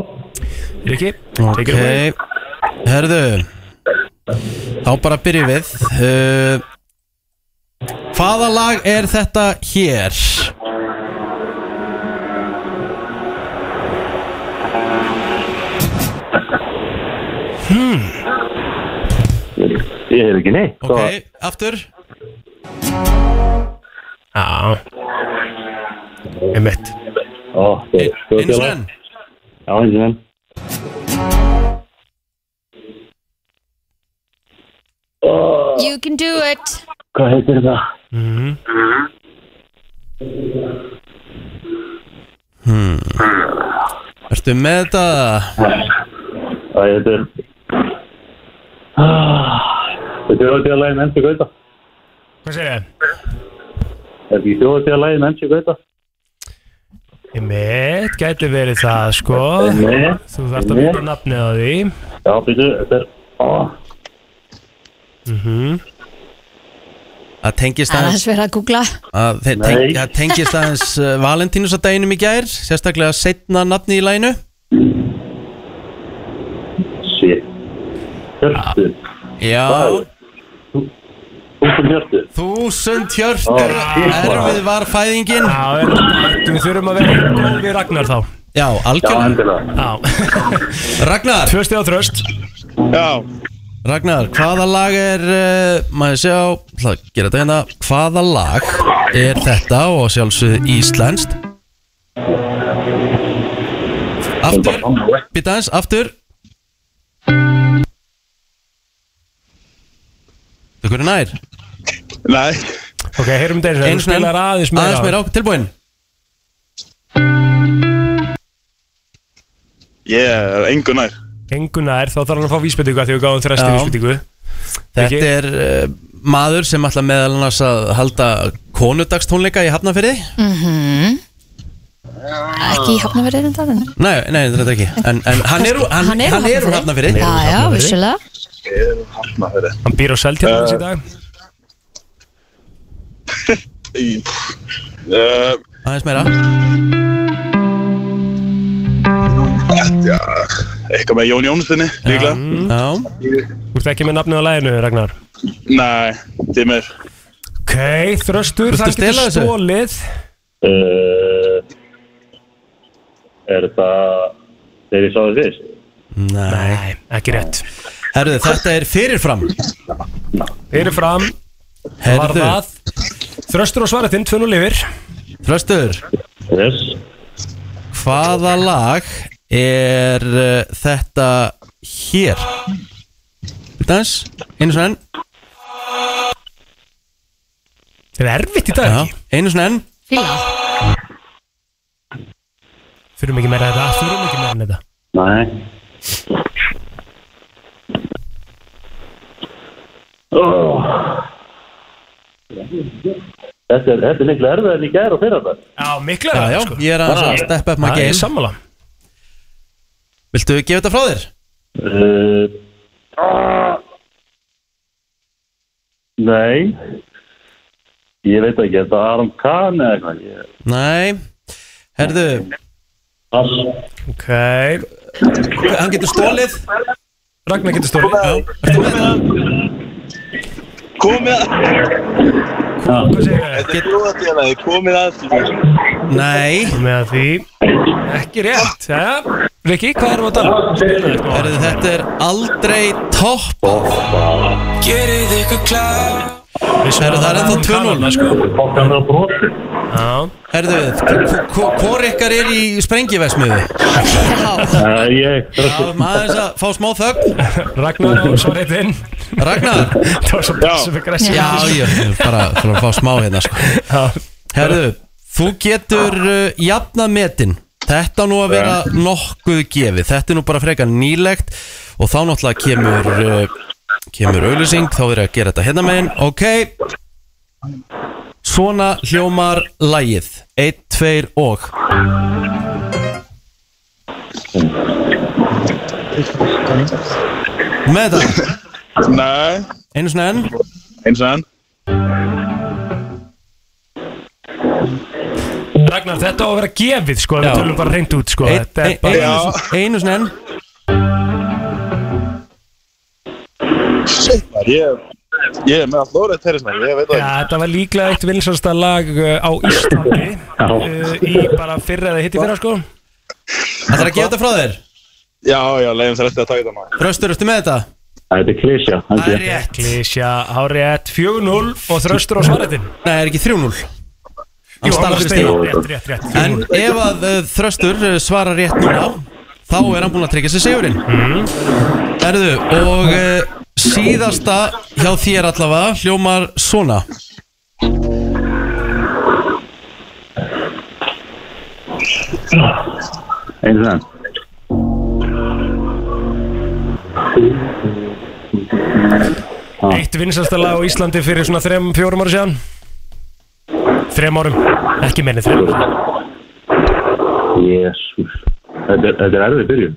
C: Riki,
T: Ok, herðu
A: Þá bara byrjum við uh, Hvaða lag er þetta hér?
D: Hmm.
M: Ég hef ekki neitt
A: Ok, aftur
C: Já Einmitt
M: Sko, Einu
C: sinni enn.
M: Já, einu sinni enn
B: You can do it
M: Hvað heitir það?
A: hmm. Ertu með þetta?
M: Æ, þetta er Ah, Þetta er þjóðatíðalagið með MC Gauta
C: Hvað segir þið?
M: Er ekki þjóðatíðalagið með MC Gauta?
C: Einmitt, gæti verið það sko
M: Einmitt.
C: Þú þarft að vita
M: Einmitt.
C: nafnið á því
M: Já, býtu, þetta er ah,
C: Mhm.
A: Það tengist
B: Það er
A: aðeins
B: sver að googla
A: að þeir
M: Nei.
A: teng, Það tengist aðeins uh, Valentínusadaginum í gær Sérstaklega setna nafni í læginu
M: Shit Hjörtu
A: Já
M: Þúsund um hjörtu
A: Þúsund hjörtur Erfið var fæðingin
C: Já, en við þurfum að vera góð við Ragnar þá
A: Já, algjörlega Ragnar
C: Tvö stíð á tröst
A: Já Ragnar, hvaða lag er uh, maður sjá, ætla að gera þetta hérna hvaða lag er þetta og sjálfsögð íslenskt Aftur Býta aðeins, aftur Þú hvernig nær? Nei
C: Ok, heyrum þetta eins og
A: Eins
C: þú spilar aðeins meira á.
A: Aðeins meira á, tilbúin
U: Yeah, engu nær
C: Enguna er, þá þarf hann að fá vísbendingu af Því við gáðum
A: Já.
C: þér restin vísbendingu
A: Þetta er uh, maður sem ætla meðal annars að halda konudagstónleika í Hafnafyrði
B: Mhm. Ekki í hafnaverið en það en
A: Nei, nei, þetta er ekki En, en hann er úr hann, hann hann er úr Hafnarfirði.
B: Já, já, vissulega
U: Hafnafjörði
C: Hann býr á Seltjarnarnes í dag
U: uh,
A: Aðeins meira
U: Já, eitthvað með Jón Jónssoni líklega
C: Já Þú ert ekki með nafnið á læginu, Ragnar
U: Nei, tímur
C: Ok, þröstur,
U: Viltu
C: það getur
U: stela þessu?
C: stólið
M: uh, Er þetta Þegar ég sá þið fyrst?
A: Nei,
C: ekki rétt
A: Herðu, þetta er fyrirfram
C: Fyrirfram Var
A: Herðu,
C: það Þröstur og svaretinn, tvun og lifir
A: Þröstur
M: yes.
A: Hvaða lag er uh, þetta hér? Dans, einu svona enn
C: Það er erfitt í dag
A: Já, einu svona enn
B: Fíla
C: Þurfum ekki meira þetta, þurfum ekki meira en þetta
M: Nei oh. Þetta er, þetta er miklu erfið en ég gæri og fyrir þetta
C: Já, miklu
A: Já, já, ég er aðeins að steppa upp my game.
C: sammála
A: Viltu gefa þetta frá þér?
M: Uh, Nei Ég veit ekki, er þetta Aron Kahn eða eitthvað Ég-
A: Nei Herðu
C: Ok Hann
A: getur stólið
C: Ragnar getur stólið
U: Komið að Þetta er þjóðatíðalagið, komið að
A: Nei
C: Með að því Ekki rétt ja. Rikki, hvað erum við að tala? um?
A: Herðu, þetta er aldrei topp
D: Gerið ykkur klár
A: Herðu, það er ennþá 2-0
M: sko.
A: Herðu, hvor ykkar er í sprengivesmiðu?
M: Nei, ég
A: Já, maður þess að fá smá þögn
C: Ragnar og svaretinn
A: Ragnar
C: [laughs] Það var svo passum ykkur
A: Já, já, bara fyrir að fá smá hérna sko. Herðu, þú getur uh, jafnað metin Þetta á nú að vera nokkuð gefið Þetta er nú bara frekar nýlegt Og þá náttúrulega kemur uh, Kemur auðlýsing, þá er að gera þetta hérna megin Ok Svona hljómar lægið 1, 2 og Með það
U: Nei
A: Einu svona enn
U: Einu svona enn
C: Ragnar, þetta á að vera gefið sko Við tölum bara reynd út sko
A: Ein-
C: Þetta er
A: ein-
C: bara
A: einu- Einu svona enn
U: Shit, maður, ég, ég er með allt lórið terrismæri, ég veit það
C: Já, þetta var líklega eitt vinsasta lag uh, á Íslandi uh, í bara fyrra eða hitti fyrra sko
U: Það
A: þarf að gefa þetta frá þér
U: Já, já, leiðum þér eftir að taka þetta maður
A: Þröstur, ertu með þetta?
V: Þetta er klísja
C: Það er rétt Klísja, hárétt 4-0 og þröstur á svaretinn
A: Nei, er ekki 3-0 Hann
C: Jú,
A: stal
C: hann
A: fyrir
C: steig.
A: stigi.
C: Rétt, rétt, rétt,
A: En ef að uh, Þröstur uh, svarar rétt núna Þá er hann búinn að tryggja sér sigurinn
C: Mhm.
A: Erðu, og uh, síðasta hjá þér allavega hljómar svona
V: Einu sem
C: Eitt vinsasta lag á Íslandi fyrir svona 3-4 ára síðan 3 árum, ekki menni 3
V: Jésús Þetta er- þetta er erfið byrjun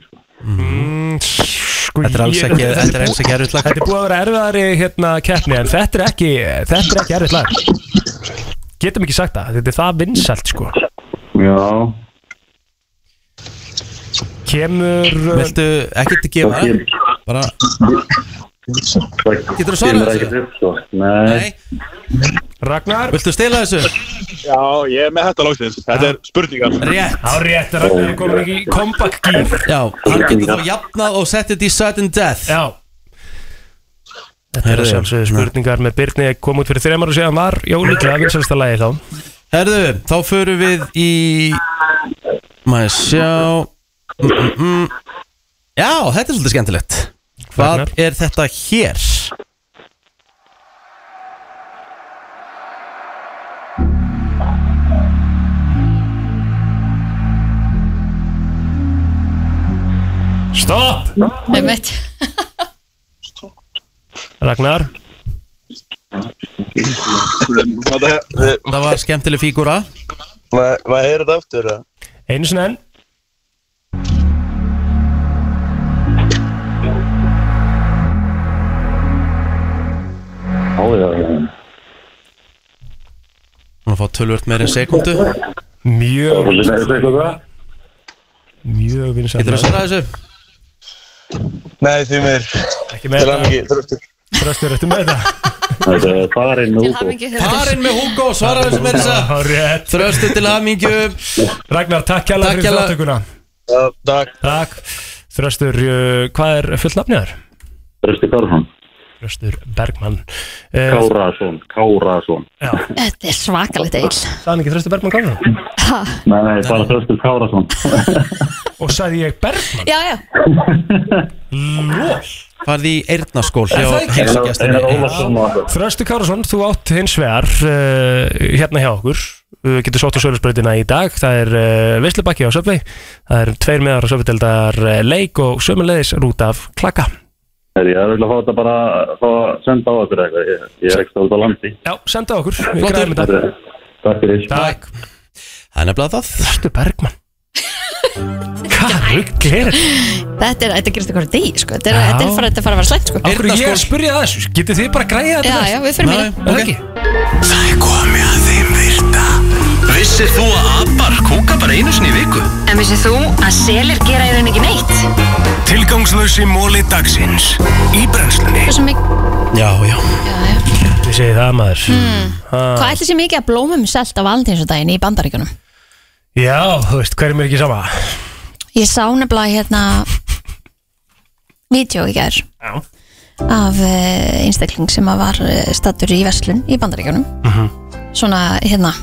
C: Sko,
A: Þetta er alls
C: ég-
A: ekki- þetta er alls ekki erfitt lag.
C: Þetta er búið að vera erfiðari hérna keppni En þetta er ekki, þetta er ekki erfitt lag Getum ekki sagt það, þetta er það vinsælt sko
V: Já
C: Kemur
A: Viltu ekkert að gefa
V: Það
A: Bara
V: Getur
A: þú svarað þessu?
V: þessu? Nei
C: Ragnar
A: Viltu stela þessu?
U: Já, ég er með þetta lóksins, þetta er spurningar
A: Rétt
C: Á rétt, Ragnar er komin ekki í comeback gýr
A: Já, hann getur þá jafnað og sett þetta í sudden death
C: Já Þetta er að
A: Herðu,
C: sjálfsögðu spurningar með Byrni kom út fyrir þrem ára síðan var jólíklega vinsælsta lagi þá
A: Herðu, þá förum við í Maður sjá mm, mm, mm. Já, þetta er svolítið skemmtilegt Hvað
C: Ragnar?
A: er þetta hér?
C: Stopp!
B: Einmitt.
C: Ragnar
A: Það var skemmtileg fígúra
U: Hvað er þetta aftur?
C: Einu sinni enn
V: Ó, já, já
A: Hún fá tölvört meir en sekundu
C: Mjög Mjög vinsælt
A: Getur þú
C: lag.
A: svarað þessu?
U: Nei, því mér
C: Ekki með
U: þetta
C: Þröstur, ertu með [laughs] þetta?
V: Þetta er farin með Hugo
A: Parinn með Hugo, svaraði þessu með þessa
C: Rétt
A: Þröstu til hamingju
C: Ragnar, takk hjálpa
A: Takk
C: fyrir
A: hérlega.
C: þáttökuna
U: Takk
C: Takk Þröstur, uh, hvað er fullt nafnið þar?
V: Þrösti Karlsson
C: Þröstur Bergmann uh,
V: Kárason Kárason
B: Þetta er svakalegt eil
C: Sann ekki Þröstur Bergmann Kárason?
V: Nei, nei, bara Þrösti Kárason
C: Og sagði ég Bergmann?
B: Já, já
C: Lól
A: Farði í Eirnaskól
C: Er það
A: hjá
C: ekki?
A: heilsugjastinni
C: Þrösti Kárasson, þú átt hins vegar uh, hérna hjá okkur Við getum sótt á sölusbreytina í dag Það er uh, Veslubakki á Söfvei Það er tveir meðar á Söfveiteldar uh, leik og sömulegis rút af klaka
V: Herri, Ég er öll að fá þetta bara fá að senda á okkur eitthvað Ég- Ég er ekki stóð á landi
C: Já, senda okkur, við græðum þetta
V: Herri, Takk fyrir
C: Takk
A: Það er nefnilega það
C: Þrösti
B: [laughs]
C: Bergmann Hvað rugg er þetta?
B: Þetta er, þetta gerist eitthvað degi, sko Þetta er, þetta er, fara, þetta er fara að vera slæmt, sko
C: Af hverju ég að spyrja það þessu? Getið þið bara að græða þetta?
B: Já,
C: næst?
B: já, við förum í það.
C: Er það ekki?
G: Það er komið að þeim virta Vissir þú að abar kúka bara einu sinni í viku?
H: En vissið þú að selir gera í rauninni ekki neitt?
G: Tilgangslösi móli dagsins Í brennslunni
B: Hversu mik-
A: Já, já
C: Þið segið það maður
H: Hmm.
B: Mm.
C: Ha.
B: Hvað ætli sé mikið að blómum selt á valentínsdaginn í bandaríkunum?
C: Já, þú veist, hverjum er ekki sama?
B: Ég sá nefnilega hérna vídeo í gær
C: Já.
B: af eh, einstakling sem að var stattur í verslun í bandaríkjunum
C: Mhm.
B: svona hérna,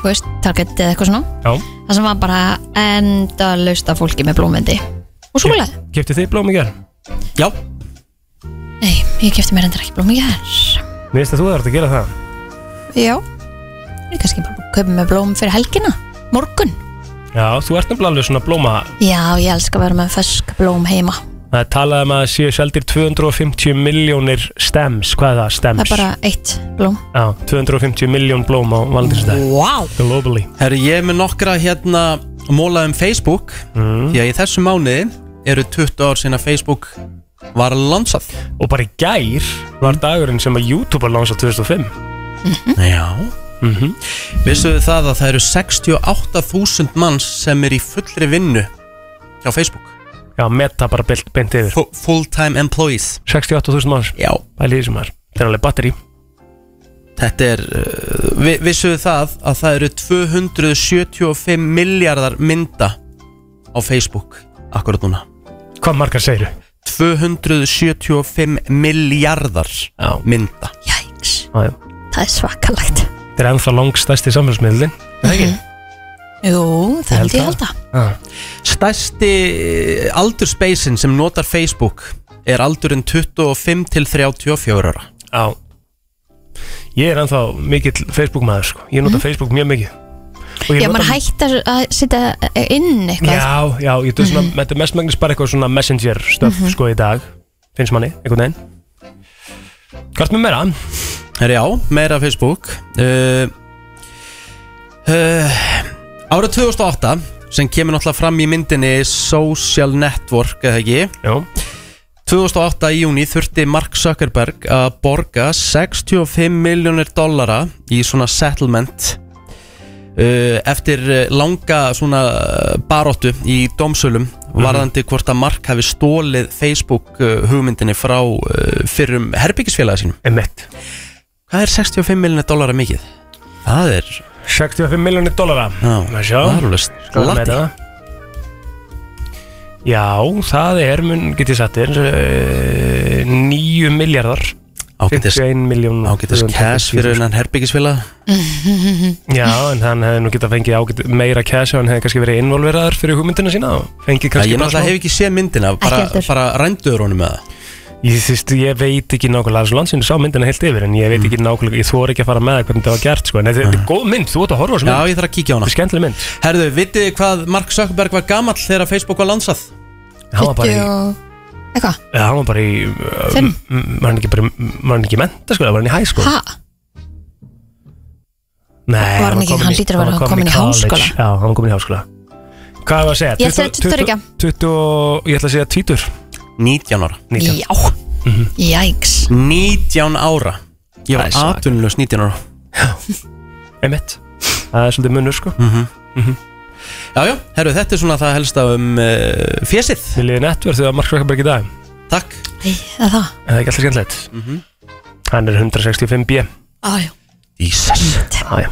B: þú veist, target eða eitthvað svona
C: Já
B: það sem var bara enda lausta fólki með blómvendi og svolega,
C: Kæftið þið blóm í gerð?
A: Já
B: nei, ég kefti mér endur ekki blóm í gær
C: Mér finnst að þú þarf að gera það
B: já, ég kannski bara kaupi með blóm fyrir helgina, morgun
C: Já, þú ert nefnilega alveg svona blóma
B: já, ég elska að vera með fersk blóm heima
C: Það er talað um að það séu seldir 250 miljónir stems, hvað er það,
B: það
C: stems?
B: er bara eitt blóm
C: Já, 250 miljón blóm á valdinsdag
B: Wow
C: Globally
A: Herri, ég er með nokkra hérna mólaði um Facebook Því að í þessu mánuði eru 20 ár sinna Facebook var lansað
C: Og bara í gær var dagurinn sem að YouTube var lansað 2005
A: Já mm -hmm. Vissuðu það að það eru 68.000 manns sem er í fullri vinnu hjá Facebook
C: Já, meta bara beint, beint yfir
A: Full-time employees
C: 68.000 manns
A: Já
C: Bælið þessum manns Þetta er alveg batteri
A: Þetta er, uh, vi, vissuðu það að það eru 275 miljardar mynda á Facebook akkurat núna
C: Hvað margar segiru?
A: 275 miljardar
C: já.
A: mynda
B: Jæks
C: Já, já
B: Það er svakalagt
C: Þetta er ennþá Mhm. langstæsti samfélagsmiðlinn Það ekki?
B: Jú, það held ég held að
A: Stærsti aldurspeisin sem notar Facebook er aldurinn 25 til 34 ára
C: Já Ég er ennþá mikill Facebook maður sko. Ég nota Facebook mjög mikið Og ég
B: Já,
C: nota-
B: maður hægt að að setja inn eitthvað
C: Já, já, ég duð svona, þetta er mestmægnis bara eitthvað svona messenger stöf
B: Mhm.
C: sko í dag Finnst manni, einhvern veginn Hvort með meira?
A: Herra, já, meira Facebook uh, uh, Ára 2008 sem kemur náttúrulega fram í myndinni Social Network, eða ekki?
C: Já
A: 2008 í júni þurfti Mark Zuckerberg að borga 65 miljónir dollara í svona settlement uh, eftir eh, langa svona eh, baróttu í domsölum
C: Mhm.
A: varðandi hvort að Mark hafi stólið Facebook eh, hugmyndinni frá uh, fyrrum herbyggisfélaga sínum
C: Emmett
A: Hvað er 65 miljónir dollara mikið? Það er
C: 65 miljónir dollara
A: Já,
C: Má sjá.
A: það er alveg
C: Skoðum
A: slatti.
C: þetta. Já, það er, mun, get ég sagt þér, uh, 9 miljardar
A: Ágætis-
C: 51 miljón
A: ágætis cash fyrir innan herbyggisfélag
C: Já, en hann hefði nú getað fengið ágæt, meira cash og hann hefði kannski verið involveraður fyrir hugmyndina sína og fengið
A: Það
C: kannski
A: ég náttúrulega hef ekki séð myndina bara, bara rænduður honum með það
C: Ég, þvist, ég veit ekki nákvæmlega, þessu landsinu sá myndina heilt yfir en ég veit
A: Mm.
C: ekki nákvæmlega, ég þor ekki að fara með það hvernig það var gert sko, en þetta þetta er góð mynd, þú ert að horfa á
A: Ah.
C: þessu
A: Já,
C: mynd
A: ég þarf að kíkja á hana
C: Þetta er skemmtileg mynd
A: Herðu, vitið þið hvað Mark Zuckerberg var gamall þegar Facebook var landsað?
C: Hann var bara í,
B: Eitthvað
C: eða, hann var bara í uh,
B: Fimm?
C: m- var hann ekki bara, í- m- var hann ekki í menta sko, var hann í hæ sko
B: Ha?
C: Nei,
B: hann ekki-
C: kominn
B: hann hlýtur að vera
C: var
B: kominn í
C: college.
B: háskóla.
C: Já, hann var komin í háskóla Hvað var að segja?
B: Ég segi
C: 20
B: 22.
C: 20 ég ætla að segja tvítur
A: 19 ára
C: 19.
B: Já Mhm. Jæks
A: 19 ára Ég var
C: Það er svaka.
A: atvinnulegs 19 ára
C: Emmett Það er svolítið munur sko
A: mm Já, já, herru, þetta er svona það helsta um uh, fjesið
C: Viljiði nettverð þegar Mark Zuckerberg í dag
A: Takk
B: Það það
C: Er það ekki alltaf skemmtilegt? Hann er 165B
B: Ájá
A: Jesus
C: Æja